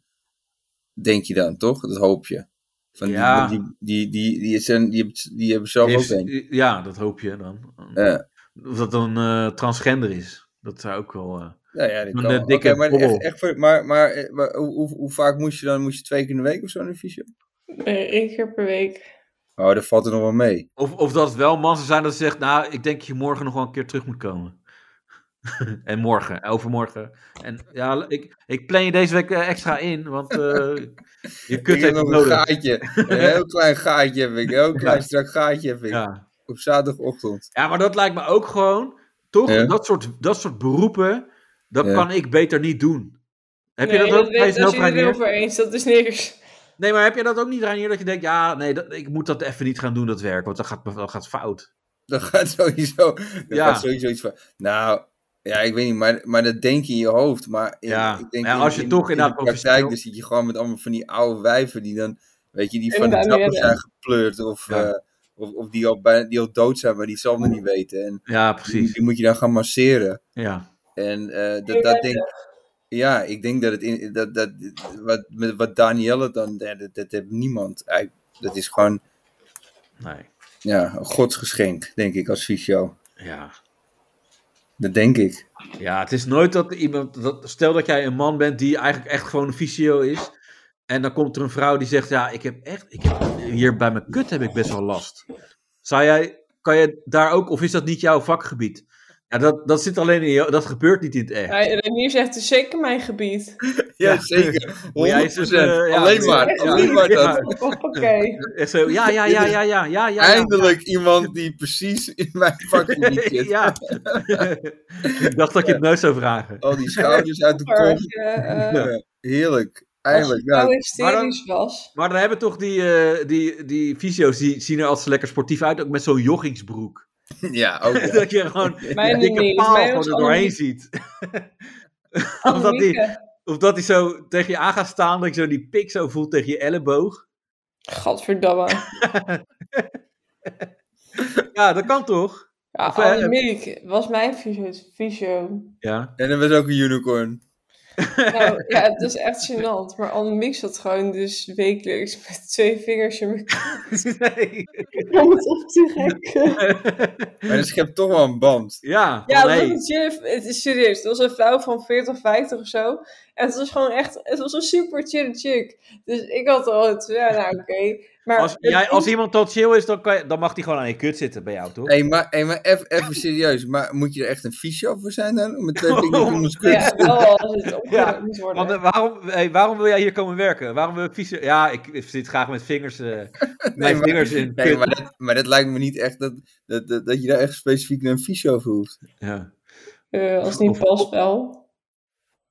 B: Denk je dan, toch? Dat hoop je. Van die-
A: Ja.
B: die, die, die, die, zijn, die, hebben- die hebben zelf
A: die
B: ook
A: heeft-
B: een.
A: Ja, dat hoop je dan.
B: Ja.
A: Of dat dan eh, transgender is. Dat zou ook wel. eh
B: Nou ja, dat
A: een,
B: kan.
A: eh,
B: Oké,
A: dikke
B: maar,
A: bobbel.
B: echt, echt voor- maar, maar, eh, maar hoe, hoe, hoe vaak moest je dan? Moest je twee keer in de week of zo naar de fysio?
C: Nee, één keer per week.
B: Oh, dat valt er nog wel mee.
A: Of, of dat het wel mannen zijn dat ze zegt, nou, ik denk dat je morgen nog wel een keer terug moet komen. en morgen, en overmorgen. En ja, ik, ik plan je deze week eh, extra in, want eh, je
B: Ik
A: kut
B: heb
A: heeft het
B: nog een
A: nodig.
B: gaatje. Een heel klein gaatje heb ik. Een heel klein strak gaatje heb ik.
A: Ja.
B: Op zaterdagochtend.
A: Ja, maar dat lijkt me ook gewoon, toch?
B: Ja.
A: Dat, soort, dat soort beroepen, dat
B: Ja.
A: kan ik beter niet doen. Heb je
C: Nee,
A: dat ook
C: weet-
A: eens
C: Daar zijn jullie
A: Reinier?
C: over eens, dat is niks.
A: Nee, maar heb je dat ook niet, Reinier, dat je denkt, ja, nee, dat, ik moet dat even niet gaan doen, dat werk, want dat gaat, dat gaat fout.
B: Dat gaat sowieso, dat
A: Ja.
B: gaat sowieso iets van. Nou, ja, ik weet niet, maar, maar dat denk je in je hoofd. Maar in-
A: Ja.
B: ik denk
A: Ja, als je toch
B: in de
A: inderdaad
B: praktijk,
A: professioneel-
B: dan zit je gewoon met allemaal van die oude wijven die dan, weet je, die van de
A: Inderdaad,
B: trappen
A: ja.
B: zijn gepleurd. Of,
A: Ja.
B: eh, of, of die, al bij, die al dood zijn, maar die het zelf nog niet weten. En
A: Ja, precies.
B: Die, die moet je dan gaan masseren.
A: Ja.
B: En eh, dat, dat denk ja, ik denk dat het in, dat, dat, wat, met- wat Danielle dan, ja, dat, dat heeft niemand. Hij- Dat is gewoon
A: Nee.
B: ja, een godsgeschenk, denk ik, als fysio.
A: Ja.
B: Dat denk ik.
A: Ja, het is nooit dat iemand. Dat, stel dat jij een man bent die eigenlijk echt gewoon een fysio is. En dan komt er een vrouw die zegt: Ja, ik heb echt. Ik heb, hier bij mijn kut heb ik best wel last. Zou jij. Kan je daar ook. Of is dat niet jouw vakgebied? Ja, dat, dat zit alleen in jou. Dat gebeurt niet in het echt.
C: Ja, Renier zegt, het is zeker mijn gebied.
B: Ja, zeker.
A: Moet jij eens,
B: 100%.
A: eh, ja,
B: alleen maar,
A: ja,
B: alleen maar
A: ja.
B: dat.
C: Hoppakee.
A: Echt zo, ja, ja, ja, ja, ja, ja, ja.
B: Eindelijk iemand die precies in mijn vakgebied zit.
A: Ja. Ik dacht dat je het nooit zou vragen.
B: Al die schouders uit de
C: Maar
B: kop.
C: als je, eh,
B: Ja, Heerlijk.
C: als
B: Eindelijk.
C: je nou
B: ja.
C: hysterisch was.
A: Maar dan hebben toch die, eh, die, die fysio's, die zien er altijd lekker sportief uit, ook met zo'n joggingsbroek.
B: Ja, ook. ja.
A: dat je gewoon
C: Mijn
A: een dikke
C: niet,
A: paal
C: mijn
A: gewoon
C: was
A: er doorheen
C: Annemiek.
A: ziet. of, dat die,
C: Annemieke.
A: of dat die zo tegen je aan gaat staan, dat je zo die pik zo voelt tegen je elleboog.
C: Gadverdamme.
A: Ja, dat kan toch?
C: Ja,
A: Of, eh,
C: Annemiek was mijn fysio. fysio.
A: Ja.
B: En er was ook een unicorn.
C: Nou, ja, het is echt gênant. Maar Annemiek zat gewoon dus wekelijks met twee vingers in mijn
A: Nee.
C: om het op te rekken.
B: Maar dat schept toch wel een band.
A: Ja, oh
C: Ja,
A: van,
C: dat
A: hey,
C: was een chill- het is serieus. Het was een vrouw van 40, 50 of zo. En het was gewoon echt, het was een super chill chick. Dus ik had al het, ja, nou oké. Maar
A: als, jij, als iemand tot chill is, dan, kan je- dan mag die gewoon aan je kut zitten bij jou, toch?
B: Hé, maar, hey, maar even, even serieus. Maar moet je er echt een fysio voor zijn dan? Om met twee vingers in ons kut te
C: ja,
B: zitten?
C: wel als het opgeruimd moet worden.
A: Want, eh, waarom, hey, waarom wil jij hier komen werken? Waarom wil fysio... Ja, ik zit graag met vingers, eh, mijn
B: maar-
A: vingers in
B: nee,
A: kut.
B: maar, dat, maar dat lijkt me niet echt dat, dat, dat, dat je daar echt specifiek naar een fysio voor hoeft.
A: Ja.
C: Eh, als het niet valspel.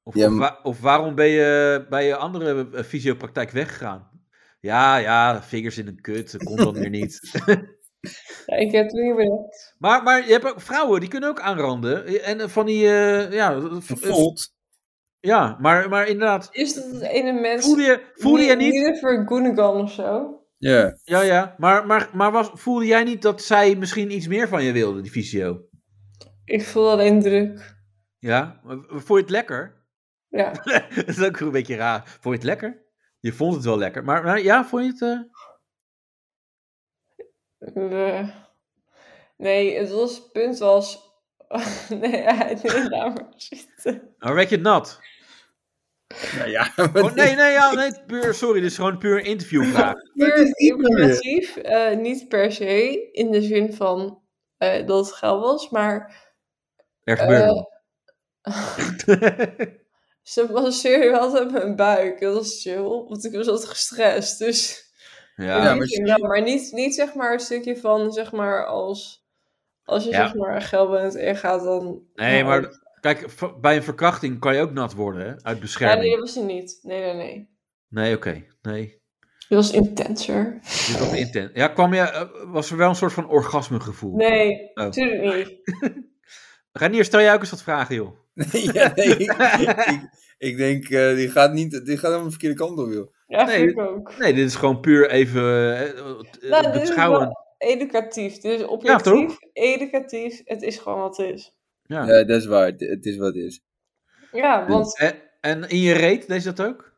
A: Of,
B: Ja,
A: of,
B: maar-
A: wa- of waarom ben je bij je andere eh, fysiopraktijk weggegaan? Ja, ja, vingers in een kut, dat komt dan weer niet.
C: Ja, ik heb het niet bedacht.
A: Maar, maar je hebt ook vrouwen, die kunnen ook aanranden. En eh, van die, eh, ja... v- Ja, maar, maar inderdaad.
C: Is dat het ene mens...
A: Voelde je, voelde je niet...
C: Niet voor Goonigan of zo.
B: Ja.
A: Ja, ja, maar, maar, maar was, voelde jij niet dat zij misschien iets meer van je wilde, die fysio?
C: Ik voel alleen druk.
A: Ja? Maar Vond je het lekker?
C: Ja.
A: dat is ook een beetje raar. Vond je het lekker? Je vond het wel lekker, maar, maar ja, vond je het... eh,
C: Eh, Nee, het, was, het punt was... nee, ja, nee, laat maar zitten.
A: Maar werd je het nat?
B: Nou ja,
A: Oh, nee, nee, ja, nee, puur, sorry, dit is gewoon puur een interviewvraag.
C: Puur
B: meer.
C: informatief, eh, niet per se, in de zin van eh, dat het geil was, maar...
A: Er gebeurde
C: eh,
A: wat.
C: Ze masseerde wel altijd mijn buik, dat was chill, want ik was altijd gestrest, dus...
A: Ja,
C: Ja,
A: maar,
C: maar, maar niet, niet zeg maar een stukje van, zeg maar, als, als je
A: Ja.
C: zeg maar geil bent en gaat dan...
A: nee, maar kijk, v- bij een verkrachting kan je ook nat worden, hè, uit
C: Ja, nee,
A: bescherming.
C: dat was ze niet. Nee, nee, nee.
A: Nee, oké, nee.
C: Dit was intenser.
A: Dit was intens. Ja, kwam je, eh, was er wel een soort van orgasmegevoel?
C: Nee,
A: Oh.
C: natuurlijk niet.
A: Renier, stel jij ook eens wat vragen, joh.
B: ja, nee, ik, ik- ik denk, eh, die, gaat niet, die gaat helemaal de verkeerde kant op, joh.
C: Ja,
A: Nee,
C: vind ik ook.
A: Nee, dit is gewoon puur even eh, eh,
C: Nou, dit is
A: beschouwen.
C: wel educatief. Dit is
A: Ja, toch?
C: objectief, educatief. Het is gewoon wat het is.
A: Ja.
B: Ja, dat is waar. Het, het is wat het is.
C: Ja, want
A: En, en in je reet, deed je dat ook?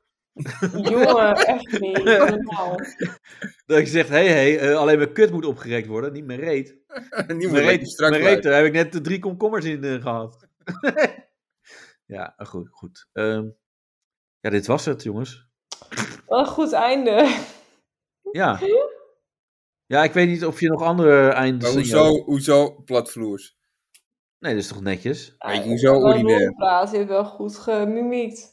C: jongen, echt niet. Normaal.
A: Dat je zegt, hé, hey, hey, eh, alleen mijn kut moet opgerekt worden, niet mijn reet.
B: mijn
A: mijn
B: reet,
A: reet,
B: strak
A: mijn
B: blijven.
A: reet, daar heb ik net de drie komkommers in eh, gehad. ja, eh, goed, goed. Ehm, ja, dit was het, jongens.
C: Wat een goed einde.
A: Ja. Ja, ik weet niet of je nog andere eindes...
B: Maar hoezo, hoezo platvloers?
A: Nee, dat is toch netjes?
C: Ah,
B: Weet je, hoezo ordinair?
C: praat, je hebt wel goed gemimiekt.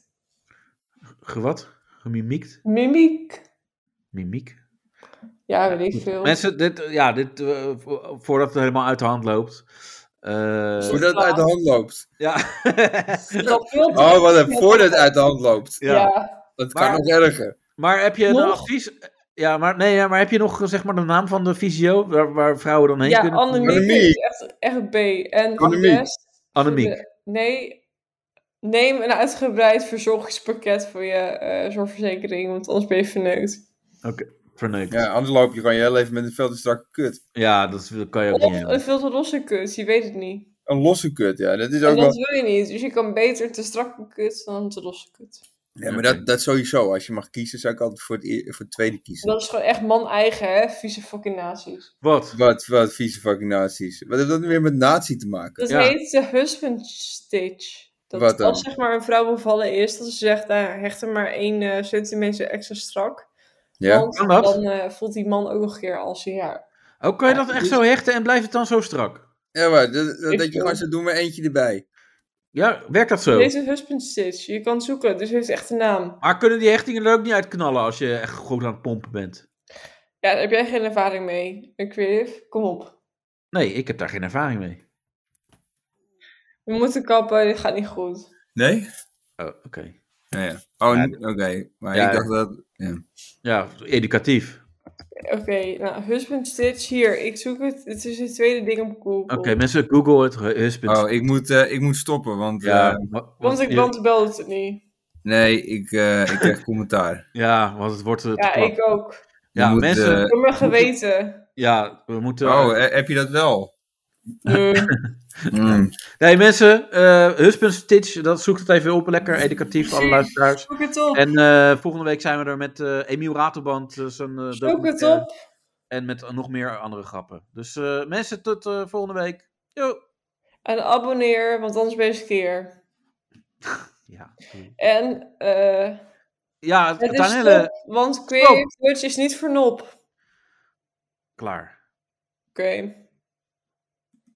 A: Gewat? Gemimiekt?
C: Mimiek.
A: Mimiek?
C: Ja, weet ik veel.
A: Mensen, dit, eh, ja, dit, eh, vo- voordat het helemaal uit de hand loopt. eh,
B: Voordat het uit de hand loopt.
A: Ja.
B: oh, wat een voordat het uit de hand loopt.
A: Ja. Ja.
B: Dat kan
A: Maar-
B: nog erger.
A: Maar heb je een
B: Nog?
A: advies? Ja, maar, nee, ja, maar heb je nog eh, zeg maar de naam van de fysio waar, waar vrouwen dan heen
C: ja,
A: kunnen?
C: Annemiek is echt, echt B. En voor de
A: Annemiek.
C: rest-
A: Annemiek.
C: voor de- nee, neem een uitgebreid verzorgingspakket voor je eh, zorgverzekering, want anders ben je verneukt.
A: Oké, verneukt.
B: Ja, anders loop je gewoon je hele leven met een veel te strakke kut.
A: Ja, dat kan je
C: Of een Oh, veel te losse kut, je weet het niet.
B: Een losse kut, ja. Dat is
C: En
B: ook
C: dat
B: wel...
C: wil je niet, dus je kan beter te strakke kut dan te losse kut.
B: Ja, maar dat, dat sowieso. Als je mag kiezen, zou ik altijd voor het, eer- voor het tweede kiezen.
C: Dat is gewoon echt man-eigen, hè? Vieze fucking nazi's.
A: Wat?
B: Wat, wat vieze fucking nazi's. Wat heeft dat nu weer met nazi te maken?
C: Dat heet de husband stitch. Dat
B: Wat dan?
C: als zeg maar een vrouw bevallen is, dat ze zegt, nou, hecht er maar één eh, centimeter extra strak.
A: Ja,
C: Want
A: kan dat?
C: dan eh, voelt die man ook nog een keer als een jaar.
A: Oh, kan je dat
C: dus-
A: echt zo hechten en blijft het dan zo strak?
B: Ja, maar dat,
C: Ik
B: dat, dat je
C: wil-
B: gewoon zo doen met eentje erbij.
A: Ja, werkt dat zo?
C: Deze husband stitch, je kan het zoeken, dus heeft echt een naam.
A: Maar kunnen die hechtingen er ook niet uitknallen als je echt goed aan het pompen bent?
C: Ja, daar heb jij geen ervaring mee. Een creative, kom op.
A: Nee, ik heb daar geen ervaring mee.
C: We moeten kappen, dit gaat niet goed.
B: Nee?
A: Oh, oké.
B: Ja, ja. Oh, n- oké. Maar
A: Ja,
B: ik dacht dat... Ja.
A: Ja, educatief.
C: Oké, nou, husband stitch, hier, ik zoek het. Het is het tweede ding op Google.
A: Oké, mensen, Google het. Husband.
B: Oh, ik moet, eh, ik moet stoppen, want...
A: Ja,
B: eh,
A: wa-
C: Want ik want belde het niet.
B: Nee, ik, eh, ik krijg commentaar.
A: Ja, want het wordt... eh, te
C: Ja,
A: plat.
C: ik ook.
A: Ja,
B: Je moet,
A: mensen...
B: eh,
C: Door mijn geweten.
A: Ja, we moeten...
B: Oh, eh, heb je dat wel? Mm.
A: Nee, mensen, eh Husband Stitch, dat zoekt het even op. Lekker educatief, alle luisteraars.
C: Zoek het op.
A: En eh, volgende week zijn we er met eh Emiel Ratelband. eh, zijn, eh,
C: Zoek het
A: documentaire.
C: op.
A: En met nog meer andere grappen. Dus eh, mensen, tot eh, volgende week. Yo.
C: En abonneer, want anders ben je skeer.
A: Ja.
C: En eh
A: Ja,
C: het is
A: Tanelle,
C: stop, want Creative Dutch is niet voor nop. Oké.
A: klaar.